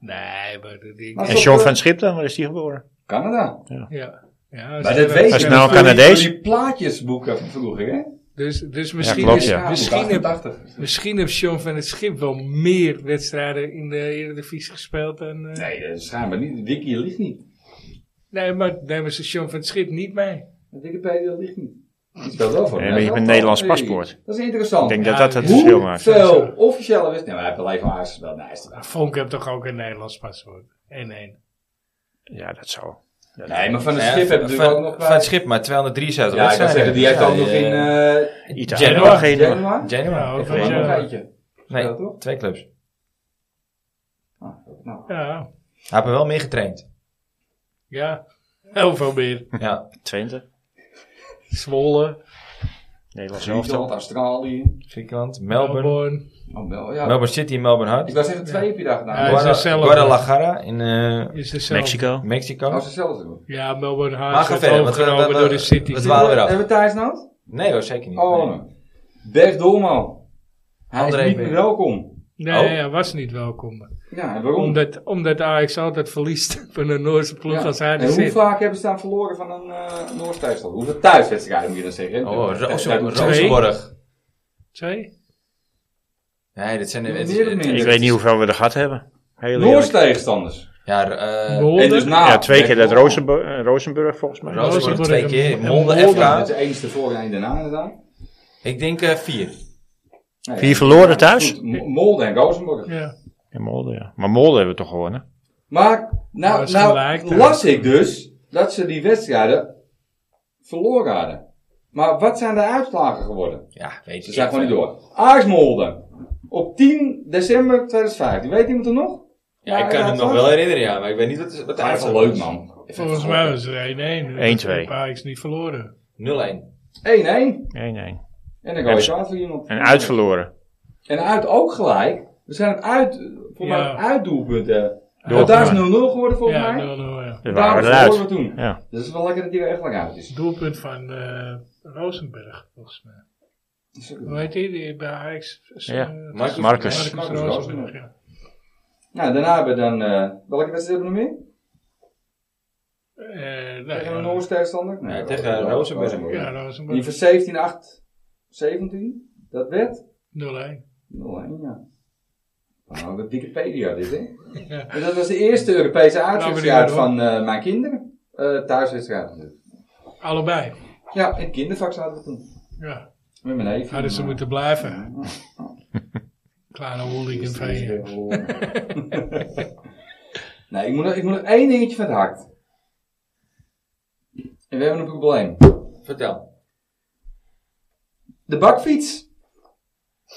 Speaker 2: Nee, maar dat ding.
Speaker 3: Maar- eh,
Speaker 4: En John van Schip dan? Waar is die geboren?
Speaker 3: Canada.
Speaker 2: Ja. Ja,
Speaker 3: Maar
Speaker 2: ze-
Speaker 3: dat weet
Speaker 4: Hij is
Speaker 3: je
Speaker 4: nou
Speaker 3: nog door die-
Speaker 4: Canadees.
Speaker 3: door Die plaatjesboeken van vroeger, hè?
Speaker 2: Dus, dus misschien,
Speaker 4: klopt,
Speaker 2: is,
Speaker 4: ja.
Speaker 2: misschien, heb,
Speaker 3: 88.
Speaker 2: misschien heeft Sean van het Schip wel meer wedstrijden in de Eredivisie gespeeld. En, eh, nee.
Speaker 3: Nee, dat is schijnbaar niet. Wiki ligt niet.
Speaker 2: maar nemen ze Sean van het Schip niet mee.
Speaker 3: Wikipedia ligt niet. Die speelt wel voor.
Speaker 4: Ja,
Speaker 3: hè?
Speaker 4: maar je hebt een Nederlands paspoort.
Speaker 3: Dat is interessant.
Speaker 4: Ik denk
Speaker 2: Ja,
Speaker 4: dat dat het
Speaker 2: dat
Speaker 4: verschil maakt.
Speaker 3: Hoeveel officiële wedstrijden? Nee, maar hij heeft alleen van Ajax gespeeld. Nee, hij is er wel.
Speaker 2: Vonk heeft toch ook een Nederlands paspoort? 1-1.
Speaker 4: Ja, dat zou. Dat-
Speaker 3: Nee, maar van het
Speaker 1: Ja,
Speaker 3: schip
Speaker 1: van-
Speaker 3: hebben we
Speaker 1: van,
Speaker 3: natuurlijk ook nog...
Speaker 1: Van het schip maar 273
Speaker 3: Ja, ik kan zeggen, die heeft ook nog in eh
Speaker 4: Italië
Speaker 1: Genoa.
Speaker 4: nog geen nummer.
Speaker 3: Genoa.
Speaker 1: Genoa.
Speaker 2: Nou,
Speaker 1: Ik
Speaker 2: van
Speaker 1: weet
Speaker 3: Genoa
Speaker 1: het
Speaker 3: nog
Speaker 2: Genoa.
Speaker 1: niet.
Speaker 3: eentje.
Speaker 1: Nee,
Speaker 3: Ja, toch?
Speaker 1: twee clubs. Hij
Speaker 3: Ah, nou.
Speaker 2: Ja,
Speaker 1: heeft er wel meer getraind.
Speaker 2: ja. Heel veel meer.
Speaker 1: Ja.
Speaker 4: Twente.
Speaker 2: Zwolle,
Speaker 4: Nederlands
Speaker 3: Griekenland,
Speaker 4: elftal.
Speaker 3: Australië.
Speaker 1: Griekenland, Melbourne.
Speaker 2: Melbourne.
Speaker 3: Oh, wel, ja.
Speaker 1: Melbourne City en Melbourne
Speaker 3: Ik
Speaker 1: Heart.
Speaker 3: wou zeggen, twee heb je daar gedaan.
Speaker 2: Ja,
Speaker 3: Maar-
Speaker 2: is hetzelfde.
Speaker 1: Guadalajara in eh,
Speaker 2: Is dezelfde.
Speaker 4: Mexico.
Speaker 1: Mexico.
Speaker 3: Oh, ze zelfs doen.
Speaker 2: Ja, Melbourne
Speaker 1: Maar
Speaker 2: Haas
Speaker 1: ga
Speaker 2: werd
Speaker 1: verder, want we- eh,
Speaker 2: overgenomen
Speaker 1: we- we-
Speaker 2: door de City.
Speaker 1: we dwalen weer af.
Speaker 3: Hebben we Thijs nood?
Speaker 1: Nee hoor, zeker niet.
Speaker 3: Oh,
Speaker 1: Nee.
Speaker 3: nee. Berg Doorman. Hij
Speaker 1: André
Speaker 3: is niet
Speaker 1: Berg.
Speaker 3: meer welkom.
Speaker 2: Nee,
Speaker 1: Oh.
Speaker 2: hij was niet welkom.
Speaker 3: Ja, en waarom?
Speaker 2: Omdat, omdat Ajax altijd verliest van een Noorse ploeg
Speaker 3: Ja.
Speaker 2: als hij
Speaker 3: en
Speaker 2: er
Speaker 3: hoe
Speaker 2: zit.
Speaker 3: vaak hebben ze dan verloren van een eh Noors thuisstad? Hoeveel thuiswedstrijden moet je dan zeggen?
Speaker 1: Oh, Ro-
Speaker 3: Dat-
Speaker 1: Ro-
Speaker 3: dat- dat-
Speaker 1: Rozenborg.
Speaker 2: Twee?
Speaker 1: Nee, dit zijn de...
Speaker 3: Meer
Speaker 1: het-
Speaker 3: of
Speaker 1: het-
Speaker 3: minder?
Speaker 4: Ik weet niet hoeveel we er gehad hebben. Heel
Speaker 3: Noors
Speaker 4: eerlijk.
Speaker 3: tegenstanders.
Speaker 1: Ja, eh,
Speaker 2: Noorden?
Speaker 3: En dus na.
Speaker 4: Ja, twee keer dat
Speaker 3: Berg-Doorman.
Speaker 4: Rozenburg, eh, Rozenburg volgens mij.
Speaker 2: Rozenburg.
Speaker 1: Rozenborg twee keer.
Speaker 2: en
Speaker 1: Molde
Speaker 2: Molde.
Speaker 3: Ja,
Speaker 1: FK.
Speaker 3: dat is de enige voor en één daarna inderdaad.
Speaker 1: Ik denk eh, vier.
Speaker 3: Nee,
Speaker 4: Vier
Speaker 3: ja,
Speaker 4: verloren
Speaker 3: goed,
Speaker 4: thuis?
Speaker 3: goed, Mo- Molde en Rozenborg.
Speaker 2: Ja.
Speaker 4: In Molde, ja. Maar Molde hebben we toch gewonnen.
Speaker 3: Maar
Speaker 2: Ja, dat
Speaker 3: nou,
Speaker 2: is
Speaker 3: nou
Speaker 2: gelijk, hè.
Speaker 3: las ik dus dat ze die wedstrijden verloren hadden. Maar wat zijn de uitslagen geworden?
Speaker 1: Ja, weet je.
Speaker 3: Ze zijn gewoon niet door. Ajax Molde. Op 10 december 2015. Weet iemand het nog?
Speaker 1: Ja, ik kan hem nog wel herinneren, ja. Maar ik weet niet wat, wat de
Speaker 3: Dat is
Speaker 1: uitslag
Speaker 3: wel leuk man.
Speaker 2: Volgens mij was er 1-1.
Speaker 4: 1-2.
Speaker 2: Ik Ajax niet verloren.
Speaker 1: 0-1.
Speaker 3: 1-1.
Speaker 4: 1-1. En
Speaker 3: En dan
Speaker 4: En-
Speaker 3: gooi je aan voor iemand.
Speaker 4: uitverloren.
Speaker 3: En uit ook gelijk. We zijn het uit, voor mij
Speaker 2: Ja.
Speaker 3: uitdoelpunten.
Speaker 4: Door.
Speaker 3: Want daar is 0-0 geworden volgens
Speaker 2: Ja, 0-0.
Speaker 3: mij.
Speaker 2: ja.
Speaker 4: Dus
Speaker 3: Daarom
Speaker 4: waren we eruit.
Speaker 3: verloren we toen.
Speaker 4: Ja.
Speaker 3: Dus het is wel lekker dat die er echt lang uit is.
Speaker 2: Doelpunt van eh Rosenberg, volgens mij. Hoe heet die? die bij Ajax.
Speaker 4: Ja.
Speaker 2: eh,
Speaker 1: Marcus.
Speaker 2: Marcus
Speaker 4: Marcus.
Speaker 3: Marcus
Speaker 2: Rosenberg, ja.
Speaker 3: Nou, daarna hebben we dan... eh, welke wedstrijd hebben we nog meer?
Speaker 2: Eh, nou
Speaker 3: Tegen een
Speaker 2: ja.
Speaker 3: Noorse tegenstander?
Speaker 1: Nee, tegen Rozenburg.
Speaker 2: Ja,
Speaker 3: Die
Speaker 2: Rosenberg.
Speaker 3: van 17, 8, 17, dat werd
Speaker 2: 0-1.
Speaker 3: 0-1, ja. Nou, dat Wikipedia dit, hè?
Speaker 2: Ja.
Speaker 3: En dat was de eerste Europese
Speaker 2: Nou, maar
Speaker 3: uitwedstrijd van eh, mijn kinderen. Eh thuiswedstrijd.
Speaker 2: Allebei.
Speaker 3: Ja, in het kindervak zaten we toen.
Speaker 2: Ja.
Speaker 3: Met mijn neef.
Speaker 2: Hadden Ah, dus ze
Speaker 3: En,
Speaker 2: moeten blijven. Kleine hooligan
Speaker 3: eh,
Speaker 2: van je.
Speaker 3: nee, ik moet, nog- ik moet nog één dingetje van het hart. En we hebben een probleem.
Speaker 1: Vertel.
Speaker 3: De bakfiets.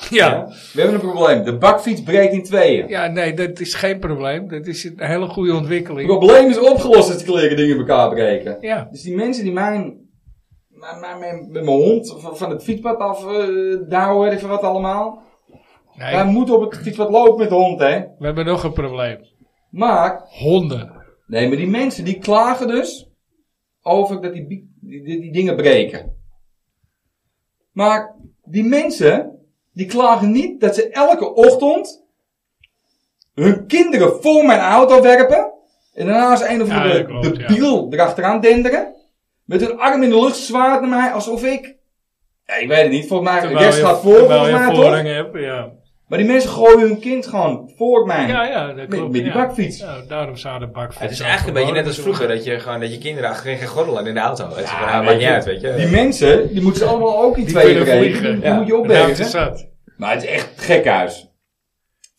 Speaker 3: eh,
Speaker 2: Ja.
Speaker 3: We hebben een probleem. De bakfiets breekt in tweeën.
Speaker 2: Ja, nee, dat is geen probleem. Dat is een hele goede
Speaker 3: Het
Speaker 2: ontwikkeling.
Speaker 3: probleem is opgelost als de kleren dingen in elkaar breken.
Speaker 2: Ja.
Speaker 3: Dus die mensen die mijn, mijn, mijn, mijn- met mijn hond van, van het fietspad af eh douwen, weet ik veel wat allemaal.
Speaker 2: Nee,
Speaker 3: Wij moeten op het fietspad lopen met de hond, hè.
Speaker 2: we hebben nog een probleem.
Speaker 3: Maar,
Speaker 2: Honden.
Speaker 3: nee, maar die mensen die klagen dus over dat die, bi- die, die, die dingen breken. Maar die mensen, die klagen niet dat ze elke ochtend hun kinderen voor mijn auto werpen. En daarnaast een of
Speaker 2: Ja,
Speaker 3: andere
Speaker 2: dat klopt, ja.
Speaker 3: debiel erachteraan denderen. Met hun arm in de lucht zwaait naar mij alsof ik... Ja, ik weet het niet, volgens mij...
Speaker 2: Terwijl
Speaker 3: West
Speaker 2: je-
Speaker 3: gaat voor,
Speaker 2: terwijl
Speaker 3: volgens
Speaker 2: je
Speaker 3: mij
Speaker 2: voorrang
Speaker 3: toch?
Speaker 2: hebt, ja.
Speaker 3: Maar die mensen gooien hun kind gewoon voor mij.
Speaker 2: Ja, ja, dat
Speaker 3: Met-
Speaker 2: klopt.
Speaker 3: met die
Speaker 2: ja.
Speaker 3: bakfiets.
Speaker 2: Ja, daarom zou de bakfiets...
Speaker 1: Het is
Speaker 2: ook
Speaker 1: eigenlijk een beetje net
Speaker 2: verboden
Speaker 1: als vroeger,
Speaker 2: moeten
Speaker 1: dat je, gewoon, dat je kinderen achterin gaan gorrelen in de auto. Dat is van, ah,
Speaker 3: weet
Speaker 1: maakt niet
Speaker 3: je.
Speaker 1: uit, weet je.
Speaker 3: Die mensen, die moeten ze allemaal ook
Speaker 2: worden.
Speaker 3: in
Speaker 2: Die
Speaker 3: tweeën
Speaker 2: kunnen
Speaker 3: breken.
Speaker 2: vliegen.
Speaker 3: Die
Speaker 1: Ja.
Speaker 3: moet je
Speaker 2: Daar is het
Speaker 3: opbergen.
Speaker 2: zat.
Speaker 3: Maar het is echt gekhuis.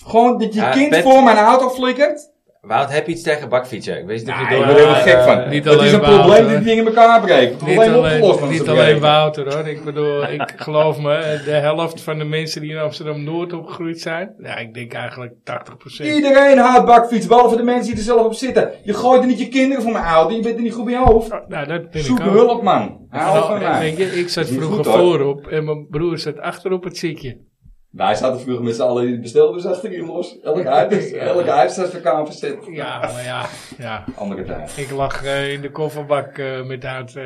Speaker 3: Gewoon dat je
Speaker 1: Ja,
Speaker 3: kind
Speaker 1: Pet-
Speaker 3: voor mijn auto flikkert.
Speaker 1: Wout, heb je iets tegen bakfietsen? Ik weet niet of je
Speaker 3: Ja,
Speaker 1: door...
Speaker 3: ik word er helemaal
Speaker 1: eh,
Speaker 3: gek van.
Speaker 2: niet
Speaker 3: Dat is
Speaker 2: alleen
Speaker 3: een probleem
Speaker 2: Wouter.
Speaker 3: dat die dingen in elkaar breken. Het
Speaker 2: Niet
Speaker 3: probleem opgelost.
Speaker 2: alleen,
Speaker 3: want ze
Speaker 2: niet alleen
Speaker 3: breken.
Speaker 2: Wouter hoor. Ik bedoel, ik geloof me, de helft van de mensen die in Amsterdam Noord opgegroeid zijn. Ja, ik denk eigenlijk 80%.
Speaker 3: Iedereen haat bakfiets, behalve de mensen die er zelf op zitten. Je gooit er niet je kinderen voor mijn auto, je bent er niet goed bij je hoofd.
Speaker 2: Nou, dat ben
Speaker 3: Zoek
Speaker 2: ik ook.
Speaker 3: hulp, man. Hou
Speaker 2: Nou,
Speaker 3: van mij.
Speaker 2: weet je, ik zat
Speaker 3: Is niet
Speaker 2: vroeger
Speaker 3: goed, hoor.
Speaker 2: voorop en mijn broer zat achter op het ziekje.
Speaker 3: Wij zaten vroeger met z'n allen in de bestelbus achterin los. Elke huis, elke huis staat voor elkaar verzet.
Speaker 2: Ja, maar ja, ja.
Speaker 3: Andere tijd.
Speaker 2: Ik lag eh, in de kofferbak eh, met, uit, eh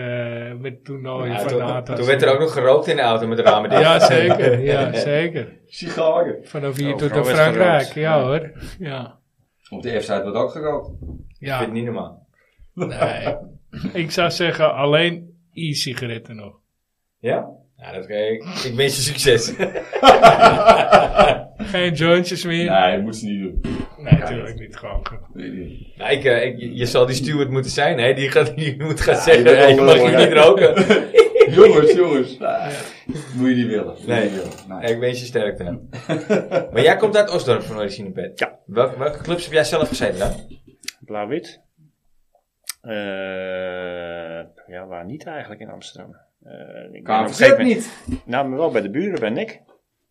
Speaker 2: met toernooi
Speaker 1: ja,
Speaker 2: van de
Speaker 1: toen,
Speaker 2: ATAS.
Speaker 1: toen werd er ook nog gerookt in de auto met de ramen dicht.
Speaker 2: Ja, zeker. Ja, zeker.
Speaker 3: Sigaren.
Speaker 2: Vanaf hier tot
Speaker 4: Overal
Speaker 2: aan
Speaker 4: werd
Speaker 2: Frankrijk.
Speaker 4: gerookt.
Speaker 2: Ja hoor. Ja.
Speaker 3: Op de F-site wordt ook gerookt.
Speaker 1: Ik vind
Speaker 2: ja.
Speaker 1: het niet normaal.
Speaker 2: Nee. Ik zou zeggen alleen e-sigaretten nog.
Speaker 1: Ja? Ja, dat ik. Ik wens je succes.
Speaker 2: Geen jointjes meer?
Speaker 3: Nee, dat moet ze niet doen.
Speaker 2: nee, natuurlijk niet. Gewoon. ge-
Speaker 3: Weet ik niet.
Speaker 1: nou, ik, eh, ik- je zal die steward moeten zijn, hè. Die, gaat, die moet gaan
Speaker 3: die
Speaker 1: zeggen,
Speaker 3: wil
Speaker 1: hey, je mag
Speaker 3: wel,
Speaker 1: je
Speaker 3: ja.
Speaker 1: niet roken.
Speaker 3: jongens, jongens. Ah, Moet je niet willen. Moet je
Speaker 1: Nee.
Speaker 3: niet willen.
Speaker 1: Ja, ik wens je sterkte. maar jij komt uit Osdorp van origine, Pet.
Speaker 4: Ja.
Speaker 1: Welke, welke clubs heb jij zelf gezeten dan?
Speaker 4: Blauw-wit. Eh, ja, waar niet eigenlijk in Amsterdam? Eh ik ben op een
Speaker 3: KVZ
Speaker 4: gegeven moment-
Speaker 3: niet.
Speaker 4: Nou, maar wel bij de buren, bij Nick.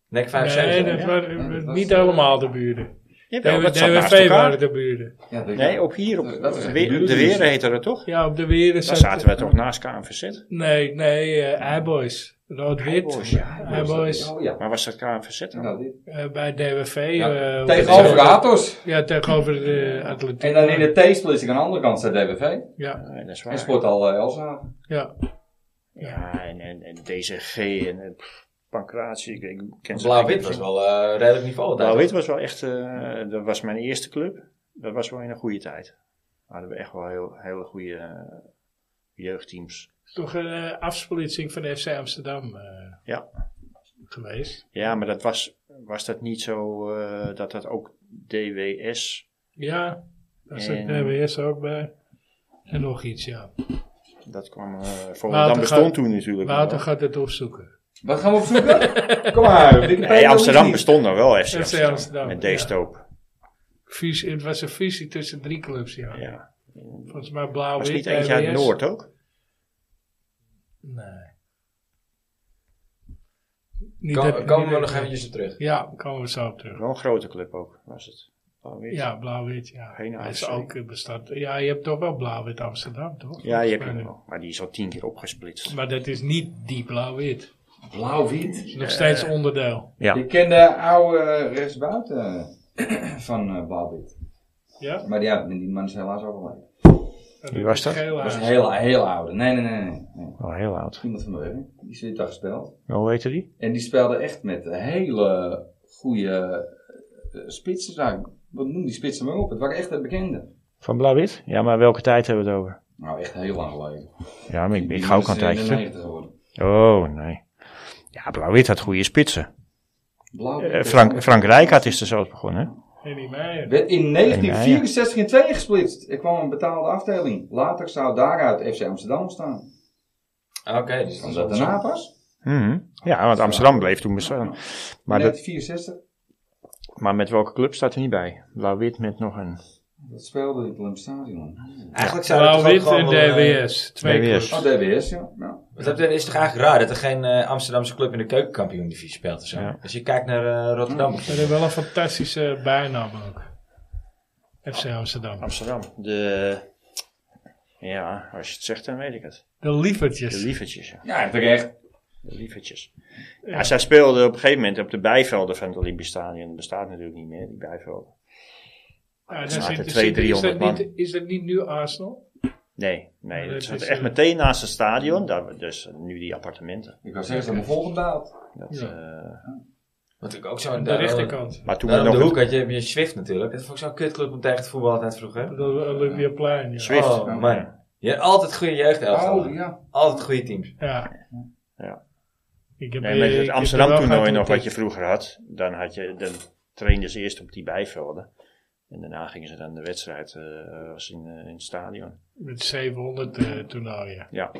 Speaker 1: Nek 5
Speaker 2: Nee,
Speaker 4: dan,
Speaker 2: dat
Speaker 4: ja.
Speaker 2: waren
Speaker 3: Ja, dat was,
Speaker 2: niet
Speaker 3: eh,
Speaker 2: allemaal de buren.
Speaker 4: Jawel,
Speaker 2: DW-
Speaker 4: dat zat naast
Speaker 2: DWV
Speaker 4: elkaar.
Speaker 2: waren de buren.
Speaker 3: Ja, dat-
Speaker 4: Nee, op hier, op
Speaker 3: Dat is echt
Speaker 4: Weer-
Speaker 3: buren-
Speaker 4: de Weer heette dat toch?
Speaker 2: Ja, op de Weren
Speaker 4: Daar zaten we toch naast KNVZ?
Speaker 2: Nee, nee, eh Eiboys.
Speaker 4: Eiboys,
Speaker 2: Rood-wit.
Speaker 4: ja,
Speaker 2: Eiboys.
Speaker 3: Oh ja.
Speaker 4: Maar was dat KNVZ dan?
Speaker 3: Nou, dit-
Speaker 2: Eh, bij DWV.
Speaker 3: Ja,
Speaker 2: eh, op
Speaker 3: Tegenover
Speaker 2: de-
Speaker 3: Atos.
Speaker 2: Ja, tegenover eh, de atletiek.
Speaker 3: En dan in de T-split ik aan de andere kant staat DBV.
Speaker 2: Ja,
Speaker 4: Nee, dat is waar.
Speaker 3: En sport al eh, Elsenhaven.
Speaker 2: ja.
Speaker 4: Ja, en, en, en DCG en eh, pff, Pancratie. Ik, ik ken ze
Speaker 1: Blauw-wit
Speaker 4: eigenlijk
Speaker 1: was
Speaker 4: niet.
Speaker 1: wel eh, redelijk niveau. daar.
Speaker 4: Blauw-wit was wel echt, eh, dat was mijn eerste club. Dat was wel in een goede tijd. Hadden we echt wel heel, hele goede eh, jeugdteams.
Speaker 2: is toch een eh, afsplitsing van FC Amsterdam eh,
Speaker 4: Ja.
Speaker 2: geweest.
Speaker 4: Ja, maar dat was, was dat niet zo eh, dat dat ook DWS,
Speaker 2: Ja, daar zit
Speaker 4: En-
Speaker 2: DWS ook bij. En nog iets, ja.
Speaker 4: dat kwam, eh Volendam
Speaker 2: Nou, gaat- nou,
Speaker 4: bestond toen natuurlijk. nog
Speaker 2: Wouter
Speaker 4: wel.
Speaker 2: gaat het opzoeken.
Speaker 3: Wat gaan we opzoeken? Kom maar. Wikipedia
Speaker 4: Nee, Amsterdam
Speaker 3: is niet.
Speaker 4: bestond nog wel, FC
Speaker 2: FC
Speaker 4: Amsterdam.
Speaker 2: Amsterdam,
Speaker 4: Met
Speaker 2: ja.
Speaker 4: D-Stoop.
Speaker 2: Fusie, het was een fusie tussen drie clubs, ja.
Speaker 4: Ja.
Speaker 2: Volgens mij blauw
Speaker 4: Was
Speaker 2: wit
Speaker 4: niet eentje uit Noord ook?
Speaker 2: Nee. Niet
Speaker 1: Kom-
Speaker 2: dat-
Speaker 1: komen
Speaker 2: niet
Speaker 1: we
Speaker 2: dat-
Speaker 1: nog eventjes op terug.
Speaker 2: Ja, komen we zo op terug.
Speaker 4: Wel een grote club ook, was het. Alweer.
Speaker 2: Ja, blauw-wit, ja.
Speaker 4: Geen
Speaker 2: Hij is
Speaker 4: AFC.
Speaker 2: ook eh, bestaat. Ja, je hebt toch wel blauw-wit Amsterdam, toch?
Speaker 4: Ja, die heb je
Speaker 2: Maar-
Speaker 4: nog. Maar die is al tien keer opgesplitst.
Speaker 2: Maar dat is niet die blauw-wit.
Speaker 3: Blauw-wit.
Speaker 2: Nog steeds onderdeel.
Speaker 4: Ja.
Speaker 3: Ik ken de oude eh, rechtsbuiten van eh Blauw-wit.
Speaker 2: Ja?
Speaker 3: Maar ja, die man is helaas overleden.
Speaker 4: Wie was dat?
Speaker 2: Geel
Speaker 3: Dat was een
Speaker 2: haar.
Speaker 3: heel, heel oude. Nee, nee, nee, nee. nee.
Speaker 4: Al heel oud.
Speaker 3: Iemand van de werk. Die zit daar gespeeld.
Speaker 4: Hoe heette die?
Speaker 3: En die speelde echt met hele goede eh, spitsen. daar. Wat noem die spitsen maar op? Het waren echt de bekende.
Speaker 4: Van Blauw-Wit? Ja, maar welke tijd hebben we het over?
Speaker 3: Nou, echt heel lang geleden.
Speaker 4: Ja, maar ik,
Speaker 3: Die
Speaker 4: ik ga ook
Speaker 3: is
Speaker 4: al een tijdje terug.
Speaker 3: 91 geworden.
Speaker 4: Oh, nee. Ja, Blauw-Wit had goede spitsen.
Speaker 3: Blauw-wit.
Speaker 4: Eh, Frank, Frank Rijkaard is er zelfs begonnen, hè?
Speaker 2: En die Meijer.
Speaker 3: Werd in 1964 in tweeën gesplitst. Er kwam een betaalde afdeling. Later zou daaruit FC Amsterdam ontstaan.
Speaker 1: Oké, dus
Speaker 3: Was
Speaker 1: dan
Speaker 3: dat
Speaker 1: dat
Speaker 3: daarna pas?
Speaker 4: Mhm. Ja, want Amsterdam bleef toen bestaan. Maar, dat,
Speaker 3: 1964.
Speaker 4: maar met welke club staat er niet bij? Blauw-Wit met nog een...
Speaker 3: Dat speelde in het Olympisch Stadion.
Speaker 1: Eigenlijk zou dat toch ook
Speaker 2: Blauw-wit en
Speaker 1: gewoon wel, eh,
Speaker 2: DWS. Twee
Speaker 4: DWS.
Speaker 2: clubs.
Speaker 3: Oh, DWS, ja. ja.
Speaker 1: Wat dat betreft is het toch eigenlijk raar dat er geen eh, Amsterdamse club in de keukenkampioen-divisie speelt of zo.
Speaker 4: Ja.
Speaker 1: Als je kijkt naar eh, Rotterdam.
Speaker 2: Ze hebben wel een fantastische bijnaam ook. FC Amsterdam.
Speaker 4: Amsterdam. De... Ja, als je het zegt, dan weet ik het.
Speaker 2: De
Speaker 4: De
Speaker 2: Lievertjes.
Speaker 4: lievertjes, ja.
Speaker 3: Ja, terecht.
Speaker 4: De lievertjes. Ja, zij speelden op een gegeven moment op de bijvelden van het Olympisch Stadion. Dat bestaat natuurlijk niet meer, die bijvelden.
Speaker 2: Ja, Ah, daar
Speaker 4: Er zaten
Speaker 2: zit-
Speaker 4: twee,
Speaker 2: zit- is, dat
Speaker 4: 300 man.
Speaker 2: niet, is dat niet nu Arsenal?
Speaker 4: Nee, nee.
Speaker 2: Maar
Speaker 4: Dat
Speaker 2: dat
Speaker 4: zat
Speaker 2: is,
Speaker 4: echt
Speaker 2: eh,
Speaker 4: meteen naast het stadion. Daar, dus nu die appartementen.
Speaker 3: Ik wou zeggen, ze hebben volgendaald.
Speaker 4: Dat,
Speaker 2: Ja.
Speaker 4: eh,
Speaker 1: Wat ik ook zo
Speaker 2: Aan de rechterkant.
Speaker 4: maar toen we
Speaker 1: Daarom
Speaker 4: nog...
Speaker 1: Nou, de hoek had je, heb je Swift natuurlijk. Dat vond ik zo'n kutclub om tegen te voetballen altijd vroeger.
Speaker 2: De Olympiaplein, ja.
Speaker 4: Zwift.
Speaker 1: Oh, man. Je hebt altijd goede jeugdelftallen.
Speaker 3: Oh, ja.
Speaker 1: Altijd goede
Speaker 2: Oh,
Speaker 1: teams.
Speaker 2: Ja.
Speaker 4: Ja.
Speaker 2: Ik heb,
Speaker 4: Nee, met
Speaker 2: eh,
Speaker 4: het
Speaker 2: ik heb
Speaker 4: Amsterdam
Speaker 2: er wel
Speaker 4: toernooi
Speaker 2: gehad
Speaker 4: nog
Speaker 2: met
Speaker 4: wat je vroeger had. Dan, had je, dan trainden ze eerst op die bijvelden. En daarna gingen ze dan de wedstrijd eh, was in, eh, in het stadion.
Speaker 2: Met 700 eh, toernooien.
Speaker 4: Ja,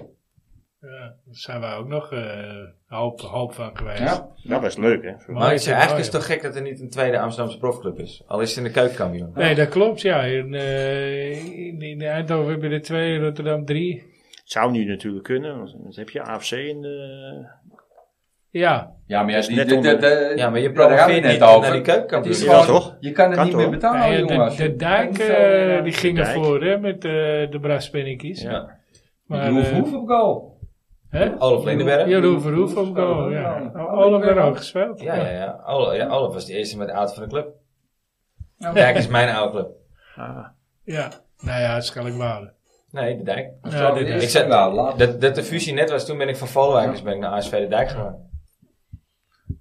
Speaker 2: Ja, daar zijn wij ook nog eh, een hoop, hoop van geweest.
Speaker 3: Ja.
Speaker 4: dat was leuk hè. vroeger.
Speaker 1: Maar
Speaker 2: Maar
Speaker 1: ik
Speaker 2: ik
Speaker 1: zeg,
Speaker 2: vind-
Speaker 1: eigenlijk
Speaker 2: oh,
Speaker 1: is het toch gek dat er niet een tweede Amsterdamse profclub is. Al is het in de keukenkampioen.
Speaker 2: Nee, dat klopt, ja. In, eh, in, in Eindhoven hebben we er twee, in Rotterdam drie.
Speaker 4: Het zou nu natuurlijk kunnen, want wat heb je AFC in de...
Speaker 2: Ja,
Speaker 3: Ja, maar ja,
Speaker 4: Dus
Speaker 3: die,
Speaker 4: net
Speaker 3: die-
Speaker 4: onder-
Speaker 3: die- die-
Speaker 1: Ja, maar je
Speaker 3: daar gaan we
Speaker 1: promoveert
Speaker 3: net
Speaker 1: niet
Speaker 3: over.
Speaker 1: naar die
Speaker 3: Het is
Speaker 1: keukenkampioen.
Speaker 4: Ja,
Speaker 3: gewoon,
Speaker 4: toch?
Speaker 3: je kan het
Speaker 4: Kan
Speaker 3: niet
Speaker 4: toch?
Speaker 3: meer betalen,
Speaker 2: Nee, de,
Speaker 3: Oh, jongens.
Speaker 2: de dijk
Speaker 3: Hoeveel, eh,
Speaker 2: eh, die ging
Speaker 4: Dijk.
Speaker 2: ervoor hè, met eh, de braspinnikies.
Speaker 1: Ja.
Speaker 2: Maar,
Speaker 3: Roef,
Speaker 2: eh,
Speaker 3: Roef op goal.
Speaker 2: hè?
Speaker 1: Olaf Lindenberg. Ja,
Speaker 2: Jeroen Verhoef ook al, ja. Olaf werd ook gespeeld.
Speaker 1: ja, ja. Olaf, ja, Olaf was de eerste met de oud van de club.
Speaker 3: Ja.
Speaker 1: Dijk is mijn oude club.
Speaker 4: Ah,
Speaker 2: Ja. Nou ja, Schalkwaarden.
Speaker 1: Nee, de Dijk.
Speaker 2: Ja, dit
Speaker 1: Ik
Speaker 2: is...
Speaker 1: zei-
Speaker 3: nou, laat.
Speaker 1: Dat, dat de fusie net was, toen ben ik van Volwijk, dus ben ik naar ASV de Dijk gegaan.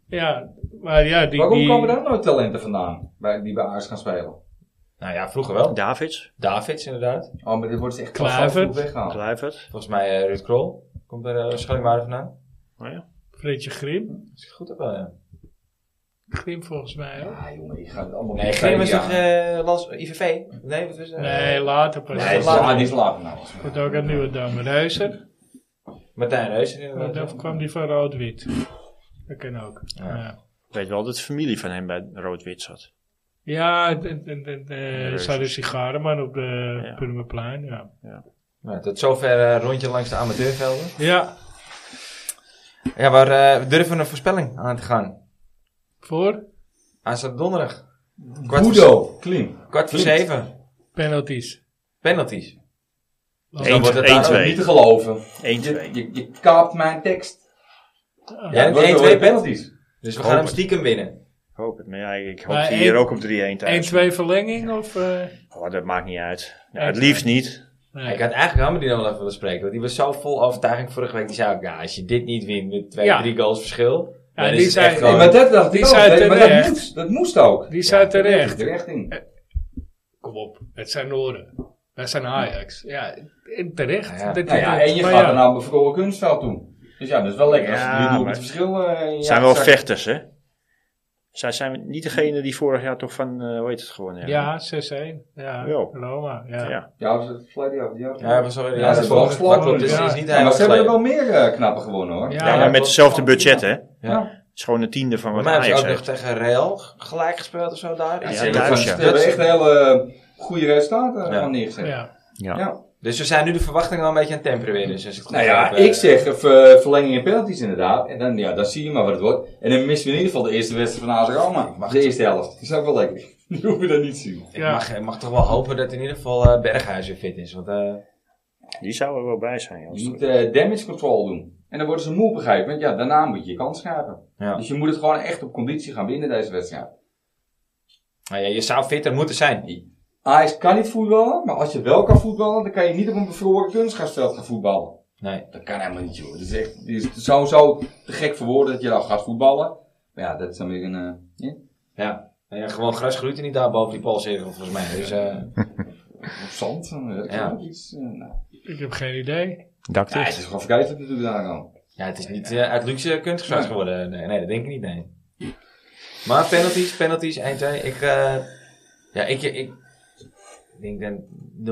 Speaker 2: Ja, maar ja, die...
Speaker 3: Waarom
Speaker 2: die-
Speaker 3: komen daar nooit talenten vandaan bij, die bij Aars gaan spelen?
Speaker 1: Nou ja, vroeger wel.
Speaker 4: Davids,
Speaker 1: Davids inderdaad.
Speaker 3: Oh, maar dit wordt echt
Speaker 2: Klavert.
Speaker 3: klaar weggehaald.
Speaker 4: Kluivert.
Speaker 1: Volgens mij eh, Ruud Krol. Komt er uh, vandaan.
Speaker 4: Oh ja.
Speaker 2: Fredje Grim.
Speaker 1: Is het goed ook wel, ja.
Speaker 2: Grim volgens mij ook.
Speaker 3: Ja, jongen, je gaat het allemaal
Speaker 1: Nee,
Speaker 3: niet
Speaker 1: Grim was
Speaker 3: tegen
Speaker 1: toch
Speaker 3: die aan.
Speaker 1: eh Lans, IVV? Nee, wat was dat?
Speaker 2: Nee, later pas.
Speaker 3: Nee,
Speaker 1: laat-
Speaker 3: ja, die is laat nou.
Speaker 2: Wordt ook een nieuwe dame. Reuzen.
Speaker 1: Martijn Reus
Speaker 2: Maar
Speaker 1: inderdaad.
Speaker 2: dan kwam die van rood-wit. Dat kan ook.
Speaker 1: Ja.
Speaker 2: Ja.
Speaker 4: Ik weet wel dat de familie van hem bij Rood-Wit zat.
Speaker 2: Ja, en- en- en- en, eh, er
Speaker 4: Reuzes.
Speaker 2: staat een sigarenman op de
Speaker 4: Ja.
Speaker 2: Purmerplein, ja.
Speaker 4: Ja.
Speaker 1: Nou, tot zover eh rondje langs de amateurvelden.
Speaker 2: Ja,
Speaker 1: Ja, maar eh, we durven een voorspelling aan te gaan.
Speaker 2: voor
Speaker 1: Aanstaande donderdag. Kwart voor,
Speaker 3: Budo, Klim.
Speaker 1: kwart voor
Speaker 3: Klinkt.
Speaker 1: zeven.
Speaker 2: penalties.
Speaker 1: Penalties. Dus
Speaker 2: Dan
Speaker 4: Eén-
Speaker 1: wordt het
Speaker 4: één,
Speaker 1: daar ook
Speaker 3: Nou,
Speaker 4: twee.
Speaker 3: Niet te geloven.
Speaker 4: Eén,
Speaker 3: Je,
Speaker 4: twee.
Speaker 3: je, je kaapt mijn tekst.
Speaker 1: Jij hebt
Speaker 3: wordt-
Speaker 1: 1,
Speaker 3: wordt
Speaker 1: 2 E penalties.
Speaker 3: penalties.
Speaker 1: Dus we
Speaker 4: Hoop
Speaker 1: gaan hem
Speaker 4: het.
Speaker 1: stiekem winnen.
Speaker 4: Ik hoop het. Maar ja, ik hoop
Speaker 2: Maar
Speaker 4: hier
Speaker 2: één-
Speaker 4: ook op 3-1 thuis.
Speaker 2: 1-2 verlenging of... eh,
Speaker 4: Oh, dat maakt niet uit. Ja,
Speaker 2: Eén,
Speaker 4: het liefst niet.
Speaker 2: nee.
Speaker 1: Ik had eigenlijk Hammer die nog wel even willen spreken. Want die was zo vol overtuiging vorige week. Die zei ook, ja, als je dit niet wint met twee,
Speaker 2: Ja.
Speaker 1: drie goals verschil. dan
Speaker 2: die
Speaker 1: is het
Speaker 2: zei-
Speaker 1: echt
Speaker 2: Nee,
Speaker 1: gewoon...
Speaker 3: maar dat dacht
Speaker 2: Die
Speaker 3: ik ook.
Speaker 2: zei
Speaker 3: Nee, maar dat
Speaker 2: terecht.
Speaker 3: moest, dat moest ook.
Speaker 2: Die zei terecht.
Speaker 3: De richting.
Speaker 2: Kom op, het zijn Noorden. Wij zijn Ajax. Ja, en terecht.
Speaker 1: Ja, ja.
Speaker 2: Dat-
Speaker 3: Nou ja,
Speaker 2: dat-
Speaker 3: en je
Speaker 2: maar
Speaker 3: gaat
Speaker 2: ja.
Speaker 3: er naar een verkoren kunstveld toe. Dus ja, dat is wel lekker.
Speaker 4: Ja,
Speaker 3: als je nu op
Speaker 4: maar-
Speaker 3: het verschil... eh, in je
Speaker 4: zijn wel
Speaker 3: zak-
Speaker 4: vechters, hè? Zij zijn niet degene die vorig jaar toch van, eh hoe heet het gewoon?
Speaker 2: Ja, 6-1. Ja,
Speaker 4: Ja.
Speaker 2: Roma. Ja.
Speaker 4: ja.
Speaker 3: Ja, was het verleden jaar of die jaar?
Speaker 1: Ja, maar sorry.
Speaker 3: Ja, dat is wel
Speaker 1: Dat klopt,
Speaker 3: geslagen.
Speaker 1: dus
Speaker 2: Ja.
Speaker 1: is niet
Speaker 3: Ja, maar
Speaker 1: helemaal
Speaker 3: ze hebben er
Speaker 1: geleden.
Speaker 3: wel meer eh, knappen gewonnen hoor.
Speaker 2: Ja.
Speaker 4: Ja, maar met hetzelfde budget, hè? Het
Speaker 1: Ja.
Speaker 4: is gewoon een tiende
Speaker 1: Voor
Speaker 4: van wat
Speaker 1: mij hebben
Speaker 4: Ajax
Speaker 1: ze ook nog
Speaker 4: heeft.
Speaker 1: tegen Real gelijk gespeeld of zo daar.
Speaker 4: Ja,
Speaker 1: Iets
Speaker 4: ja,
Speaker 1: in de-
Speaker 4: thuis,
Speaker 3: Ze
Speaker 4: ja.
Speaker 3: hebben echt hele goede resultaten
Speaker 1: Ja.
Speaker 3: aan neergezet. Ja.
Speaker 2: Ja.
Speaker 4: Ja.
Speaker 1: Dus we zijn nu de verwachtingen al een beetje aan het temperen weer. Dus als ik het
Speaker 3: Nou
Speaker 1: goed
Speaker 3: ja,
Speaker 1: heb, eh,
Speaker 3: ik zeg eh, ver- verlenging en penalties inderdaad. En dan, ja, dan zie je maar wat het wordt. En dan missen we in ieder geval de eerste wedstrijd van AZ Roma. Maar de eerste helft. Dat is ook wel lekker. Nu hoeven we dat niet te zien.
Speaker 1: Ik,
Speaker 2: Ja.
Speaker 1: mag, ik mag toch wel hopen dat in ieder geval eh, Berghuis weer fit is. Want eh,
Speaker 4: Die zou er wel bij zijn. Als
Speaker 3: Je
Speaker 4: het-
Speaker 3: moet eh, damage control doen. En dan worden ze moe op een gegeven moment. Ja, daarna moet je je kans scherpen.
Speaker 1: Ja.
Speaker 3: Dus je moet het gewoon echt op conditie gaan winnen deze wedstrijd.
Speaker 1: nou ja, je zou fitter moeten zijn.
Speaker 3: Ajax kan niet voetballen, maar als je wel kan voetballen, dan kan je niet op een bevroren kunstgrasveld gaan voetballen.
Speaker 1: Nee.
Speaker 3: Dat kan helemaal niet, joh. Dat is echt dit is sowieso te gek voor woorden dat je nou gaat voetballen. Maar ja, dat is dan weer een... eh, ja.
Speaker 1: Ja. Nou ja, gewoon gras groeit er niet daar boven die polsregel volgens mij. Dus, eh,
Speaker 3: Of zand, eh, dat
Speaker 1: Ja.
Speaker 3: kan ook iets. eh, nou.
Speaker 2: Ik heb geen idee.
Speaker 4: Dacht
Speaker 3: Ja, het is gewoon verkeerd natuurlijk daar al.
Speaker 1: ja, het is niet eh, uit luxe kunstgras
Speaker 3: Nee.
Speaker 1: geworden. Nee, nee, dat denk ik niet, nee. Maar penalties, penalties, 1-2. Ik, eh, ja, ik, ik, ik denk dan 0-2.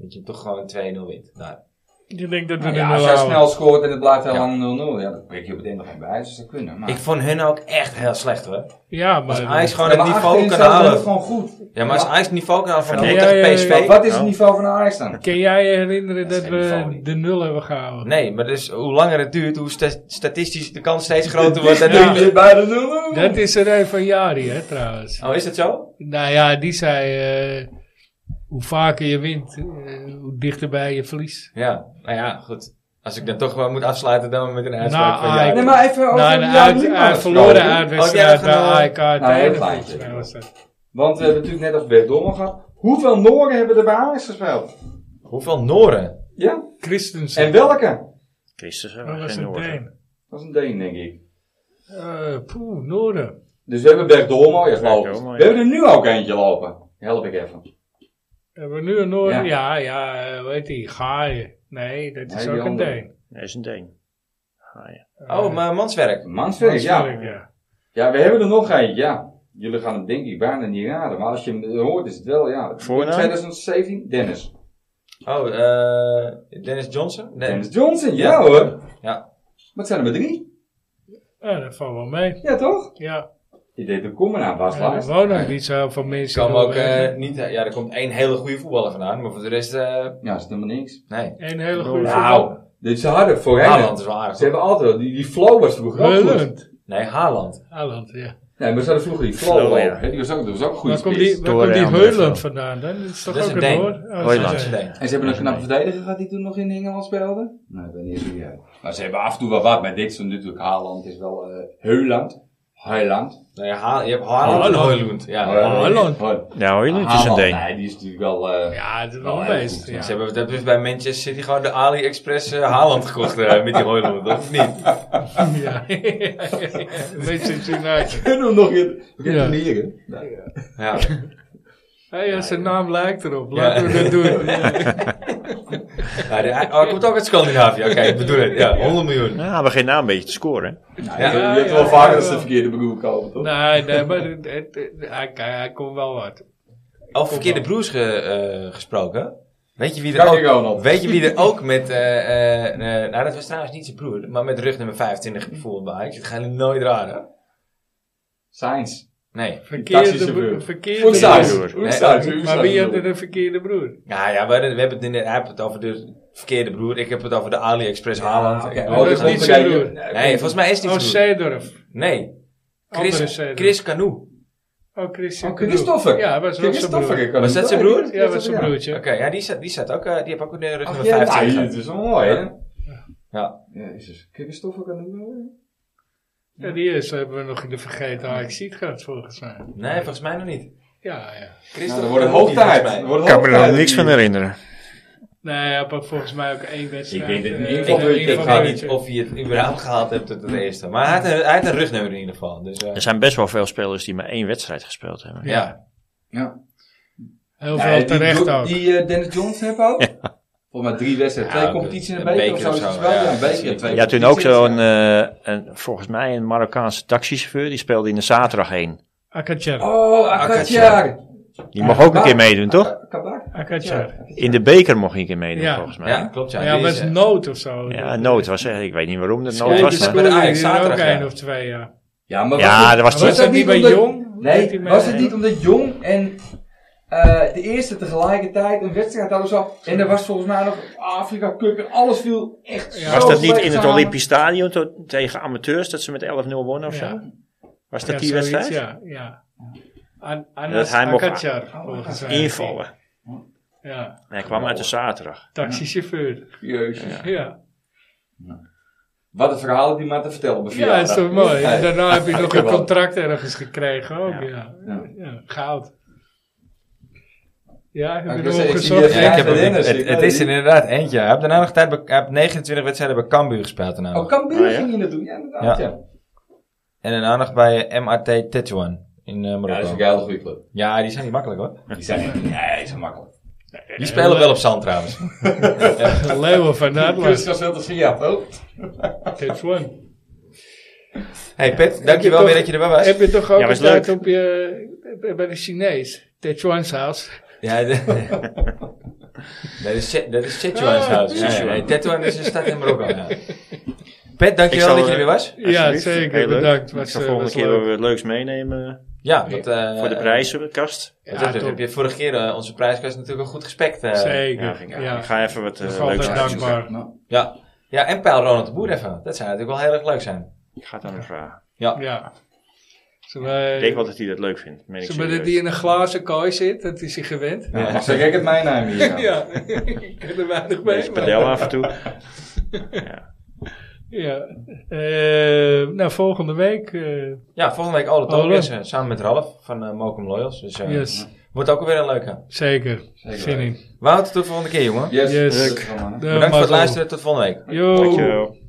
Speaker 1: Dat je toch gewoon 2-0 wint. Nou, Daar.
Speaker 2: Je denkt dat we
Speaker 3: Nou
Speaker 2: er
Speaker 3: ja,
Speaker 2: nou
Speaker 3: als jij
Speaker 2: houden.
Speaker 3: snel scoort en het blijft heel
Speaker 1: eh, Ja.
Speaker 3: lang 0-0, ja, dan breek je op het eind nog geen bij. Dus dat kunnen, maar...
Speaker 1: Ik vond hun ook echt heel slecht hoor.
Speaker 2: Ja,
Speaker 1: Als
Speaker 2: maar...
Speaker 1: Ajax gewoon
Speaker 3: Ja,
Speaker 1: het
Speaker 3: maar
Speaker 1: niveau
Speaker 3: achterin
Speaker 1: kan
Speaker 3: staan doet het
Speaker 1: halen.
Speaker 3: gewoon goed.
Speaker 1: Ja, maar als Ajax het niveau kan halen van
Speaker 4: Ja,
Speaker 1: Ajax
Speaker 2: ja, ja,
Speaker 1: tegen
Speaker 2: ja.
Speaker 1: PSV.
Speaker 3: Maar wat is het
Speaker 4: Oh.
Speaker 3: niveau van Ajax dan?
Speaker 2: Kun jij je herinneren
Speaker 1: Dat
Speaker 2: dat,
Speaker 1: is geen niveau
Speaker 2: we
Speaker 1: niet.
Speaker 2: de nul hebben gehouden?
Speaker 1: Nee, maar dus hoe langer het duurt, hoe sta- statistisch de kans steeds groter wordt. Dat
Speaker 2: Ja.
Speaker 1: hun-
Speaker 3: Je bij de 0-0.
Speaker 2: Dat is er een van Jari, hè, trouwens.
Speaker 1: Oh, is dat zo?
Speaker 2: Nou ja, die zei... eh, hoe vaker je wint, eh, hoe dichterbij je verlies.
Speaker 1: Ja, nou ja, goed. Als ik dan toch wel moet afsluiten, dan met een uitspraak
Speaker 2: Nou,
Speaker 1: van
Speaker 2: Ajax.
Speaker 1: jou.
Speaker 3: Nee, maar even over
Speaker 2: Nou, de
Speaker 3: Jan
Speaker 2: uit,
Speaker 3: Liemers.
Speaker 2: uit verloren
Speaker 3: Nou,
Speaker 2: uitwedstrijd
Speaker 1: Oh, ja,
Speaker 2: bij
Speaker 1: dat gaan
Speaker 2: AEK.
Speaker 3: heel
Speaker 2: tegen
Speaker 3: fijn.
Speaker 2: volgens mij was dat.
Speaker 3: Want we hebben natuurlijk net over Bert Dommel gehad. Hoeveel Noren hebben er bij Ajax gespeeld?
Speaker 1: Hoeveel Noren?
Speaker 3: Ja.
Speaker 2: Christensen.
Speaker 3: En welke?
Speaker 4: Christus,
Speaker 2: Dat was
Speaker 4: geen
Speaker 2: een
Speaker 4: Noorden.
Speaker 2: Deen.
Speaker 3: Dat is een Deen, denk ik.
Speaker 2: Eh, Poeh, Noorden.
Speaker 3: Dus we hebben Bert Dommel, ja,
Speaker 4: Bert
Speaker 3: geloof ik.
Speaker 4: Dommel, ja.
Speaker 3: We hebben er nu ook eentje lopen. Help ik even.
Speaker 2: Hebben we nu een Noorden?
Speaker 3: Ja.
Speaker 2: Ja, ja, eh, hoe heet die? Gaaien. Nee, dat is
Speaker 3: Nee, die
Speaker 2: ook een
Speaker 3: andere.
Speaker 2: Deen.
Speaker 4: Nee, is een Deen. Ah, ja.
Speaker 1: Oh, maar manswerk.
Speaker 3: Mansveld, ja.
Speaker 2: ja.
Speaker 3: Ja, we hebben er nog eentje, ja. Jullie gaan het denk ik bijna niet raden. Maar als je hem hoort is het wel, ja.
Speaker 4: Voornaam?
Speaker 3: 2017, Dennis.
Speaker 1: Oh, eh Dennis Johnson? Nee.
Speaker 3: Dennis Johnson, ja,
Speaker 1: Ja.
Speaker 3: hoor.
Speaker 1: Ja.
Speaker 3: Wat zijn er maar drie?
Speaker 2: Ja, dat valt wel mee.
Speaker 3: Ja, toch?
Speaker 2: Ja,
Speaker 3: Ik deed de kom aan Bas
Speaker 2: ja, er
Speaker 3: Laars.
Speaker 2: wonen ook niet zo van mensen.
Speaker 1: Kan ook
Speaker 2: doorheen.
Speaker 1: eh, niet... Ja, er komt één hele goede voetballer vandaan, maar voor de rest... eh,
Speaker 3: Ja, is het helemaal niks.
Speaker 1: nee. Nou,
Speaker 2: Een hele goede
Speaker 3: Nou, dit ze hadden voorheen.
Speaker 1: Haaland is wel aardig.
Speaker 3: Ze hebben altijd, die, die flow was vroeger ook
Speaker 2: voetballer.
Speaker 3: goed.
Speaker 2: Haaland.
Speaker 1: Nee, Haaland.
Speaker 2: Haaland, ja.
Speaker 3: Nee, maar ze hadden vroeger die flow
Speaker 4: Flow,
Speaker 3: ook.
Speaker 4: ja.
Speaker 3: hè. Die was ook, dat was ook een goede
Speaker 2: Waar komt
Speaker 3: spits.
Speaker 2: die, waar komt die
Speaker 4: Dorian
Speaker 2: Heuland
Speaker 4: Heuland.
Speaker 2: vandaan dan? Dat is toch
Speaker 1: Dat is
Speaker 2: ook
Speaker 1: een
Speaker 2: een
Speaker 1: Deen.
Speaker 2: Noord? Oh, dat is
Speaker 4: Heuland.
Speaker 2: een
Speaker 1: Nee.
Speaker 2: Deen.
Speaker 3: En ze hebben een
Speaker 4: Nee.
Speaker 3: knappe verdediger gehad die toen nog in Engeland speelde? Nee, ik ben niet zo uit. Maar ze hebben af en toe wel wat. Maar dit is natuurlijk Haaland, is wel eh Heuland. Heuland.
Speaker 1: Nee, Ha- je hebt Haaland en
Speaker 2: Haaland.
Speaker 1: Hoylund. Ja,
Speaker 4: Oh,
Speaker 2: Haaland.
Speaker 4: Ja, hoor je niet? Het is een
Speaker 3: Haaland,
Speaker 4: Deen.
Speaker 3: Nee, die is natuurlijk wel... eh
Speaker 2: Ja, dat is wel
Speaker 3: Wel
Speaker 2: een
Speaker 3: heel
Speaker 2: beest.
Speaker 3: goed,
Speaker 2: ja.
Speaker 1: Oh, Ze hebben dat dus bij Manchester City gewoon de AliExpress eh, Haaland gekocht eh, met die Hoyland, of niet?
Speaker 2: Ja. Manchester United.
Speaker 3: Kunnen Nou, we nog in
Speaker 2: Ja.
Speaker 3: leren? Nee.
Speaker 1: Ja.
Speaker 2: Hé, ja, zijn naam lijkt erop. Laten we dat doen.
Speaker 1: Ja, die- oh, hij komt ook uit Scandinavië. Oké, ik bedoel het. Ja, 100 miljoen.
Speaker 4: Ja, we beginnen nou een beetje te scoren. hè?
Speaker 3: Nou,
Speaker 1: Ja,
Speaker 3: je
Speaker 2: ja,
Speaker 3: hebt wel
Speaker 2: ja,
Speaker 3: vaker
Speaker 2: ja, Nou,
Speaker 3: dat ze de
Speaker 2: wel.
Speaker 3: verkeerde bedoel komen, toch?
Speaker 2: Nee, nee, maar het- het- het- hij, hij komt wel wat.
Speaker 1: Over verkeerde broers ge- eh, gesproken. Weet je wie er
Speaker 3: Kijk ik
Speaker 1: ook...
Speaker 3: ook nog.
Speaker 1: Weet je wie er ook met... eh, eh, eh, nou, dat was trouwens niet zijn
Speaker 2: Mm.
Speaker 1: broer. Maar met rug nummer 25 bijvoorbeeld bij. Ajax. Dat gaan jullie nooit raden.
Speaker 3: Sainz.
Speaker 1: Nee.
Speaker 2: Verkeerde
Speaker 3: taxichauffeur.
Speaker 2: broer. Verkeerde
Speaker 3: Oeksaus.
Speaker 4: broer.
Speaker 3: Oeksaus.
Speaker 2: broer. Maar wie had er een verkeerde broer?
Speaker 1: Nou ja, we, we hebben het in de, hij heeft het over de verkeerde broer. Ik heb het over de AliExpress Haaland. Ik-
Speaker 2: Oh, dat is niet zijn broer.
Speaker 1: Nee, volgens mij is die
Speaker 2: Oh,
Speaker 1: broer.
Speaker 2: Seedorf.
Speaker 1: Nee.
Speaker 2: Andere
Speaker 1: Chris,
Speaker 2: Seedorf.
Speaker 1: Chris Canoe.
Speaker 2: Oh, Christian.
Speaker 3: Oh, Christoffer.
Speaker 2: Ja, was wel zijn broer.
Speaker 3: Christoffer.
Speaker 1: Was dat zijn broer?
Speaker 2: Ja, was zijn broertje.
Speaker 1: Oké, ja, die zat, die zat ook, eh, die heb ook in de rug
Speaker 3: Ach,
Speaker 1: nummer
Speaker 3: ja,
Speaker 1: 15
Speaker 3: nou,
Speaker 1: gehad.
Speaker 3: dat is wel mooi, hè?
Speaker 1: Ja.
Speaker 3: Jezus. Christoffer kan doen. hè?
Speaker 2: Ja, die eerste hebben we nog in de vergeten AXC gehad, volgens mij.
Speaker 1: Nee, volgens mij nog niet.
Speaker 2: Ja, ja.
Speaker 1: Chris
Speaker 3: Nou,
Speaker 1: toch
Speaker 3: dan wordt het
Speaker 1: ook niet, volgens
Speaker 3: hoogtijd.
Speaker 1: mij.
Speaker 3: Dan wordt
Speaker 4: Ik
Speaker 3: het
Speaker 4: kan me er
Speaker 3: hoogtijd.
Speaker 4: niks van herinneren.
Speaker 2: Nee, hij had ook volgens mij ook één wedstrijd.
Speaker 3: Ik weet het niet.
Speaker 2: eh,
Speaker 3: Ik-
Speaker 2: van
Speaker 3: ik-
Speaker 2: een
Speaker 1: Ik
Speaker 2: van
Speaker 1: weet
Speaker 2: de-
Speaker 1: niet of je het überhaupt gehaald hebt tot het eerste. Maar hij had een, hij had een rugnummer in ieder geval. Dus, eh,
Speaker 4: Er zijn best wel veel spelers die maar één wedstrijd gespeeld hebben.
Speaker 1: ja.
Speaker 3: Ja.
Speaker 2: Heel
Speaker 3: Ja,
Speaker 2: veel
Speaker 3: die
Speaker 2: terecht
Speaker 3: Jo-
Speaker 2: ook.
Speaker 3: Die eh, Dennis Johnson heb ook. Volgens mij drie wedstrijden.
Speaker 1: Ja,
Speaker 3: Twee
Speaker 1: ook
Speaker 3: competities in een
Speaker 1: een
Speaker 3: beker of zo.
Speaker 1: beker
Speaker 3: is
Speaker 1: of
Speaker 3: het
Speaker 1: zo,
Speaker 3: wel.
Speaker 1: ja,
Speaker 3: Ja, een beker.
Speaker 1: precies.
Speaker 3: twee
Speaker 4: Je had toen ook
Speaker 3: competities.
Speaker 4: zo'n, eh, een, volgens mij een Marokkaanse taxichauffeur, die speelde in de zaterdag heen.
Speaker 2: Akatjer.
Speaker 3: Oh, Akatjar.
Speaker 4: Die mocht ook een
Speaker 2: Ah.
Speaker 4: keer meedoen, toch?
Speaker 3: Kabak.
Speaker 2: Akatjer.
Speaker 4: In de beker mocht hij een keer meedoen,
Speaker 2: Ja.
Speaker 4: volgens mij.
Speaker 1: ja, klopt. Ja,
Speaker 2: Ja,
Speaker 1: Die
Speaker 2: maar
Speaker 1: is,
Speaker 2: het
Speaker 1: eh,
Speaker 2: is nood of zo.
Speaker 4: Ja, nood was echt. Ik weet niet waarom dat nood
Speaker 1: Schrijven
Speaker 4: was.
Speaker 1: ze
Speaker 4: Maar.
Speaker 1: bij de Ajax
Speaker 2: er ook
Speaker 1: zaterdag, ja.
Speaker 2: één of twee, ja.
Speaker 3: Ja, maar
Speaker 4: Ja,
Speaker 3: wat-
Speaker 4: dat was
Speaker 2: Maar was
Speaker 4: toch.
Speaker 2: dat niet bij
Speaker 3: omdat-
Speaker 2: Jong? Weet
Speaker 3: Nee,
Speaker 2: hij
Speaker 3: was het
Speaker 2: mee?
Speaker 3: niet omdat Jong en eh, de eerste tegelijkertijd een wedstrijd hadden zo. En er was volgens mij nog Afrika Cup en alles viel echt
Speaker 2: Ja.
Speaker 3: zo
Speaker 4: Was dat niet
Speaker 3: slecht
Speaker 4: in het
Speaker 3: samen.
Speaker 4: Olympisch Stadion to- tegen amateurs dat ze met 11-0 wonnen of
Speaker 2: Ja.
Speaker 4: zo? Was
Speaker 2: Ja,
Speaker 4: dat die
Speaker 2: zoiets,
Speaker 4: wedstrijd?
Speaker 2: Ja, ja. An
Speaker 4: Dat
Speaker 2: Anas
Speaker 4: hij mocht
Speaker 2: Akatjar, volgens mij.
Speaker 4: Invallen.
Speaker 2: Ja,
Speaker 4: En hij kwam uit de zaterdag.
Speaker 2: taxichauffeur.
Speaker 3: Jezus.
Speaker 2: Ja,
Speaker 3: Wat een verhaal die maar te vertellen op een
Speaker 2: ja is toch mooi.
Speaker 3: Ja.
Speaker 2: En daarna heb je nog
Speaker 3: Ja.
Speaker 2: een contract ergens gekregen ook,
Speaker 4: Ja.
Speaker 2: ja.
Speaker 3: Ja.
Speaker 2: Ja, goud. Ja, ik
Speaker 3: Ja,
Speaker 2: heb
Speaker 3: ik wil
Speaker 2: hem
Speaker 3: zeggen, ik zie
Speaker 2: opgezocht.
Speaker 3: die-
Speaker 1: Ja, ik heb hem-
Speaker 3: Ja,
Speaker 2: dus
Speaker 3: Dennis, ik
Speaker 1: het, het
Speaker 3: weet
Speaker 1: is
Speaker 3: het.
Speaker 1: inderdaad eentje. Hij heeft daarna nog tijd bij, hij heeft 29 wedstrijden bij Cambuur gespeeld daarna
Speaker 3: Oh,
Speaker 1: nog.
Speaker 3: Cambuur
Speaker 4: Ah, ja?
Speaker 3: ging je dat doen, ja, inderdaad.
Speaker 1: Ja.
Speaker 3: Ja,
Speaker 1: En daarna nog bij eh, MRT Tetuan in eh,
Speaker 3: Ja,
Speaker 1: Marokko. Ja,
Speaker 3: een hele goede club.
Speaker 1: die zijn niet makkelijk hoor.
Speaker 3: Die zijn niet, nee, die zijn makkelijk.
Speaker 1: Die spelen wel op zand trouwens.
Speaker 2: Leeuwen van
Speaker 3: Dus
Speaker 2: Nederland.
Speaker 3: dat is heel te zien, ja, toch?
Speaker 2: That's one.
Speaker 1: Hey Pet, dankjewel
Speaker 2: toch-
Speaker 1: weer dat je erbij was.
Speaker 2: Heb je toch ook
Speaker 4: Ja, was
Speaker 2: een tijd
Speaker 4: leuk.
Speaker 2: op je, eh, bij de Chinees? Techuan's house.
Speaker 1: Ja, de- dat is Che- dat is
Speaker 2: Ah,
Speaker 1: Sichuan's house. Ja, ja, nee, Tetuan is een stad in Marokko. Ja. Pet,
Speaker 4: Ik
Speaker 1: dankjewel
Speaker 4: zal,
Speaker 1: dat je er
Speaker 4: eh,
Speaker 1: weer was.
Speaker 2: Ja,
Speaker 4: Alsjeblieft. Heel
Speaker 2: zeker.
Speaker 4: leuk.
Speaker 2: Bedankt.
Speaker 4: Ik
Speaker 2: Was,
Speaker 4: zal
Speaker 2: eh,
Speaker 4: volgende
Speaker 2: was
Speaker 4: keer
Speaker 2: leuk.
Speaker 4: wel wat leuks meenemen
Speaker 1: Ja, dat, eh,
Speaker 4: voor de prijzenkast.
Speaker 1: Wat dat
Speaker 2: Ja,
Speaker 1: betreft
Speaker 2: top.
Speaker 1: heb je vorige keer eh, onze prijskast natuurlijk ook goed gespekt. eh.
Speaker 4: Ja,
Speaker 2: Zeker.
Speaker 4: ik,
Speaker 2: Ja,
Speaker 4: ik ga even wat eh,
Speaker 2: Dat is
Speaker 4: leuks
Speaker 2: altijd
Speaker 4: uitzoeken.
Speaker 2: dankbaar.
Speaker 3: nou.
Speaker 1: Ja. ja, en Pijl Ronald de Boer even. Dat zou natuurlijk wel heel erg leuk zijn.
Speaker 4: Ik ga het aan hem vragen.
Speaker 2: Ja. Zullen wij-
Speaker 4: Ik denk wel dat hij dat leuk vindt. meen ik
Speaker 2: Eh,
Speaker 4: eh,
Speaker 2: Zullen we dat
Speaker 4: serieus.
Speaker 2: die in een glazen kooi zit? Dat is hij gewend.
Speaker 1: Ja.
Speaker 3: Mag zeg ik het mijn naam hier?
Speaker 2: Ja,
Speaker 3: nou?
Speaker 2: ik heb er weinig mee.
Speaker 4: Beetje
Speaker 2: maar-
Speaker 4: padel af en
Speaker 2: Oh.
Speaker 4: toe. ja.
Speaker 2: Ja. Eh, nou, volgende week. eh,
Speaker 1: Ja, volgende week alle
Speaker 2: Ole.
Speaker 1: talkers eh, samen met Ralf van eh Mokum Loyals. Dus eh,
Speaker 2: yes,
Speaker 1: wordt ook weer een leuke.
Speaker 2: zeker.
Speaker 3: Zeker
Speaker 2: Zin in.
Speaker 1: Wout, tot de volgende keer jongen.
Speaker 3: Yes.
Speaker 2: Yes.
Speaker 3: dat is wel, man.
Speaker 2: De
Speaker 1: Bedankt voor het
Speaker 2: mazzel.
Speaker 1: luisteren, tot volgende week.
Speaker 2: Yo.
Speaker 4: Dankjewel.